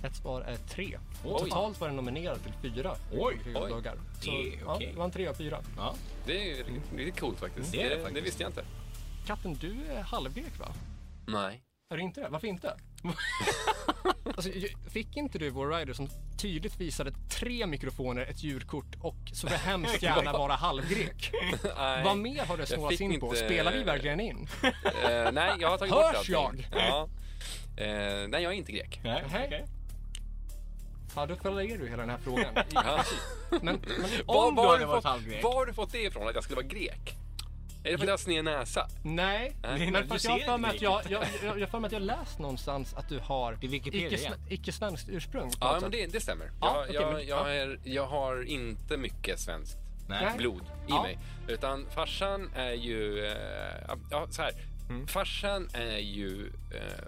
[SPEAKER 3] Ett svar är tre.
[SPEAKER 1] Oj.
[SPEAKER 3] Totalt var den nominerad till fyra
[SPEAKER 2] Oj,
[SPEAKER 3] Guldbaggar.
[SPEAKER 1] oj.
[SPEAKER 3] Så,
[SPEAKER 2] Det är
[SPEAKER 3] ja,
[SPEAKER 2] okej.
[SPEAKER 3] det var en trea av fyra.
[SPEAKER 2] Ja.
[SPEAKER 1] Det är ju riktigt coolt faktiskt.
[SPEAKER 2] Det är det
[SPEAKER 1] det,
[SPEAKER 2] faktiskt.
[SPEAKER 1] visste jag inte.
[SPEAKER 3] Katten, du är halvgrek va?
[SPEAKER 1] Nej.
[SPEAKER 3] Är du inte det? Varför inte? alltså, ju- fick inte du vår rider som tydligt visade tre mikrofoner, ett djurkort och så vill hemskt gärna vara halvgrek?
[SPEAKER 1] nej.
[SPEAKER 3] Vad mer har det snålats
[SPEAKER 1] fick
[SPEAKER 3] in på?
[SPEAKER 1] inte-
[SPEAKER 3] Spelar vi verkligen in?
[SPEAKER 1] Eh, nej, jag har tagit bort
[SPEAKER 3] Hörs
[SPEAKER 1] allting. Ja. Eh, nej, jag är inte grek.
[SPEAKER 2] Nej,
[SPEAKER 3] Nej.
[SPEAKER 2] okej.
[SPEAKER 3] Ja, då följer du hela den här frågan.
[SPEAKER 1] Ja.
[SPEAKER 3] Men, men
[SPEAKER 2] Om du
[SPEAKER 1] har
[SPEAKER 2] hade
[SPEAKER 1] du
[SPEAKER 2] varit
[SPEAKER 1] fått-
[SPEAKER 2] halvgrek.
[SPEAKER 1] Var har du fått det ifrån, att jag skulle vara grek? Är det för att jag har sned näsa?
[SPEAKER 3] nej,
[SPEAKER 1] Nej,
[SPEAKER 3] men
[SPEAKER 2] Äh, du
[SPEAKER 3] för att
[SPEAKER 2] ser
[SPEAKER 3] jag har för mig
[SPEAKER 2] inte
[SPEAKER 3] att jag, jag, jag, jag, har för mig att jag läst någonstans att du har
[SPEAKER 2] Det är Wikipedia
[SPEAKER 3] icke-
[SPEAKER 2] igen.
[SPEAKER 3] icke svenskt ursprung. på
[SPEAKER 1] Ja,
[SPEAKER 3] något
[SPEAKER 1] men
[SPEAKER 3] sätt.
[SPEAKER 1] det, det stämmer.
[SPEAKER 3] Ja,
[SPEAKER 1] Jag,
[SPEAKER 3] okej,
[SPEAKER 1] jag,
[SPEAKER 3] men-
[SPEAKER 1] jag,
[SPEAKER 3] ja.
[SPEAKER 1] är, jag har inte mycket svenskt
[SPEAKER 2] Nej.
[SPEAKER 1] blod i
[SPEAKER 3] Ja.
[SPEAKER 1] mig. Utan farsan är ju... Eh, ja, så här. Farsan är ju eh,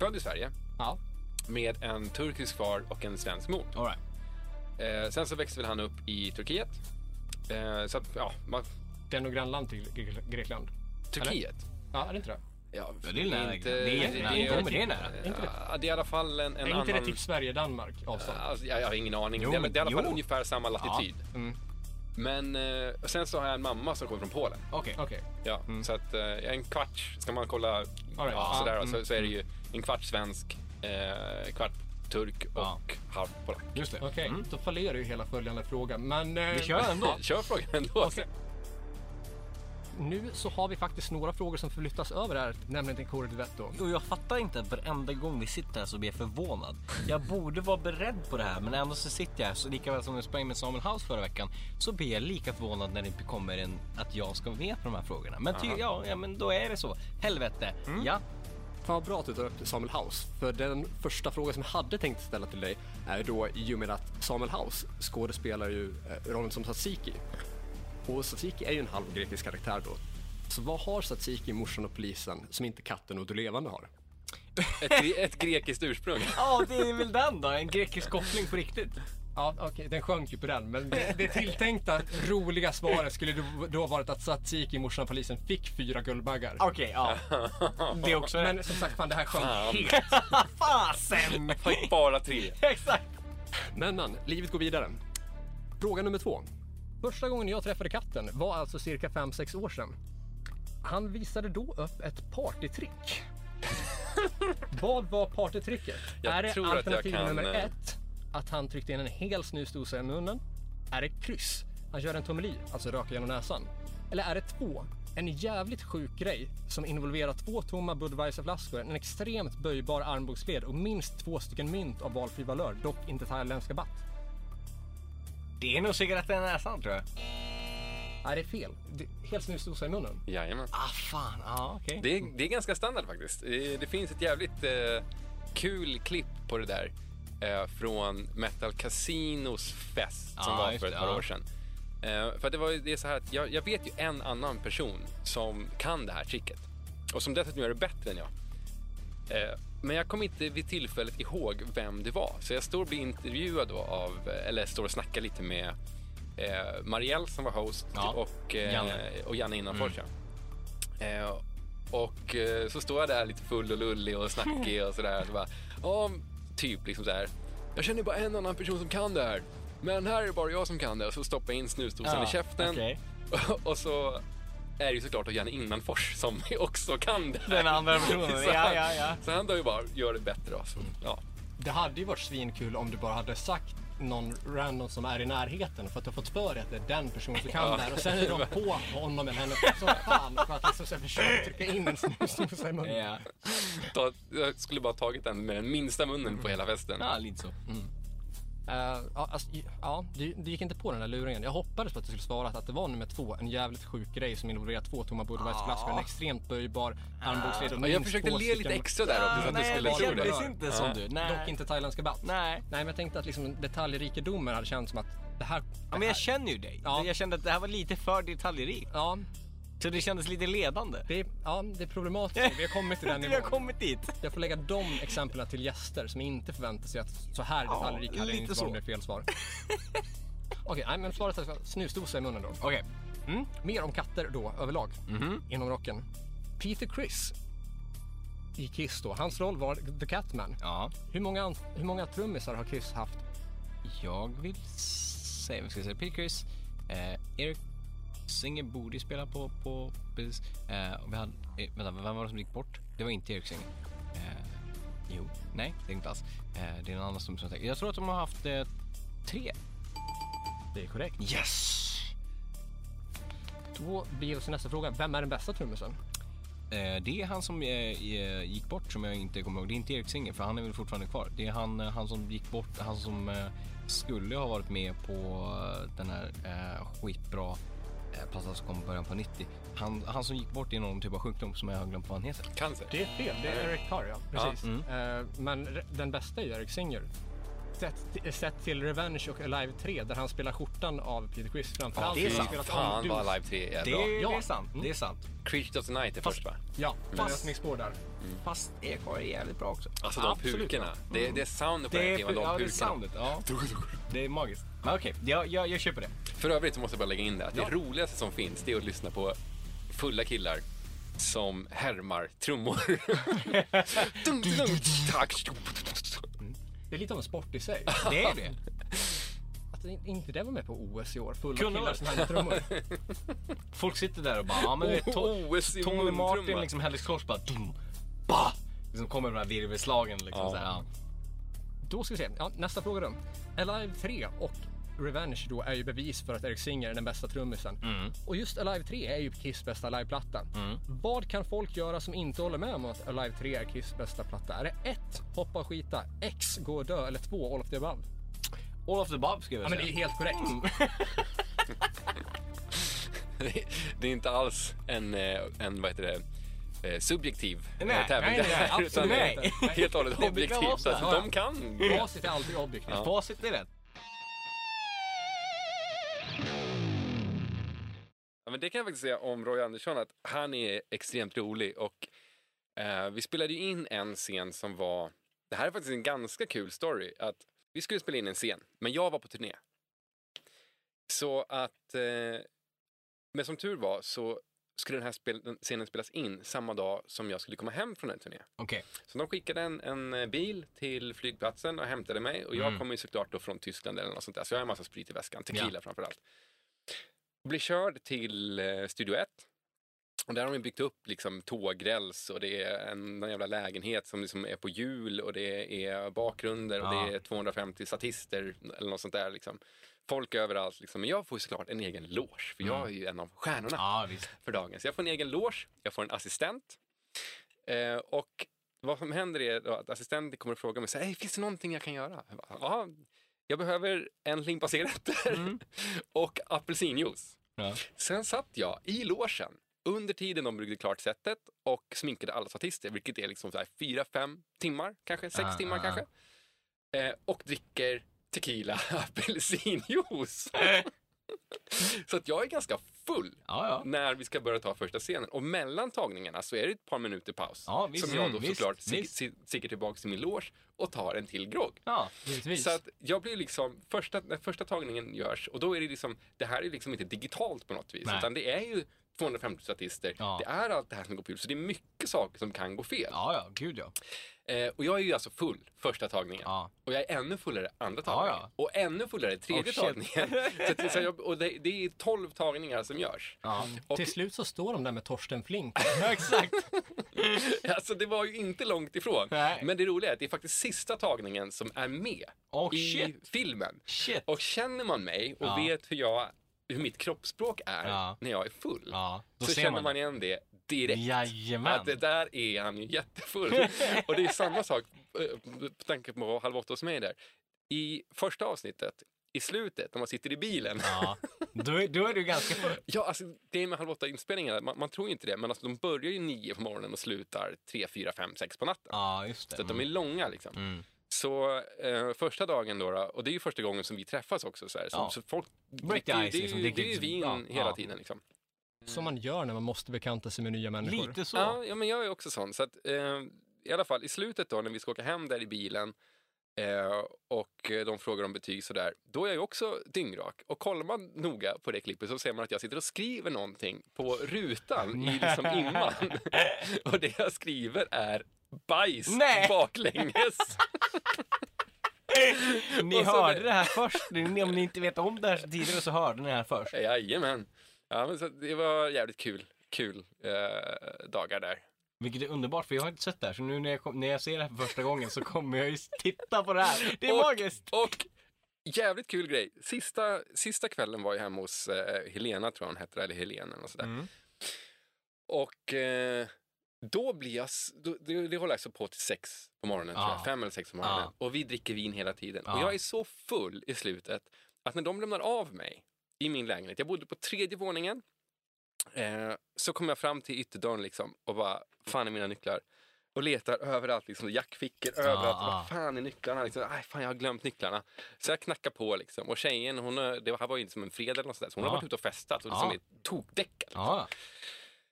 [SPEAKER 1] född i Sverige
[SPEAKER 3] Ja.
[SPEAKER 1] med en turkisk far och en svensk mor.
[SPEAKER 2] All right.
[SPEAKER 1] Eh, sen så växte väl han upp i Turkiet. Eh, så att, ja, man,
[SPEAKER 3] Det är nog grannland till Gre- Grekland.
[SPEAKER 1] Turkiet.
[SPEAKER 3] Ja, är det inte det?
[SPEAKER 1] Ja,
[SPEAKER 2] Ja, det är nära.
[SPEAKER 1] inte-
[SPEAKER 2] det är
[SPEAKER 1] det är-
[SPEAKER 2] jättenära. Det är nära.
[SPEAKER 3] Är inte det?
[SPEAKER 1] Ja, det är i alla fall en, en
[SPEAKER 3] är inte det
[SPEAKER 1] annan...
[SPEAKER 3] typ Sverige-Danmark avstånd?
[SPEAKER 1] Alltså, jag, jag har ingen aning.
[SPEAKER 2] Jo,
[SPEAKER 1] det, är,
[SPEAKER 2] men-
[SPEAKER 1] det är i alla fall
[SPEAKER 2] jo.
[SPEAKER 1] ungefär samma latitud. Men eh, och sen så har jag en mamma som kommer från Polen.
[SPEAKER 2] Okej.
[SPEAKER 3] Okej.
[SPEAKER 1] Ja, Så att eh, jag är en kvarts, ska man kolla
[SPEAKER 3] right.
[SPEAKER 1] ja,
[SPEAKER 3] Ah,
[SPEAKER 1] sådär, så, så är det ju en kvart svensk, eh, kvart turk och
[SPEAKER 2] Ja.
[SPEAKER 1] halv polack.
[SPEAKER 2] Just det. Mm.
[SPEAKER 3] Okej, då fallerar ju hela följande fråga. Men eh,
[SPEAKER 2] Vi kör ändå.
[SPEAKER 1] Kör frågan ändå.
[SPEAKER 3] Okej. nu så har vi faktiskt några frågor som förflyttas över här, nämligen till Kåre Duett då.
[SPEAKER 2] Och jag fattar inte att varenda gång vi sitter här så blir jag förvånad. Jag borde vara beredd på det här men ändå så sitter jag här så lika väl som jag sprang med Samuel House förra veckan så blir jag lika förvånad när det kommer en att jag ska vara med på de här frågorna. Men ty, ja, ja, men då är det så. Helvete.
[SPEAKER 1] Mm.
[SPEAKER 2] Ja.
[SPEAKER 5] Fan vad bra att du tar upp Samuel House. För den första frågan som jag hade tänkt ställa till dig är då i och med att Samuel House skådespelar ju eh, rollen som Tsatsiki. Och Tsatsiki är ju en halvgrekisk karaktär då. Så vad har Tsatsiki, morsan och polisen som inte katten och du levande har?
[SPEAKER 1] Ett, gre- ett grekiskt ursprung.
[SPEAKER 2] Ja, det är väl den då. En grekisk koppling på riktigt.
[SPEAKER 3] Ja, okej, den sjönk ju på den, men det, det tilltänkta roliga svaret skulle då- då varit att Tsatsiki, morsan och polisen, fick fyra Guldbaggar.
[SPEAKER 2] Okej, ja. Det är också
[SPEAKER 3] Men som sagt, fan det här sjönk helt.
[SPEAKER 2] Fasen!
[SPEAKER 1] Fick bara tre.
[SPEAKER 2] Exakt.
[SPEAKER 5] Men men, livet går vidare. Fråga nummer två.
[SPEAKER 3] Första gången jag träffade katten var alltså cirka 5-6 år sedan. Han visade då upp ett partytrick. Vad var partytricket?
[SPEAKER 1] Jag
[SPEAKER 3] är det
[SPEAKER 1] tror att jag
[SPEAKER 3] alternativ
[SPEAKER 1] kan,
[SPEAKER 3] nummer
[SPEAKER 1] eh,
[SPEAKER 3] ett, att han tryckte in en hel snusdosa i munnen? Är det kryss, han gör en tommeli, alltså röker genom näsan? Eller är det två, en jävligt sjuk grej som involverar två tomma Budweiserflaskor, en extremt böjbar armbågsled och minst två stycken mynt av valfri valör, dock inte thailändska baht?
[SPEAKER 2] Det är nog cigaretten i näsan tror jag.
[SPEAKER 3] Nej, det är fel. Det, helt snusdosa i munnen.
[SPEAKER 1] Jajamän.
[SPEAKER 2] Ah fan, ja okej.
[SPEAKER 1] Det är, det är ganska standard faktiskt. Eh, Det, det finns ett jävligt eh, kul klipp på det där eh, från Metal Casinos fest som
[SPEAKER 2] Ja,
[SPEAKER 1] var
[SPEAKER 2] just
[SPEAKER 1] för ett
[SPEAKER 2] det,
[SPEAKER 1] par
[SPEAKER 2] ja.
[SPEAKER 1] år sedan. Eh, för att det, var, ju- det är så här att jag, jag vet ju en annan person som kan det här tricket och som dessutom gör det bättre än jag. Eh, Men jag kommer inte vid tillfället ihåg vem det var. Så jag står och blir intervjuad då av, eller står och snackar lite med eh, Marielle som var host
[SPEAKER 2] Ja,
[SPEAKER 1] och, eh,
[SPEAKER 2] Janne.
[SPEAKER 1] och Janne innanför. Mm. Eh, och eh, så står jag där lite full och lullig och snackig och sådär. Så bara, ja, typ liksom så här. Jag känner bara en annan person som kan det här. Men här är det bara jag som kan det. Och så stoppar jag in snusdosan
[SPEAKER 2] Ja,
[SPEAKER 1] i käften.
[SPEAKER 2] okej.
[SPEAKER 1] och så är det ju såklart att Janne Innanfors som också kan det här.
[SPEAKER 2] Den andra personen,
[SPEAKER 1] Så
[SPEAKER 2] ja
[SPEAKER 1] han-
[SPEAKER 2] ja ja.
[SPEAKER 1] Så han då ju bara gör det bättre. Alltså. Ja.
[SPEAKER 3] Det hade ju varit svinkul om du bara hade sagt någon random som är i närheten för att du har fått för dig att det är den personen som kan det här och sen är de på honom eller henne som fan för att liksom så här försöka trycka in en snusdosa i munnen.
[SPEAKER 2] Ja,
[SPEAKER 1] Ta, jag skulle bara tagit den med den minsta munnen på hela festen.
[SPEAKER 2] ja lite så. Mm.
[SPEAKER 3] Eh, ja, alltså, ja, du, du gick inte på den där luringen. Jag hoppades på att du skulle svara att det var nummer två, en jävligt sjuk grej som involverar två tomma Budweiserflaskor, en extremt böjbar armbågsled och
[SPEAKER 1] Ja, jag
[SPEAKER 3] minst
[SPEAKER 1] försökte
[SPEAKER 3] två
[SPEAKER 1] le lite
[SPEAKER 3] stycken-
[SPEAKER 1] extra där också, så att du
[SPEAKER 2] Nej,
[SPEAKER 1] skulle
[SPEAKER 2] det
[SPEAKER 1] tro det.
[SPEAKER 2] kändes inte som du.
[SPEAKER 3] Dock
[SPEAKER 2] Nej.
[SPEAKER 3] inte thailändska baht. Nej,
[SPEAKER 2] Nej.
[SPEAKER 3] men jag tänkte att liksom detaljrikedomen hade känts som att det här...
[SPEAKER 2] Ja, men jag känner ju dig.
[SPEAKER 3] Ja.
[SPEAKER 2] Jag kände att det här var lite för detaljerikt.
[SPEAKER 3] Ja,
[SPEAKER 2] Så det kändes lite ledande.
[SPEAKER 3] Det är, ja, det är problematiskt. Vi har kommit till den
[SPEAKER 2] Vi har
[SPEAKER 3] nivån.
[SPEAKER 2] kommit dit.
[SPEAKER 3] Jag får lägga de exemplen till gäster som inte förväntar sig att så här detaljrik hade jag
[SPEAKER 2] lite
[SPEAKER 3] inte
[SPEAKER 2] så.
[SPEAKER 3] varit med fel svar. Okej, nej, men svaret är snusdosa i munnen då.
[SPEAKER 2] Okej.
[SPEAKER 3] Mm. Mer om katter då överlag
[SPEAKER 2] Mhm.
[SPEAKER 3] inom rocken. Peter Criss i Kiss då. Hans roll var The Catman.
[SPEAKER 2] Ja.
[SPEAKER 3] Hur många, ans- hur många trummisar har Kiss haft?
[SPEAKER 2] Jag vill säga, vad ska jag säga, Pickers. Eh, Eric Singer borde ju spela på, på precis. Eh, och vi hade, eh, vänta, vem var det som gick bort? Det var inte Eric Singer. Eh, jo, nej, det är inte alls. Eh, det är någon annan som som jag tänker. Jag tror att de har haft eh, tre.
[SPEAKER 3] Det är korrekt.
[SPEAKER 2] Yes!
[SPEAKER 3] Då blir oss nästa fråga. Vem är den bästa trummisen?
[SPEAKER 2] Eh, det är han som eh, eh, gick bort som jag inte kommer ihåg. Det är inte Erik Singer för han är väl fortfarande kvar. Det är han, eh, han som gick bort, han som eh, skulle ha varit med på eh, den här eh, skitbra eh, plattan som kom i början på 90. Han, han som gick bort i någon typ av sjukdom som jag har glömt vad han heter.
[SPEAKER 1] Cancer.
[SPEAKER 3] Det är fel. Det är Eric Carr, ja. Precis.
[SPEAKER 2] Ja, Mm.
[SPEAKER 3] Eh, men re- den bästa är ju Eric Singer. Sett, t- sett till Revenge och Alive 3 där han spelar skjortan av Peter Criss framför allt.
[SPEAKER 2] det är
[SPEAKER 3] har
[SPEAKER 2] sant.
[SPEAKER 3] han spelat
[SPEAKER 1] Fan
[SPEAKER 3] om
[SPEAKER 1] vad
[SPEAKER 3] Doom.
[SPEAKER 1] Alive 3 är
[SPEAKER 2] Det,
[SPEAKER 1] bra.
[SPEAKER 2] är-
[SPEAKER 3] Ja.
[SPEAKER 2] det är sant, det är sant.
[SPEAKER 1] Creature of the Night är först va?
[SPEAKER 3] Ja, det är
[SPEAKER 2] Fast-
[SPEAKER 3] öppningsspår där.
[SPEAKER 2] Fast EK är jävligt bra också.
[SPEAKER 1] Alltså de pukorna. Det, det är soundet på den
[SPEAKER 2] Mm. Det
[SPEAKER 1] här
[SPEAKER 2] är,
[SPEAKER 1] skivan, de
[SPEAKER 2] ja, det är
[SPEAKER 1] pukorna.
[SPEAKER 2] soundet, ja. Det är magiskt. Men okej, jag, jag, jag köper det.
[SPEAKER 1] För övrigt så måste jag bara lägga in det att det roligaste som finns det är att lyssna på fulla killar som härmar trummor. Dum, dum, dum, tack.
[SPEAKER 3] Det är lite av en sport i sig.
[SPEAKER 2] Det är det.
[SPEAKER 3] Att in- inte det var med på OS i år. Fulla
[SPEAKER 2] Kunde
[SPEAKER 3] killar
[SPEAKER 2] varit.
[SPEAKER 3] som hade trummor.
[SPEAKER 2] Folk sitter där och bara, ja men du vet,
[SPEAKER 1] Oh,
[SPEAKER 2] Tony,
[SPEAKER 1] OS i
[SPEAKER 2] Tony
[SPEAKER 1] muntrumma.
[SPEAKER 2] Martin, liksom Henrik Kors bara, dum, bah! Liksom kommer de här virvelslagen liksom
[SPEAKER 1] Ja.
[SPEAKER 2] så här, ja.
[SPEAKER 3] Då ska vi se. Ja, nästa fråga då. Alive 3 och Revenge då är ju bevis för att Eric Singer är den bästa trummisen. Och just Alive 3 är ju Kiss bästa liveplatta. Vad kan folk göra som inte håller med om att Alive 3 är Kiss bästa platta? Är det 1. Hoppa och skita, X. Gå och dö eller 2. All of the above? Mm.
[SPEAKER 2] All of the Bob skulle
[SPEAKER 3] Ja,
[SPEAKER 2] jag
[SPEAKER 3] men
[SPEAKER 2] säga.
[SPEAKER 3] det är ju helt korrekt.
[SPEAKER 1] Det- Det är inte alls en, eh, en vad heter det, eh, subjektiv eh,
[SPEAKER 2] Nej,
[SPEAKER 1] tävling
[SPEAKER 2] nej,
[SPEAKER 1] det
[SPEAKER 2] nej,
[SPEAKER 1] här.
[SPEAKER 2] absolut
[SPEAKER 1] Utan
[SPEAKER 2] nej.
[SPEAKER 1] helt och hållet
[SPEAKER 2] Det brukar
[SPEAKER 1] objektivt.
[SPEAKER 2] vara så
[SPEAKER 1] Alltså,
[SPEAKER 2] här.
[SPEAKER 1] de kan.
[SPEAKER 3] Facit är alltid objektivt.
[SPEAKER 2] Facit är rätt.
[SPEAKER 1] Ja, men det kan jag faktiskt säga om Roy Andersson att han är extremt rolig och eh, vi spelade ju in en scen som var, det här är faktiskt en ganska kul story, att vi skulle spela in en scen, men jag var på turné. Så att, eh, men som tur var så skulle den här spel, den scenen spelas in samma dag som jag skulle komma hem från en turné.
[SPEAKER 2] Okej.
[SPEAKER 1] Så de skickade en, en eh, bil till flygplatsen och hämtade mig. Och jag kommer ju såklart då från Tyskland eller något sånt där. Så jag har en massa sprit i väskan, tequila framför allt. Blir körd till eh, Studio 1. Och där har de byggt upp liksom tågräls och det är en, någon jävla lägenhet som liksom är på hjul och det är bakgrunder och
[SPEAKER 2] Ja.
[SPEAKER 1] det är 250 statister eller något sånt där. Liksom. Folk överallt. Liksom. Men jag får ju såklart en egen loge för jag är ju en av stjärnorna
[SPEAKER 2] Ja, visst.
[SPEAKER 1] för dagen. Så jag får en egen loge, jag får en assistent. Eh, och vad som händer är då att assistenten kommer och frågar mig, så här, "Hej, finns det någonting jag kan göra? Jag bara, Ja, jag behöver en limpa cigaretter och apelsinjuice.
[SPEAKER 2] Mm. Ja.
[SPEAKER 1] Sen satt jag i logen under tiden de byggde klart setet och sminkade alla statister, vilket är liksom så här fyra, fem timmar kanske, sex
[SPEAKER 2] Ah,
[SPEAKER 1] timmar
[SPEAKER 2] ah,
[SPEAKER 1] kanske. Eh, och dricker tequila apelsinjuice. så att jag är ganska full
[SPEAKER 2] Ja, ja.
[SPEAKER 1] när vi ska börja ta första scenen. Och mellan tagningarna så är det ett par minuter paus.
[SPEAKER 2] Ja, visst.
[SPEAKER 1] som jag då
[SPEAKER 2] Mm, visst,
[SPEAKER 1] såklart sig-
[SPEAKER 2] visst.
[SPEAKER 1] sig- sikar tillbaka till min loge och tar en till grogg.
[SPEAKER 2] Ja, givetvis.
[SPEAKER 1] Så att jag blir liksom, första, när första tagningen görs, och då är det liksom, det här är liksom inte digitalt på något vis,
[SPEAKER 2] Nej.
[SPEAKER 1] utan det är ju 250 statister,
[SPEAKER 2] Ja.
[SPEAKER 1] det är allt det här som går fel, så det är mycket saker som kan gå fel.
[SPEAKER 2] Ja, ja, gud ja.
[SPEAKER 1] Eh, och jag är ju alltså full första tagningen.
[SPEAKER 2] Ja.
[SPEAKER 1] Och jag är ännu fullare andra
[SPEAKER 2] Ja,
[SPEAKER 1] tagningen.
[SPEAKER 2] ja.
[SPEAKER 1] Och ännu fullare tredje
[SPEAKER 2] Oh, shit.
[SPEAKER 1] tagningen. Så, att- så jag, och det, det är 12 tagningar som görs.
[SPEAKER 2] Ja,
[SPEAKER 1] Och-
[SPEAKER 3] Till slut så står de där med Torsten Flink.
[SPEAKER 2] ja exakt.
[SPEAKER 1] Alltså det var ju inte långt ifrån.
[SPEAKER 2] Nej.
[SPEAKER 1] Men det roliga är att det är faktiskt sista tagningen som är med
[SPEAKER 2] Oh,
[SPEAKER 1] i
[SPEAKER 2] shit.
[SPEAKER 1] filmen.
[SPEAKER 2] Shit.
[SPEAKER 1] Och känner man mig och
[SPEAKER 2] Ja.
[SPEAKER 1] vet hur, jag, hur mitt kroppsspråk är
[SPEAKER 2] Ja.
[SPEAKER 1] när jag är full.
[SPEAKER 2] Ja, då
[SPEAKER 1] så
[SPEAKER 2] ser
[SPEAKER 1] känner
[SPEAKER 2] man.
[SPEAKER 1] man. igen det direkt.
[SPEAKER 2] Jajamän.
[SPEAKER 1] Att det där är han ju jättefull. och det är samma sak, eh, med tanke på Halv åtta hos mig där. I första avsnittet, i slutet, när man sitter i bilen.
[SPEAKER 2] Ja. Då, är- då är du ganska full.
[SPEAKER 1] Ja, alltså det är med Halv åtta-inspelningarna, man, man tror ju inte det, men alltså, de börjar ju nio på morgonen och slutar tre, fyra, fem, sex på natten.
[SPEAKER 2] Ja, just det.
[SPEAKER 1] Så att de är långa liksom.
[SPEAKER 2] Mm.
[SPEAKER 1] Så eh, första dagen då, då, och det är ju första gången som vi träffas också så här. Så,
[SPEAKER 2] Ja.
[SPEAKER 1] så folk
[SPEAKER 2] Break the
[SPEAKER 1] det,
[SPEAKER 2] ice,
[SPEAKER 1] det, är
[SPEAKER 2] liksom.
[SPEAKER 1] ju-
[SPEAKER 2] Det-
[SPEAKER 1] det är ju
[SPEAKER 2] det-
[SPEAKER 1] vin
[SPEAKER 2] ja,
[SPEAKER 1] hela
[SPEAKER 2] ja.
[SPEAKER 1] tiden liksom.
[SPEAKER 3] Som man gör när man måste bekanta sig med nya människor.
[SPEAKER 2] Lite så.
[SPEAKER 1] Ja, ja, men jag är också sån. Så att, eh, I alla fall i slutet då när vi ska åka hem där i bilen eh, och eh, de frågar om betyg sådär, då är jag ju också dyngrak. Och kollar man noga på det klippet så ser man att jag sitter och skriver någonting på rutan i liksom imman. och det jag skriver är bajs
[SPEAKER 2] Nej.
[SPEAKER 1] baklänges.
[SPEAKER 2] Ni
[SPEAKER 1] Och så
[SPEAKER 2] hörde
[SPEAKER 1] det-
[SPEAKER 2] det här först. Ni- Om ni inte vet om det här sedan tidigare så hörde ni det här först.
[SPEAKER 1] Jajamän. Ja, men så det var jävligt kul, kul eh, dagar där.
[SPEAKER 2] Vilket är underbart för jag har inte sett det här. Så nu när jag, kom, när jag ser det här för första gången så kommer jag ju titta på det här. Det är
[SPEAKER 1] Och-
[SPEAKER 2] magiskt!
[SPEAKER 1] Och jävligt kul grej. Sista, sista kvällen var jag hemma hos eh, Helena, tror jag hon hette, eller Helena och sådär.
[SPEAKER 2] Mm.
[SPEAKER 1] Och eh, då blir jag, s- då, det, det håller alltså på till sex på morgonen, tror
[SPEAKER 2] Ja.
[SPEAKER 1] jag. fem eller sex på morgonen. Och vi dricker vin hela tiden.
[SPEAKER 2] Ja.
[SPEAKER 1] Och jag är så full i slutet att när de lämnar av mig i min lägenhet, jag bodde på tredje våningen, eh, så kommer jag fram till ytterdörren liksom, och bara, fan är mina nycklar? Och letar överallt, liksom, jackfickor överallt.
[SPEAKER 2] ja.
[SPEAKER 1] Vad fan är nycklarna? Liksom, Aj, fan, jag har glömt nycklarna. Så jag knackar på liksom. Och tjejen, hon, eh, det här var ju inte som en fredag eller något sånt där, så hon
[SPEAKER 2] Ja.
[SPEAKER 1] har varit ute och festat och liksom
[SPEAKER 2] Ja.
[SPEAKER 1] är tokdäckad.
[SPEAKER 2] Ja,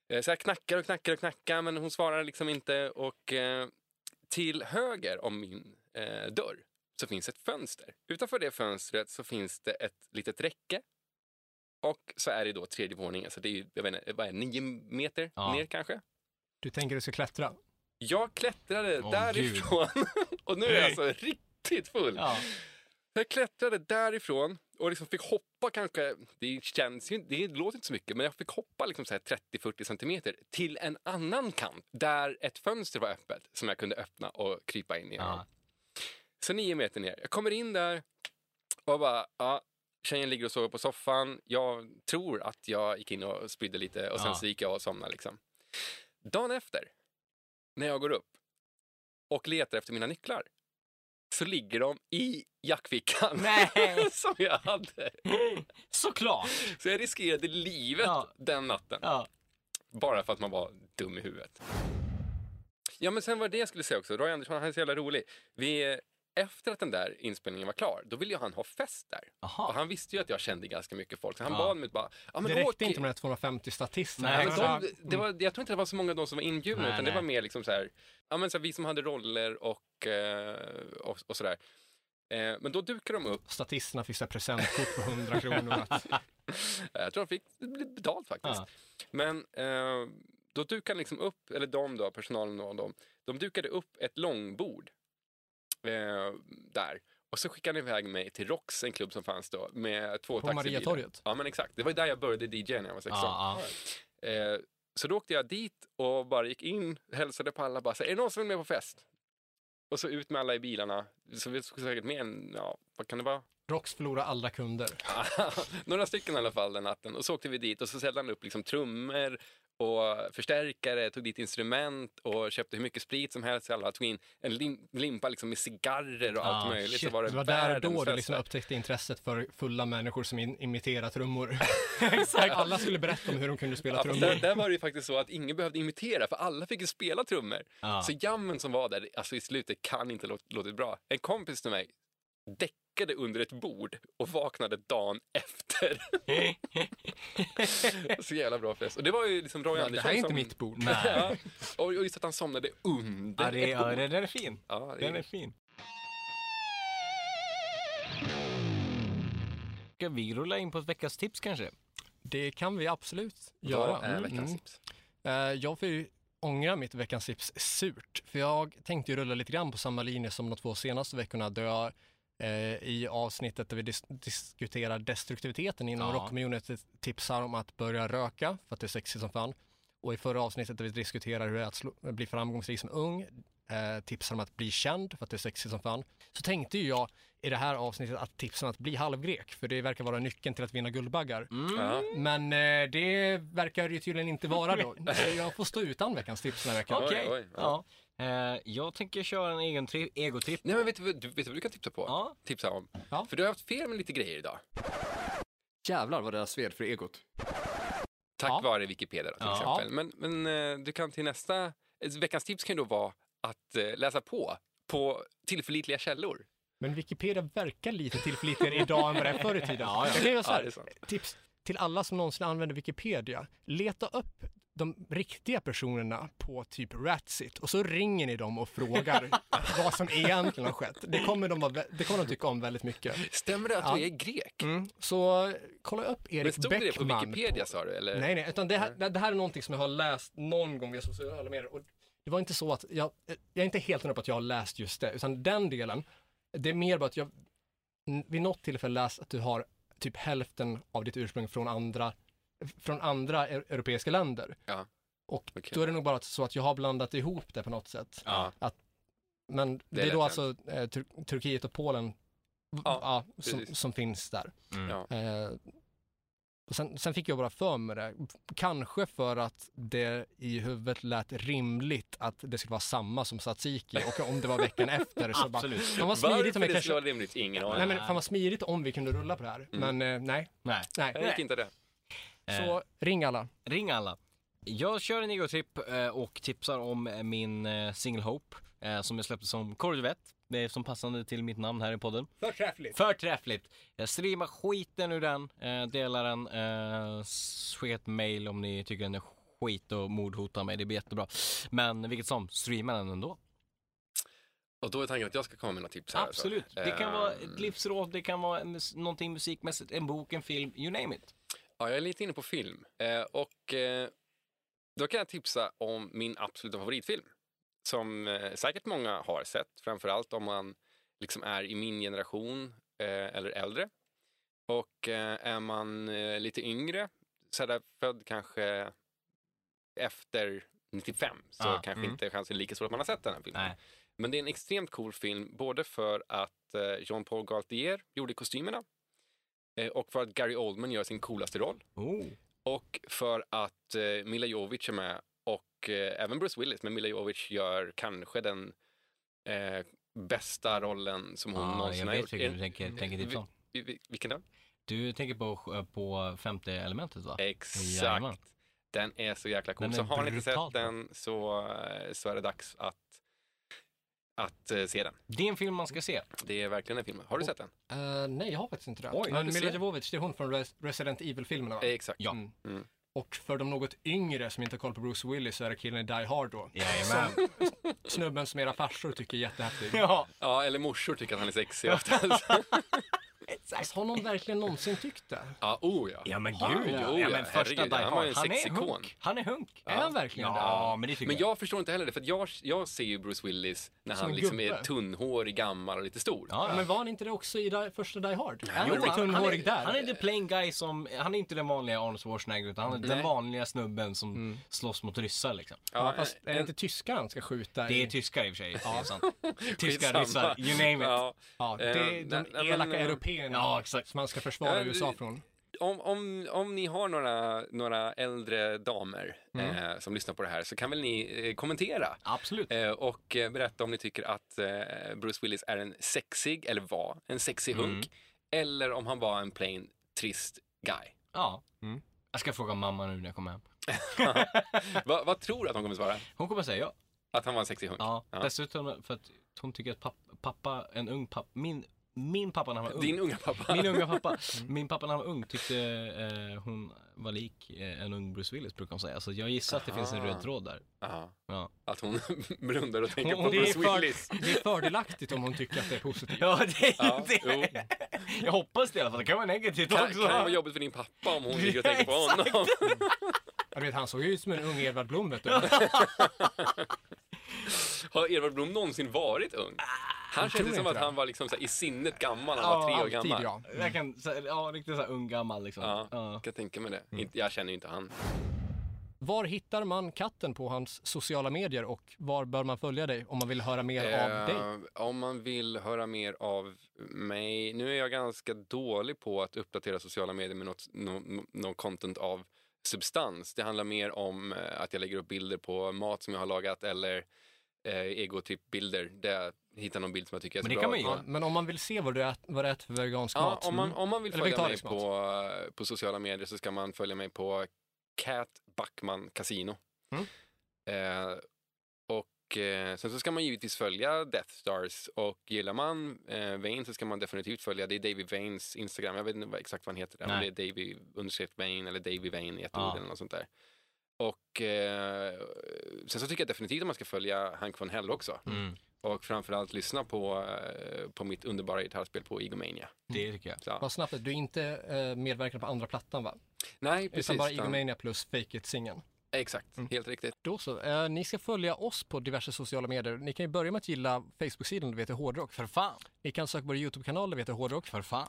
[SPEAKER 1] Eh, Så jag knackar och knackar och knackar men hon svarar liksom inte. Och eh, till höger om min eh, dörr så finns ett fönster. Utanför det fönstret så finns det ett litet räcke. Och så är det då tredje våningen, så det är ju, jag vet inte, vad är det, nio meter
[SPEAKER 2] Ja.
[SPEAKER 1] ner kanske.
[SPEAKER 3] Du tänker du ska klättra.
[SPEAKER 1] Jag klättrade
[SPEAKER 2] Åh,
[SPEAKER 1] därifrån och nu är jag alltså riktigt full.
[SPEAKER 2] ja.
[SPEAKER 1] Jag klättrade därifrån och liksom fick hoppa kanske, det känns ju, det låter inte så mycket, men jag fick hoppa liksom så här 30-40 centimeter till en annan kant där ett fönster var öppet som jag kunde öppna och krypa in genom.
[SPEAKER 2] ja.
[SPEAKER 1] Så nio meter ner. Jag kommer in där och bara, ja, tjejen ligger och sover på soffan. Jag tror att jag gick in och spydde lite och sen
[SPEAKER 2] Ja.
[SPEAKER 1] så gick jag och somnade liksom. Dagen efter, när jag går upp och letar efter mina nycklar, så ligger de i jackfickan
[SPEAKER 2] Nej.
[SPEAKER 1] som jag hade.
[SPEAKER 2] Såklart!
[SPEAKER 1] Så jag riskerade livet
[SPEAKER 2] Ja.
[SPEAKER 1] den natten.
[SPEAKER 2] Ja.
[SPEAKER 1] Bara för att man var dum i huvudet. Ja, men sen var det jag skulle säga också. Roy Andersson, han är så jävla rolig. Vi, efter att den där inspelningen var klar, då ville ju han ha fest där.
[SPEAKER 2] Aha.
[SPEAKER 1] Och han visste ju att jag kände ganska mycket folk, så han
[SPEAKER 2] Ja.
[SPEAKER 1] bad mig bara... Ja, men
[SPEAKER 3] det räckte
[SPEAKER 1] åk-
[SPEAKER 3] inte med de här 250 statisterna.
[SPEAKER 2] Nej,
[SPEAKER 1] Ja,
[SPEAKER 3] Det
[SPEAKER 1] men
[SPEAKER 3] var-
[SPEAKER 2] exakt.
[SPEAKER 1] de, det var, jag tror inte det var så många av de som var inbjudna,
[SPEAKER 2] Nej,
[SPEAKER 1] utan
[SPEAKER 2] nej.
[SPEAKER 1] det var mer liksom så här, ja, men så här, vi som hade roller och, eh, och, och sådär. Eh, men då dukar de upp
[SPEAKER 3] Statisterna fick så här presentkort på 100 kronor. Att,
[SPEAKER 1] eh, Jag tror de fick lite betalt faktiskt.
[SPEAKER 2] Ja.
[SPEAKER 1] Men eh, då dukade liksom upp, eller de då, personalen och de, de dukade upp ett långbord eh, där. Och så skickade de iväg mig till Rox, en klubb som fanns då, med två
[SPEAKER 3] på
[SPEAKER 1] taxibilar.
[SPEAKER 3] Mariatorget.
[SPEAKER 1] Ja, men exakt. Det var ju där jag började DJ när jag var 16.
[SPEAKER 2] Ja, ja.
[SPEAKER 1] Eh, så då åkte jag dit och bara gick in, hälsade på alla bara så här, är det någon som vill med på fest? Och så ut med alla i bilarna. Så vi skulle säkert med en, ja, vad kan det vara?
[SPEAKER 3] Rox förlorade alla kunder.
[SPEAKER 1] Några stycken i alla fall den natten. Och så åkte vi dit och så säljde han upp liksom trummor och förstärkare, tog dit instrument och köpte hur mycket sprit som helst. Alla tog in en lim- limpa liksom med cigarrer och
[SPEAKER 2] Ah,
[SPEAKER 1] allt möjligt.
[SPEAKER 2] shit.
[SPEAKER 1] så var det,
[SPEAKER 3] Det var där och
[SPEAKER 1] världens
[SPEAKER 3] då du
[SPEAKER 1] fest
[SPEAKER 3] liksom
[SPEAKER 1] där.
[SPEAKER 3] upptäckte intresset för fulla människor som in, imiterar trummor. Alla skulle berätta om hur de kunde spela
[SPEAKER 1] Ja, fast där,
[SPEAKER 3] trummor.
[SPEAKER 1] där var det ju faktiskt så att ingen behövde imitera, för alla fick ju spela trummor.
[SPEAKER 2] Ja.
[SPEAKER 1] Så jammen som var där alltså i slutet kan inte låt, låtit bra. En kompis till mig däckade under ett bord och vaknade dagen efter. så jävla bra fest. Och det var ju liksom Roy
[SPEAKER 3] Det
[SPEAKER 1] Andersson
[SPEAKER 3] här är inte
[SPEAKER 1] som...
[SPEAKER 3] mitt bord.
[SPEAKER 1] Ja. Och och just att han somnade under.
[SPEAKER 2] Ja, det,
[SPEAKER 1] ett bord.
[SPEAKER 2] ja, den den är fin.
[SPEAKER 1] Ja, det
[SPEAKER 2] Den är
[SPEAKER 1] är...
[SPEAKER 2] fin. Ska vi rulla in på ett veckans tips kanske?
[SPEAKER 3] Det kan vi absolut göra.
[SPEAKER 1] Vad är veckans
[SPEAKER 3] Mm.
[SPEAKER 1] tips?
[SPEAKER 3] Eh, Jag får ju ångra mitt veckans tips surt, för jag tänkte ju rulla lite grann på samma linje som de två senaste veckorna då jag eh, i avsnittet där vi dis diskuterar destruktiviteten inom
[SPEAKER 2] Ja.
[SPEAKER 3] rockcommunityt tipsar om att börja röka för att det är sexigt som fan. Och i förra avsnittet där vi diskuterar hur det är att slå, bli framgångsrik som ung eh, tipsar om att bli känd för att det är sexigt som fan. Så tänkte ju jag i det här avsnittet att tipsa om att bli halvgrek, för det verkar vara nyckeln till att vinna Guldbaggar.
[SPEAKER 1] Ja.
[SPEAKER 3] Men eh, det verkar ju tydligen inte vara då. Så Jag får stå utan veckans tips den här veckan.
[SPEAKER 1] Oj,
[SPEAKER 2] Okej.
[SPEAKER 1] oj,
[SPEAKER 2] Ja. Eh, jag tänker köra en egen tri- egotripp.
[SPEAKER 1] Nej, men vet du, vad- du, vet du vad du kan tipsa på?
[SPEAKER 2] Ja.
[SPEAKER 1] Tipsa om?
[SPEAKER 3] Ja.
[SPEAKER 1] För du har haft fel med lite grejer idag.
[SPEAKER 6] Jävlar vad det där sved för egot.
[SPEAKER 1] Tack
[SPEAKER 3] Ja.
[SPEAKER 1] vare Wikipedia då, till
[SPEAKER 2] Ja.
[SPEAKER 1] exempel. Men, men eh, du kan till nästa... eh, Veckans tips kan ju då vara att eh, läsa på på tillförlitliga källor.
[SPEAKER 3] Men Wikipedia verkar lite tillförlitligare idag än vad det är förr i tiden. Ja, ja. Jag kan ju säga,
[SPEAKER 1] Ja, det är sant.
[SPEAKER 3] tips. till alla som någonsin använder Wikipedia, leta upp de riktiga personerna på typ Ratsit och så ringer ni dem och frågar vad som egentligen har skett. Det kommer de, vara vä- det kommer de tycka om väldigt mycket.
[SPEAKER 1] Stämmer det att du är grek?
[SPEAKER 3] Mm. Så kolla upp
[SPEAKER 1] Men
[SPEAKER 3] Erik
[SPEAKER 1] stod
[SPEAKER 3] Bäckman.
[SPEAKER 1] det på Wikipedia sa du? Eller?
[SPEAKER 3] Nej, nej, utan det här, det här är någonting som jag har läst någon gång via sociala medier. Och det var inte så att, jag, jag är inte helt hundra på att jag har läst just det, utan den delen, det är mer bara att jag n- vid något tillfälle läst att du har typ hälften av ditt ursprung från andra, från andra eu- europeiska länder.
[SPEAKER 1] Ja.
[SPEAKER 3] Och
[SPEAKER 1] Okej.
[SPEAKER 3] då är det nog bara att- så att jag har blandat ihop det på något sätt.
[SPEAKER 2] Ja.
[SPEAKER 3] Men det, är
[SPEAKER 1] lätt
[SPEAKER 3] då
[SPEAKER 1] hänt.
[SPEAKER 3] alltså eh, Tur- Turkiet och Polen v-
[SPEAKER 1] Ja,
[SPEAKER 3] ja, som,
[SPEAKER 1] precis.
[SPEAKER 3] som finns där.
[SPEAKER 2] Mm.
[SPEAKER 1] Ja.
[SPEAKER 3] Eh, och sen, sen fick jag bara för mig det, kanske för att det i huvudet lät rimligt att det skulle vara samma som tzatziki och om det var veckan efter så bara,
[SPEAKER 2] Absolut.
[SPEAKER 3] fan vad
[SPEAKER 1] Varför det
[SPEAKER 3] smidigt om vi
[SPEAKER 1] skulle
[SPEAKER 3] kanske,
[SPEAKER 1] vara rimligt? Ingen aning.
[SPEAKER 3] nej men fan vad smidigt om vi kunde rulla på det här,
[SPEAKER 1] Mm. Eh.
[SPEAKER 3] men eh, nej,
[SPEAKER 2] Nej.
[SPEAKER 1] Jag
[SPEAKER 3] nej.
[SPEAKER 1] gick inte det.
[SPEAKER 3] Så ring alla.
[SPEAKER 2] Ring alla. Jag kör en egotripp eh, och tipsar om eh, min eh, single Hope eh, som jag släppte som korvett. Det är som passande till mitt namn här i podden.
[SPEAKER 3] Förträffligt.
[SPEAKER 2] Förträffligt! Jag streamar skiten ur den, eh, delar den, eh, skicka ett mail om ni tycker den är skit och mordhotar mig. Det blir jättebra. Men vilket som, streama den ändå.
[SPEAKER 1] Och då är tanken att jag ska komma med några tips här.
[SPEAKER 2] Absolut.
[SPEAKER 1] alltså.
[SPEAKER 2] Det kan vara
[SPEAKER 1] Ehm,
[SPEAKER 2] ett livsråd, det kan vara en mus- någonting musikmässigt, en bok, en film, you name it.
[SPEAKER 1] Ja, jag är lite inne på film. Eh, och eh, då kan jag tipsa om min absoluta favoritfilm. Som eh, säkert många har sett, framförallt om man liksom är i min generation eh, eller äldre. Och eh, är man eh, lite yngre, så där född kanske efter 95, så
[SPEAKER 2] Ah,
[SPEAKER 1] kanske
[SPEAKER 2] mm.
[SPEAKER 1] inte chansen är lika stor att man har sett den här filmen.
[SPEAKER 2] Nej.
[SPEAKER 1] Men det är en extremt cool film, både för att eh, Jean Paul Gaultier gjorde kostymerna eh, och för att Gary Oldman gör sin coolaste roll.
[SPEAKER 2] Oh.
[SPEAKER 1] Och för att eh, Mila Jovic är med och eh, även Bruce Willis, men Mila Jovic gör kanske den eh, bästa rollen som
[SPEAKER 2] Ah,
[SPEAKER 1] hon
[SPEAKER 2] Mm. jag
[SPEAKER 1] någonsin har
[SPEAKER 2] vet
[SPEAKER 1] gjort.
[SPEAKER 2] vilken du
[SPEAKER 1] Är-
[SPEAKER 2] tänker, tänker tipsa om.
[SPEAKER 1] vi- vi- Vilken då?
[SPEAKER 2] Du tänker på, eh, på femte elementet va? Jajamän.
[SPEAKER 1] Exakt. Den är så jäkla cool.
[SPEAKER 2] Den är
[SPEAKER 1] Så har ni inte
[SPEAKER 2] brutalt bra.
[SPEAKER 1] sett den så, eh, så är det dags att, att eh, se den.
[SPEAKER 2] Det är en film man ska se.
[SPEAKER 1] Det är verkligen en film. Har du sett den?
[SPEAKER 3] Eh, nej, jag har faktiskt inte det.
[SPEAKER 2] Oj,
[SPEAKER 3] men
[SPEAKER 2] du ser.
[SPEAKER 3] Mila Jovovich, det är hon från Res- Resident Evil-filmerna va?
[SPEAKER 1] Eh, Exakt.
[SPEAKER 2] Ja.
[SPEAKER 3] Mm.
[SPEAKER 1] Mm.
[SPEAKER 3] Och för de något yngre som inte har koll på Bruce Willis så är det killen i Die Hard då.
[SPEAKER 2] Jajamän.
[SPEAKER 3] Snubben som era farsor tycker är jättehäftig.
[SPEAKER 2] ja.
[SPEAKER 1] Ja, eller morsor tycker att han är sexig oftast.
[SPEAKER 3] Alltså, har någon verkligen någonsin tyckt det?
[SPEAKER 1] ja, oh ja.
[SPEAKER 2] ja men gud.
[SPEAKER 1] Ah, jo,
[SPEAKER 2] ja,
[SPEAKER 1] ja,
[SPEAKER 2] men första
[SPEAKER 1] herregud,
[SPEAKER 2] Die
[SPEAKER 1] han var ju
[SPEAKER 2] Hard. Han
[SPEAKER 1] en
[SPEAKER 2] är
[SPEAKER 1] sexikon.
[SPEAKER 2] hunk. Han är hunk.
[SPEAKER 3] Är han verkligen
[SPEAKER 2] ja,
[SPEAKER 3] det?
[SPEAKER 2] Ja, men det tycker
[SPEAKER 1] Men
[SPEAKER 2] jag.
[SPEAKER 1] jag förstår inte heller det, för att jag, jag ser ju Bruce Willis när
[SPEAKER 3] Som
[SPEAKER 1] han
[SPEAKER 3] en
[SPEAKER 1] liksom
[SPEAKER 3] gubbe.
[SPEAKER 1] är tunnhårig, gammal och lite stor.
[SPEAKER 2] Ja, ja.
[SPEAKER 3] Men var han inte det också i Die, första Die Hard? Han
[SPEAKER 2] Jo,
[SPEAKER 3] var lite tunnhårig där.
[SPEAKER 2] han är the plain guy som, han är inte den vanliga Arnold Schwarzenegger utan han är den
[SPEAKER 1] Nej.
[SPEAKER 2] vanliga snubben som slåss mot ryssar liksom.
[SPEAKER 3] ja, fast
[SPEAKER 1] eh,
[SPEAKER 3] är det inte tyskar han ska skjuta?
[SPEAKER 2] Det är
[SPEAKER 3] i?
[SPEAKER 2] tyskar i och för sig, det är sant. Tyskar,
[SPEAKER 1] Skitsamma.
[SPEAKER 2] ryssar, you name it. Ja,
[SPEAKER 1] Ja.
[SPEAKER 3] ja, det
[SPEAKER 1] eh,
[SPEAKER 3] är de
[SPEAKER 1] nej, nej,
[SPEAKER 3] elaka
[SPEAKER 1] men, eh,
[SPEAKER 3] européerna
[SPEAKER 2] exakt.
[SPEAKER 3] som han ska försvara
[SPEAKER 1] Ja, det-
[SPEAKER 3] USA från.
[SPEAKER 1] Om, om, om ni har några, några äldre damer
[SPEAKER 2] Mm.
[SPEAKER 1] eh, som lyssnar på det här så kan väl ni eh, kommentera
[SPEAKER 2] Absolut.
[SPEAKER 1] eh, och eh, berätta om ni tycker att eh, Bruce Willis är en sexig, eller var, en sexig
[SPEAKER 2] Mm.
[SPEAKER 1] hunk eller om han var en plain trist guy.
[SPEAKER 2] Ja. Jag ska fråga mamma nu när jag kommer hem.
[SPEAKER 1] Va, vad tror du att de kommer svara?
[SPEAKER 2] Hon kommer säga ja.
[SPEAKER 1] Att han var en sexig hunk?
[SPEAKER 2] Ja, dessutom för att hon tycker att pappa, pappa en ung pappa, min, min pappa när han var ung.
[SPEAKER 1] Din unga pappa? Mm.
[SPEAKER 2] Min unga pappa, min pappa när han var ung tyckte eh, hon var lik eh, en ung Bruce Willis brukar hon säga. Så jag gissar att det finns en
[SPEAKER 1] Aha.
[SPEAKER 2] röd tråd där.
[SPEAKER 1] Ja.
[SPEAKER 2] Ja,
[SPEAKER 1] Att hon blundar och tänker
[SPEAKER 3] Och
[SPEAKER 1] på
[SPEAKER 3] det, är
[SPEAKER 1] Bruce
[SPEAKER 3] för,
[SPEAKER 1] Willis.
[SPEAKER 3] det är fördelaktigt om hon tycker att det är positivt.
[SPEAKER 2] ja det,
[SPEAKER 1] Ja,
[SPEAKER 2] det
[SPEAKER 1] jo.
[SPEAKER 2] Jag hoppas det i alla fall, det kan vara negativt
[SPEAKER 1] Kan, kan
[SPEAKER 3] Alltså.
[SPEAKER 2] också.
[SPEAKER 1] det vara jobbigt för din pappa om hon ligger och tänker på
[SPEAKER 2] Ja, exakt.
[SPEAKER 1] honom?
[SPEAKER 3] Jag vet, han såg ju ut som en ung Edvard Blom vet du.
[SPEAKER 1] Har Edvard Blom någonsin varit ung? Han
[SPEAKER 3] Ah, tror
[SPEAKER 1] känns som
[SPEAKER 3] inte
[SPEAKER 1] att
[SPEAKER 3] det.
[SPEAKER 1] han var liksom så här i sinnet gammal, han var
[SPEAKER 2] Ja,
[SPEAKER 1] tre år
[SPEAKER 3] Alltid
[SPEAKER 1] gammal.
[SPEAKER 3] ja.
[SPEAKER 2] Jag kan, så, ja, riktigt så här ung gammal liksom.
[SPEAKER 1] Ja,
[SPEAKER 2] Ja.
[SPEAKER 1] kan tänka mig det.
[SPEAKER 3] Mm.
[SPEAKER 1] Inte- Jag känner ju inte han.
[SPEAKER 3] Var hittar man katten på hans sociala medier och var bör man följa dig om man vill höra mer av dig?
[SPEAKER 1] Eh, om man vill höra mer av mig. Nu är jag ganska dålig på att uppdatera sociala medier med något, no, no, någon content av substans. Det handlar mer om eh, att jag lägger upp bilder på mat som jag har lagat eller eh, egotrippbilder där jag hittar någon bild som jag tycker är så
[SPEAKER 2] Men det
[SPEAKER 1] bra.
[SPEAKER 2] kan man ju
[SPEAKER 1] att-
[SPEAKER 2] göra.
[SPEAKER 3] Ja, men om man vill se vad du äter, vad du äter för vegansk
[SPEAKER 1] Ja,
[SPEAKER 3] mat. mm.
[SPEAKER 1] om man, om man vill
[SPEAKER 3] Eller
[SPEAKER 1] följa mig
[SPEAKER 3] vegetarisk mat.
[SPEAKER 1] på, eh, på sociala medier så ska man följa mig
[SPEAKER 3] Mm.
[SPEAKER 1] på Cat Backman Casino. Eh, och Och eh, sen så ska man givetvis följa Death Stars och gillar man eh, Vane så ska man definitivt följa, det är David Vanes Instagram, jag vet inte vad- exakt vad han heter där,
[SPEAKER 2] Nej.
[SPEAKER 1] men det är Davy underskrift Vane eller Davy Vane i ett
[SPEAKER 2] Ja.
[SPEAKER 1] ord eller något sånt där. Och eh, sen så tycker jag definitivt att man ska följa Hank von Hell också.
[SPEAKER 2] Mm.
[SPEAKER 1] Och framförallt lyssna på, eh, på mitt underbara gitarrspel på Egomania.
[SPEAKER 2] Det tycker jag.
[SPEAKER 1] Så.
[SPEAKER 3] Vad snabbt, du är inte eh, medverkande på andra plattan va?
[SPEAKER 1] Nej,
[SPEAKER 3] Utan
[SPEAKER 1] precis.
[SPEAKER 3] bara Mm.
[SPEAKER 1] utan-
[SPEAKER 3] Egomania plus Fake It-singeln.
[SPEAKER 1] Exakt, helt riktigt.
[SPEAKER 3] Då så. Eh, ni ska följa oss på diverse sociala medier. Ni kan ju börja med att gilla Facebook-sidan där vi heter Hårdrock.
[SPEAKER 2] För fan,
[SPEAKER 3] Ni kan söka på vår YouTube-kanal där vi heter Hårdrock.
[SPEAKER 2] för fan.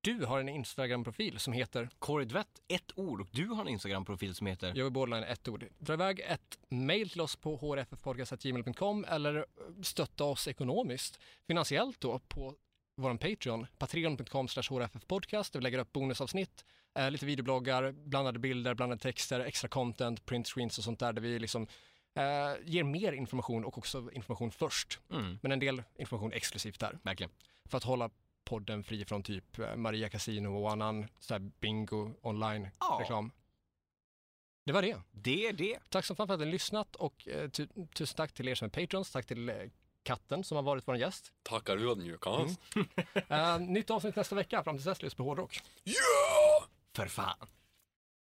[SPEAKER 3] Du har en Instagram-profil som heter
[SPEAKER 2] Corey Dvett, ett ord. Och du har en Instagram-profil som heter...
[SPEAKER 3] Joey Borderline, ett ord. Dra iväg ett mail till oss på hrffpodcast.gmail.com eller eh, stötta oss ekonomiskt, finansiellt då, på vår Patreon, patreon.com hrffpodcast, där vi lägger upp bonusavsnitt, eh, lite videobloggar, blandade bilder, blandade texter, extra content, print screens och sånt där, där vi liksom eh, ger mer information och också information först,
[SPEAKER 2] Mm,
[SPEAKER 3] men en del information exklusivt där.
[SPEAKER 2] verkligen.
[SPEAKER 3] för att hålla podden fri från typ eh, Maria Casino och annan så här bingo online
[SPEAKER 2] Ja.
[SPEAKER 3] reklam. Det var det.
[SPEAKER 2] Det är det.
[SPEAKER 3] Tack som fan för att ni har lyssnat och eh, tu- tusen tack till er som är patrons. Tack till eh, katten som har varit vår gäst.
[SPEAKER 1] Tackar ödmjukast.
[SPEAKER 3] Eh, nytt avsnitt nästa vecka. Fram till dess, lyssna på hårdrock.
[SPEAKER 2] För fan.